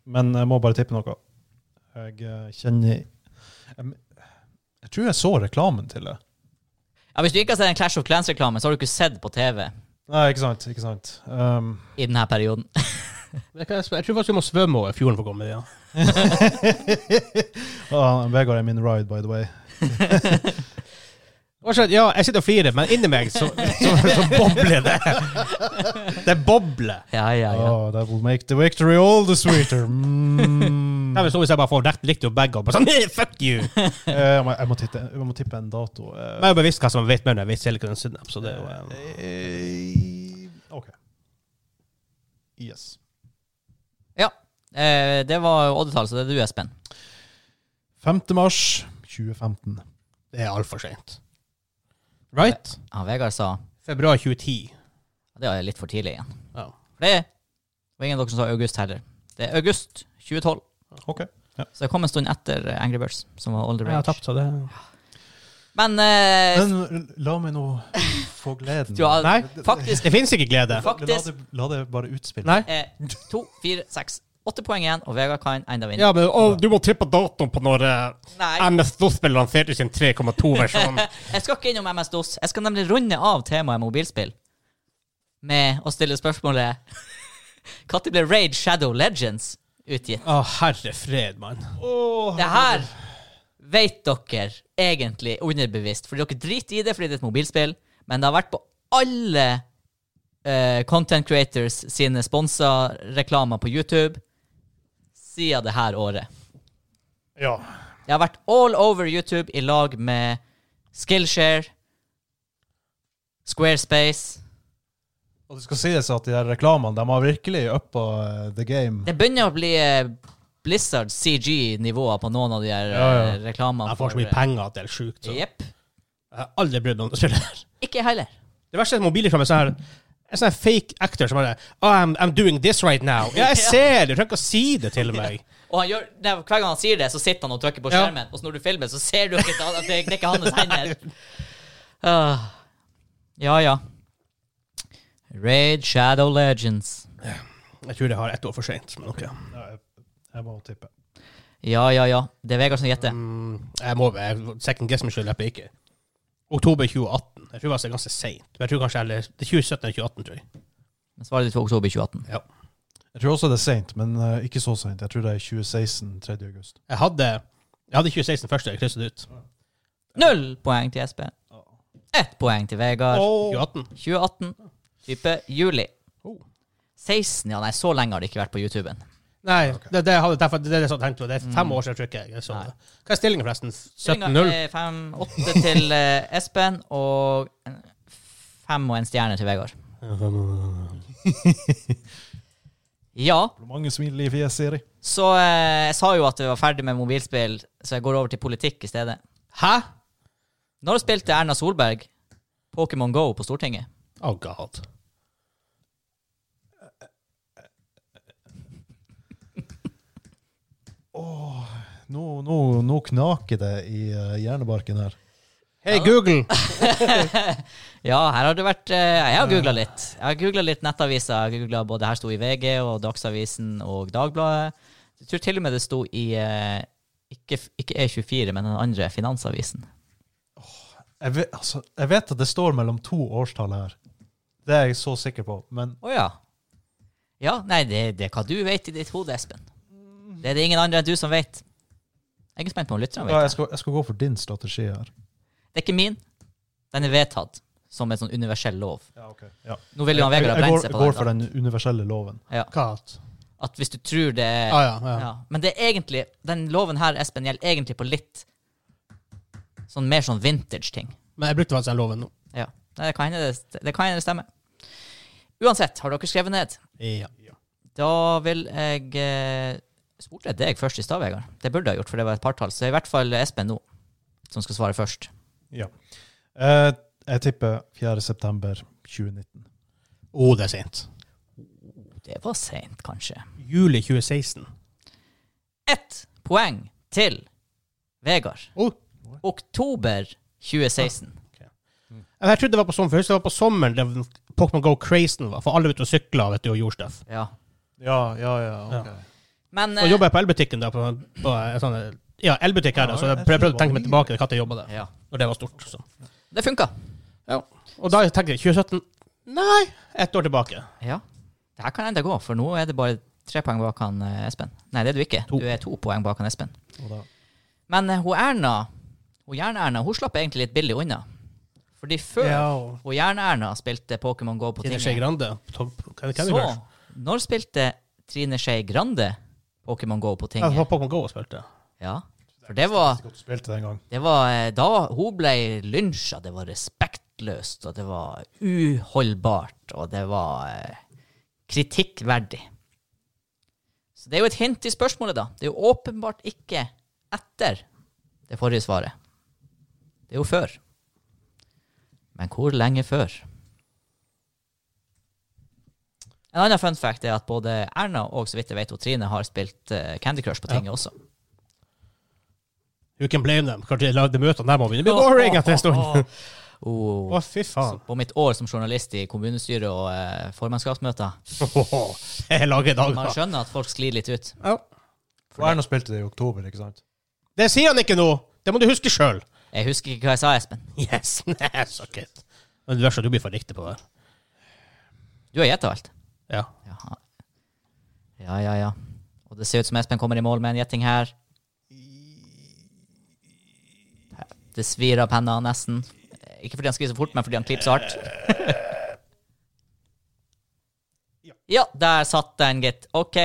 Men jeg må bare tippe noe. Jeg eh, kjenner jeg, jeg tror jeg så reklamen til det.
Ja, Hvis du ikke har sett en Clash of Clans-reklame, så har du ikke sett på TV
Nei, ikke sant. ikke sant. Um,
i denne perioden.
Jeg, kan, jeg tror faktisk vi må svømme over fjorden for å komme dit. Ja.
ah, Vegard er min ride, by the way.
Og så- sånn, ja, jeg sitter og flirer, men inni meg så, så, så bobler det. Det bobler.
Ja, ja, ja.
Ah, that will make the victory all the sweeter. Mm.
Det er vel sånn hvis jeg bare får rett likt opp begge og bare sånn «Nei, Fuck you! Men
Eh, jeg, må, jeg, må titte, jeg må tippe en dato. Eh,
jeg er bevisst hva som vet mer når jeg vet Silicon Synap, så det er jo eh,
eh, OK. Yes.
ja. Eh, det var jo oddetall, så det er du, Espen.
5. mars 2015.
Det er altfor seint. Right?
Ja, Vegard sa
Februar 2010.
Det var litt for tidlig igjen.
Ja.
For det var ingen av dere som sa august heller. Det er august 2012.
OK.
Så det kom en stund etter eh, Angry Birds, som var older
Jeg har
range.
tapt, så det
Men, eh,
Men la meg nå få gleden.
du har
Nei.
faktisk
Det fins ikke glede.
Fuck. Faktisk-
La det, la det bare utspille.
Nei?
eh, to, fire, seks, åtte poeng igjen, og Vegard kan enda vinne.
Ja, men å, du må tippe datoen på når eh,
Nei,
MS-DOS-spillerne lanserte sin 3,2-versjon.
jeg skal ikke innom MS-DOS. Jeg skal nemlig runde av temaet mobilspill med å stille spørsmålet Når ble Raid Shadow Legends utgitt?
Å, herre fred, mann.
Det her vet dere egentlig underbevisst, fordi dere driter i det fordi det er et mobilspill, men det har vært på alle eh, content creators sine sponsa reklamer på YouTube siden det her året.
Ja.
Jeg har vært all over YouTube i lag med Skillshare, Squarespace
Og det skal sies at de der reklamene de har virkelig uppa eh, the game.
Det begynner å bli eh, Blizzard CG-nivåer på noen av de her
Ja, ja.
eh, reklamene.
Jeg får så mye penger at det er sjukt. så. Jeg
Jepp.
har aldri brydd meg om det spillet her.
Ikke jeg heller.
Det verste er at mobilreklame er sånn her en sånn her fake actor som bare oh, I'm, I'm doing this right now. Ja, jeg
Ja.
ser det! Du trenger ikke å si det til meg.
Og han gjør, nei, hver gang han sier det, så sitter han og trykker på
Ja.
skjermen. Og så når du filmer, så ser du ikke at det, det er ikke hans hender. Ah. ja, ja. Raid Shadow Legends.
Jeg tror det har ett år for seint, men OK.
Ja, jeg- Jeg må tippe.
Ja, ja, ja. Det er Vegard som gjetter.
Mm, jeg må jeg, second guess meg selv, jeg ikke. Oktober 2018. Jeg tror det var ganske seint. Men jeg tror kanskje eller, det er 2017 eller 2018, tror jeg.
Svaret ditt var oktober 2018.
Ja.
Jeg tror også det er seint, men eh, ikke så seint. Jeg tror det er 2016, 3. august.
Jeg hadde, jeg hadde 2016 først, jeg krysset ut.
Null poeng til Espen. Ett poeng til Vegard.
2018.
2018, type juli.
Oh.
16, ja. Nei, så lenge har det ikke vært på YouTuben.
Nei, det, det, hadde, derfor- det, er det som jeg tenkte på. Det er fem år siden jeg tror ikke jeg så
Nei.
det. Hva er stillingen, forresten? 17-0?
5-8 eh, til eh, Espen og 5 og en stjerne til Vegard. Ja,
Mange smil i fjeset, Siri.
så eh, jeg sa jo at vi var ferdig med mobilspill, så jeg går over til politikk i stedet.
Hæ?
Når spilte Erna Solberg Pokémon Go på Stortinget?
Oh god.
Nå, nå, nå knaker det i eh, hjernebarken her.
Hei, Google!
ja, her har det vært eh, Jeg har googla litt. Jeg har googla litt nettaviser. Jeg googlet både her sto i VG og Dagsavisen og Dagbladet. Jeg tror til og med det sto i eh, ikke, ikke E24, men den andre, Finansavisen.
Jeg vet, altså, jeg vet at det står mellom to årstall her. Det er jeg så sikker på. Men
Å ja. Ja, nei, det, det er hva du vet i ditt hode, Espen. Det er det ingen andre enn du som vet. Jeg er spent på om lytterne
ja,
vet
jeg, skal, jeg skal gå for din strategi her.
Det er ikke min. Den er vedtatt som en sånn universell lov.
Ja, ok. Ja.
Nå vil jo han
Jeg,
Vegard
jeg,
brenne
går,
seg
jeg
på
går
det.
for den universelle loven.
Kat.
At hvis du tror det er
Ah, ja, ja.
ja. Men det er egentlig Den loven her, Espen, gjelder egentlig på litt sånn mer sånn vintage-ting.
Men jeg brukte faktisk den loven nå.
Ja. Nei, Det kan hende det, det kan hende det stemmer. Uansett, har dere skrevet ned?
Ja.
Da vil jeg eh, Spurte jeg deg først i stad, Vegard? Det burde jeg gjort, for det var et partall. Så i hvert fall Espen nå, som skal svare først.
Ja. Eh, jeg tipper 4. september 2019.
Å, det er sent.
Det var seint, kanskje.
Juli 2016.
Ett poeng til Vegard.
Oh.
Oktober 2016.
Jeg trodde det var på sommeren, for jeg husker det var på sommeren det Pokémon Go Crazen var, for alle var ute og sykla vet du, og gjorde stuff.
Ja.
Ja, ja, ja.
ok.
Men
Så
eh,
jobba jeg på elbutikken da, på, på en sånn Ja, elbutikk her, da, så jeg prøv- prøvde å tenke meg tilbake til når jeg jobba der,
eh, ja.
når det var stort. Så.
Det funka.
Og da tenkte jeg 2017 Nei, ett år tilbake.
Ja. Det her kan enda gå, for nå er det bare tre poeng bak han eh, Espen. Nei, det er du ikke.
To.
Du er to poeng bak han Espen.
Og da,
Men eh, hun Erna, hun Jern-Erna, hun slapp egentlig litt billig unna. Fordi før
Ja.
hun Jern-Erna spilte Pokémon Go på
Trine Skei
tinget,
Grande. Tom- Candy
så
Crush.
når spilte Trine Skei Grande Pokémon Go på
Ja, det var
tinget?
Pokémon Go og spilte.
Ja. For det var,
godt spilt den gang.
det var eh, da hun ble lynsja. Det var respektløst, og det var uholdbart, og det var eh, kritikkverdig. Så det er jo et hint i spørsmålet, da. Det er jo åpenbart ikke etter det forrige svaret. Det er jo før. Men hvor lenge før? En annen fun fact er at både Erna og så vidt jeg vet, og Trine har spilt eh, Candy Crush på tinget også.
You can blame them. Kanskje de lagde møtene der må begynne å bli boring etter en stund.
Oh.
Å, fy faen.
på mitt år som journalist i kommunestyret og eh, formannskapsmøter.
Jeg lager i dag,
Man
da.
skjønner at folk sklir litt ut.
Ja.
Og Erna spilte det i oktober, ikke sant?
Det sier han ikke nå! Det må du huske sjøl.
Jeg husker ikke hva jeg sa, Espen.
Yes, nei, suck it. Men det verste er at du blir for riktig på det.
Du har gjetta alt.
Ja.
Jaha. Ja, ja, ja. Og det ser ut som Espen kommer i mål med en gjetting her. Det svir av penna nesten. Ikke fordi han skriver så fort, men fordi han klipper så hardt. Ja, der satt den, gitt. OK.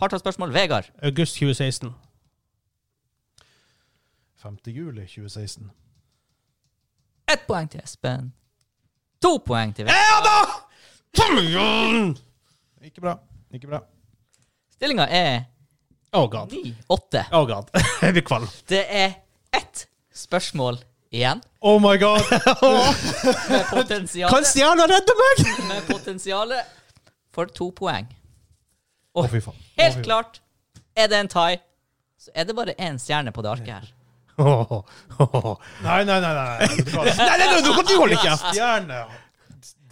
Partallsspørsmål. Vegard.
August 2016.
5. juli 2016.
Ett poeng til Espen. To poeng til Vegard.
Ikke bra. Ikke bra.
Stillinga er
Oh god.
9-8.
Oh god. Jeg blir kvalm.
Det er ett spørsmål igjen.
Oh my god!
Med potensialet,
Stiana redde meg?!
med potensiale for to poeng.
Å, fy faen.
Helt klart er det en tie. Så er det bare én stjerne på det arket her.
Nei, nei, nei. nei.
Nei, nei, nei, nå kan du holde kjeft!
Stjerne.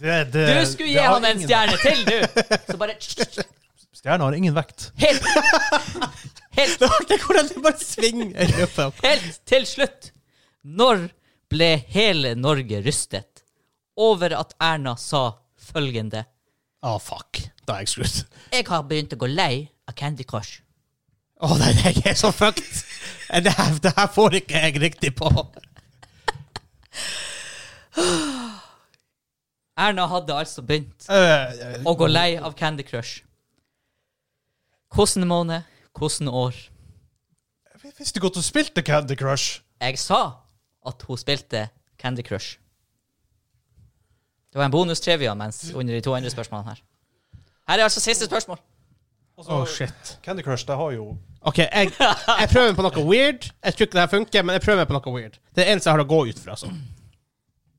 Det-
Du
det-
skulle
Eh, det
gi
har
han en
ingen-
stjerne til, du! Så bare
Stjerne har ingen vekt.
Helt, helt,
Det er hvordan du bare svinger i løpet.
helt til slutt. Når ble hele Norge rystet over at Erna sa følgende
Å, fuck. Da er jeg slutt.
Jeg har begynt å gå lei av Candy Crush.
Å nei, jeg er så fucked. Det her, det her får ikke jeg riktig på.
Erna hadde altså begynt
Eh,
å gå lei av Candy Crush. Hvordan måned, hvordan år?
Jeg visste godt du spilte Candy Crush.
Jeg sa at hun spilte Candy Crush. Det var en bonus trivia mens under de to andre spørsmålene her. Her er altså siste spørsmål.
Å, shit.
Candy Crush, det har jo
OK, jeg, jeg prøver på noe weird. Jeg tror ikke det her funker, men jeg prøver på noe weird. Det er det eneste jeg har å gå ut fra. altså.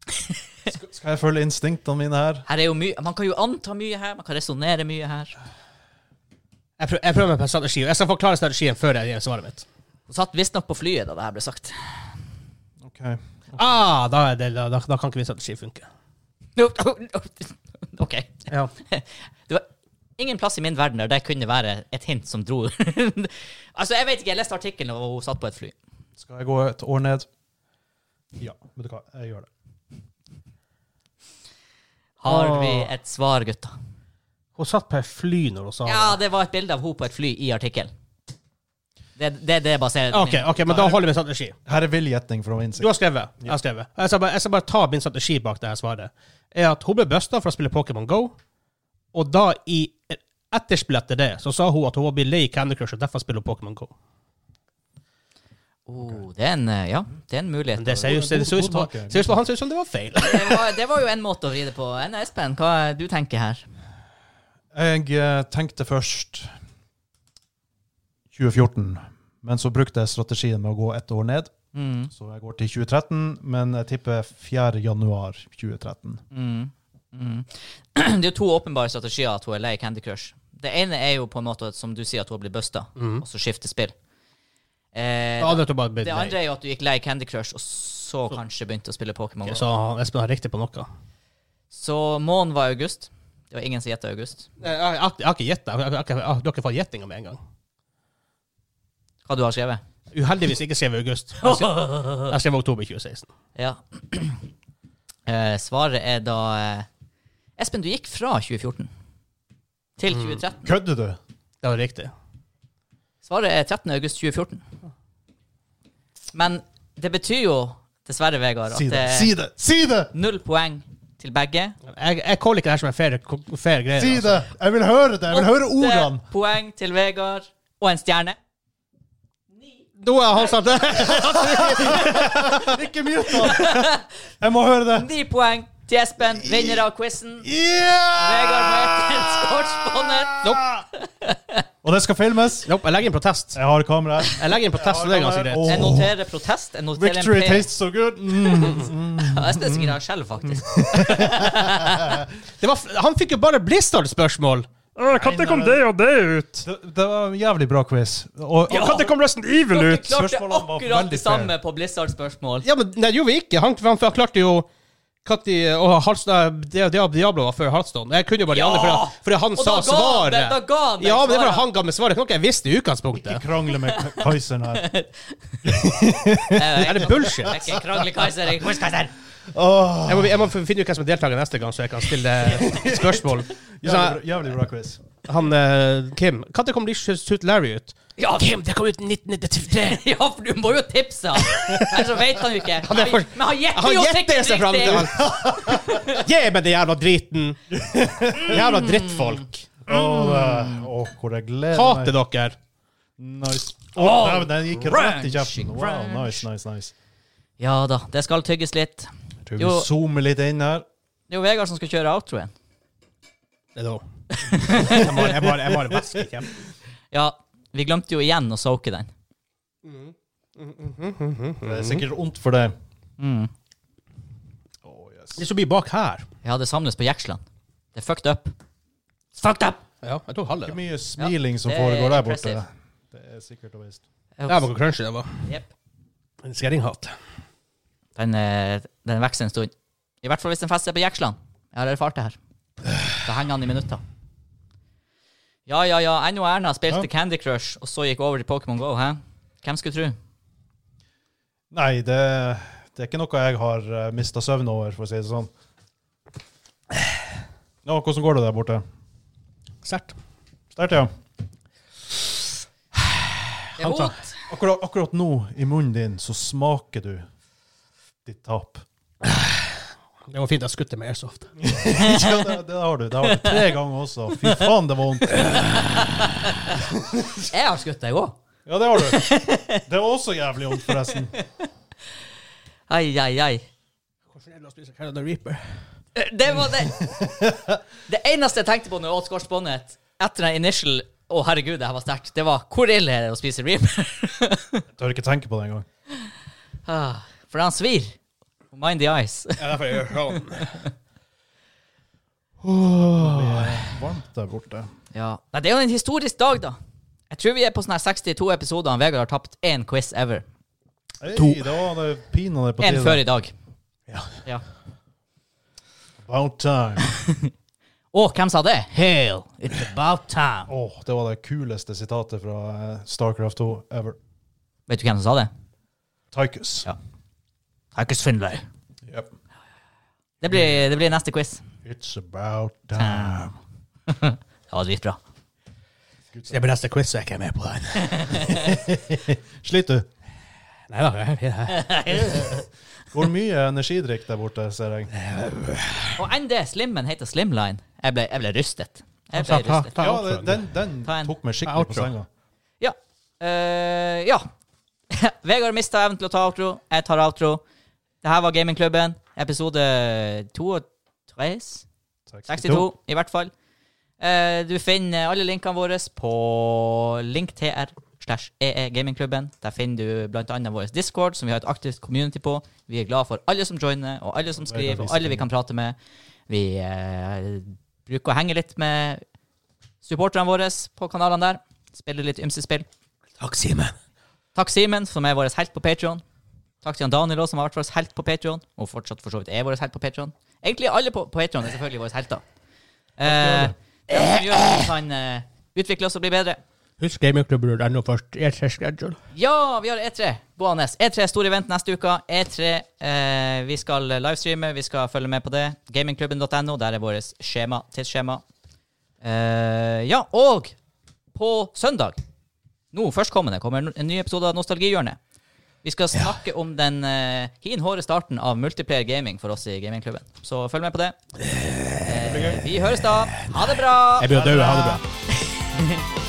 Så.
Skal- Skal jeg følge instinktene mine her?
Her er jo mye, Man kan jo anta mye her, man kan resonnere mye her.
Jeg, prøver, jeg prøver meg på en strategi. og Jeg skal forklare strategien før jeg gir svaret mitt.
Hun satt visstnok på flyet da det her ble sagt.
Ok.
Ah, da, er det, da, da, da kan ikke min strategi funke.
OK.
Ja.
Ingen plass i min verden der det kunne være et hint som dro Altså, jeg vet ikke, jeg leste artikkelen, og hun satt på et fly.
Skal jeg gå et år ned? Ja, vet du hva, jeg gjør det.
Har
Åh.
vi et svar, gutta?
Hun satt på et fly når hun sa
Ja, det var et bilde av hun på et fly i artikkelen. Det er det, det jeg baserer
det. OK, ok, men da holder min strategi.
Her er vill gjetning fra min
Du har
side.
skrevet. Jeg har skrevet. Jeg skal bare, jeg skal bare ta min strategi bak det her svaret. Er at hun ble busta for å spille Pokémon Go, og da i etterspill etter det, så sa hun at hun blir lei Candy Crush, og derfor spiller hun Pokémon Go.
Oh, det er en, eh, ja, det er en mulighet.
Men det ser ut det ser ut som det ser ut som han ser ut som det var feil.
Det var, det var jo en måte å vri det på. Enn Espen, hva er du tenker her?
Jeg eh, tenkte først 2014, men så brukte jeg strategien med å gå ett år ned.
Mm,
Så jeg går til 2013, men jeg tipper 4. januar 2013.
mm, mm. Det er jo to åpenbare strategier at hun er lei Candy Crush. Det ene er jo på en måte, som du sier, at hun blir busta, og så skifter spill. Eh,
Det andre er at hun bare ble
det andre
lei.
er jo at du gikk lei Candy Crush, og så, kanskje begynte å spille Pokémon.
Ok,
Go.
Så han- Espen har riktig på noe.
Så månen var august. Det var ingen som gjetta august.
Jeg, jeg, jeg, jeg har ikke gjetta. Jeg, jeg, jeg, jeg- du har ikke fått gjettinga med en gang.
Hva du har skrevet?
Uheldigvis ikke skrevet august. Jeg skrev- Jeg skrev oktober 2016.
Ja. Eh, svaret er da eh, Espen, du gikk fra 2014 til
Mm.
2013.
Kødder du?
Det var riktig.
Svaret er 13. august 2014. Men det betyr jo, dessverre, Vegard,
Si
at det
det! Si det! Si det!
er null poeng til begge.
Jeg, jeg caller ikke det her som en fair, fair greie. altså.
Si det! Jeg vil høre det! Jeg vil høre ordene!
Åtte poeng til Vegard og en stjerne.
Nå har han sagt det!
Ikke mute han! Jeg må høre det!
Ni poeng til Espen, vinner av quizen. Vegard
Yeah!
med en skortsbåndet.
Og det skal filmes.
Nope, jeg legger inn protest.
Jeg har kamera. her.
Jeg legger inn protest, og det er ganske greit.
Åh.
Jeg noterer protest. Jeg noterer en P.
Victory tastes so good. Mm.
Ja, jeg spiser ikke det selv, faktisk.
Det var, f- han fikk jo bare Blizzard-spørsmål!
det kom det
og det ut?
Det, det var en jævlig bra quiz. Og,
Ja. Når det
kom Resten Evil
Dere klarte
Spørsmålene var
akkurat
veldig
det samme på Blizzard-spørsmål.
Ja, men nei, det gjorde vi ikke. Han, han, han klarte jo Katti og Hals- nei, det- det- Diablo var før Hearthstone. Jeg kunne jo bare de
Ja!
andre, fordi, fordi han
Og
sa
da ga han
svaret.
det- da ga han det
ja, men det var
svaret.
han ga meg svaret. Det var ikke noe jeg visste i
ikke
utgangspunktet.
krangle med Ka- Kaiseren her.
Er Eh,
Er det bullshit?
Jeg er ikke kranglekaiser, jeg er quiz-kaiser.
Åh,
Jeg må, jeg må finne ut hvem som er deltaker neste gang, så jeg kan stille spørsmål.
jævlig, bra, jævlig bra quiz.
Han eh, Kim Når kom Licious Suit Larry ut?
Ja,
Kim, det kom ut 1993!
ja, for du må jo tipse han. Ellers så vet han jo ikke.
Han er for-
Men han gjetter
Han
jo
gjetter
sikkert
seg fram til
riktig.
han. Gi meg det jævla driten! Jævla drittfolk.
Åh, eh, åh, hvor jeg gleder
Mm. Hater
meg.
dere.
Nice.
Åh,
Åh, den gikk rett i kjeften. Wow,
crunch.
nice, nice, nice.
Ja da, det skal tygges litt.
Jeg tror vi
Jo.
zoomer litt inn her.
Det er jo Vegard som skal kjøre outroen.
Det er da. Jeg bare, jeg bare, jeg bare vasker kjeften.
Ja, vi glemte jo igjen å soake den.
Det
Mm.
er sikkert vondt for deg.
Mm.
Åh, yes.
Det som blir bak her
Ja, det samles på Jeksland. Det er fucked up. Fucked up!
Ja, jeg tok halve.
Det
da.
er mye smiling som
det er
foregår der borte.
impressive.
Det er sikkert og visst.
Det her var hvor crunchy det var.
Jep.
En skjæringhatt.
Den, eh, den vokser en stund. I hvert fall hvis den fester på jeksland. Jeg har erfart det her. Da henger han i minutter. Ja, ja, ja. Enn Erna spilte
Ja.
Candy Crush, og så gikk over til Pokémon Go, hæ? Hvem skulle tro?
Nei, det, det er ikke noe jeg har mista søvn over, for å si det sånn. Nå, hvordan går det der borte?
Sterkt.
Sterkt, ja.
Det er hot.
Akkurat, akkurat nå, i munnen din, så smaker du ditt tap.
Det var fint jeg skutte med airsoft.
ja, det, det har du. Det har du tre ganger også. Fy faen, det var vondt.
Jeg har skutt deg òg.
Ja, det har du. Det var også jævlig vondt, forresten.
Ai, ai, ai.
Hvordan er det å spise Canada Reaper?
Eh, Det var det Det eneste jeg tenkte på når jeg åt skorstbåndet etter den initial Å, herregud, det her var sterkt. Det var hvor ille er det å spise reaper?
Jeg tør ikke tenke på det engang.
Ah, For han svir. Mind the eyes.
Ja, derfor jeg gjør sånn.
Varmt der borte.
Ja. Nei, det er jo en historisk dag, da. Jeg tror vi er på sånne her 62 episoder. og Vegard har tapt én quiz ever.
To. Da var det pinadø på
En
tide.
før i dag.
About time.
Å, hvem sa det? Hail, it's about time.
Åh, det var det kuleste sitatet fra eh, Starcraft 2 ever.
Vet du hvem som sa det?
Tychus.
Ja. Markus Findlay.
Yep.
Det blir, det blir neste quiz.
It's about time.
Det var dritbra.
Det blir neste quiz, så er jeg ikke med på den.
Sliter du?
Nei da, jeg er fin her.
Går mye energidrikk der borte, ser
Eh,
jeg.
Og enn det, slimmen heter Slimline. Jeg ble, jeg ble rystet. Jeg ble
Ta- ta-
rystet.
ta
Ja,
outroen.
den, den
Ta en.
tok meg
Ta
skikkelig
outro.
på senga.
Ja. Eh, ja. Vegard mista evnen til å ta outro. Jeg tar outro. Det her var Gamingklubben, episode 32. 62, i hvert fall. Eh, du finner alle linkene våre på linktr slash ee gamingklubben. Der finner du bl.a. vår Discord, som vi har et aktivt community på. Vi er glad for alle som joiner, og alle som skriver, og alle vi kan prate med. Vi eh, bruker å henge litt med supporterne våre på kanalene der. Spiller litt ymse spill.
Takk, Simen.
Takk Simen, som er vår helt på Patreon Takk til han Daniel også, som har vært vår helt på Patreon Og fortsatt for så vidt er vår helt på Patreon Egentlig alle på, på Patreon er selvfølgelig våre helter. Eh, det er som gjør at vi kan eh, utvikle oss og bli bedre.
Husk gamingklubben.no først. Jeg ser schedule.
Ja, vi har E E3 gående. E3 er stor event neste uke. E3, eh, Vi skal livestreame, vi skal følge med på det. Gamingklubben.no, der er vårt skjema, tidsskjema. Eh, ja, og på søndag, nå førstkommende, kommer en ny episode av Nostalgihjørnet. Vi skal snakke om den eh, hinhåre starten av multiplayer gaming for oss i gamingklubben. Så følg med på det. Eh, vi høres da. Ha det bra!
Jeg blir død. Ha det bra.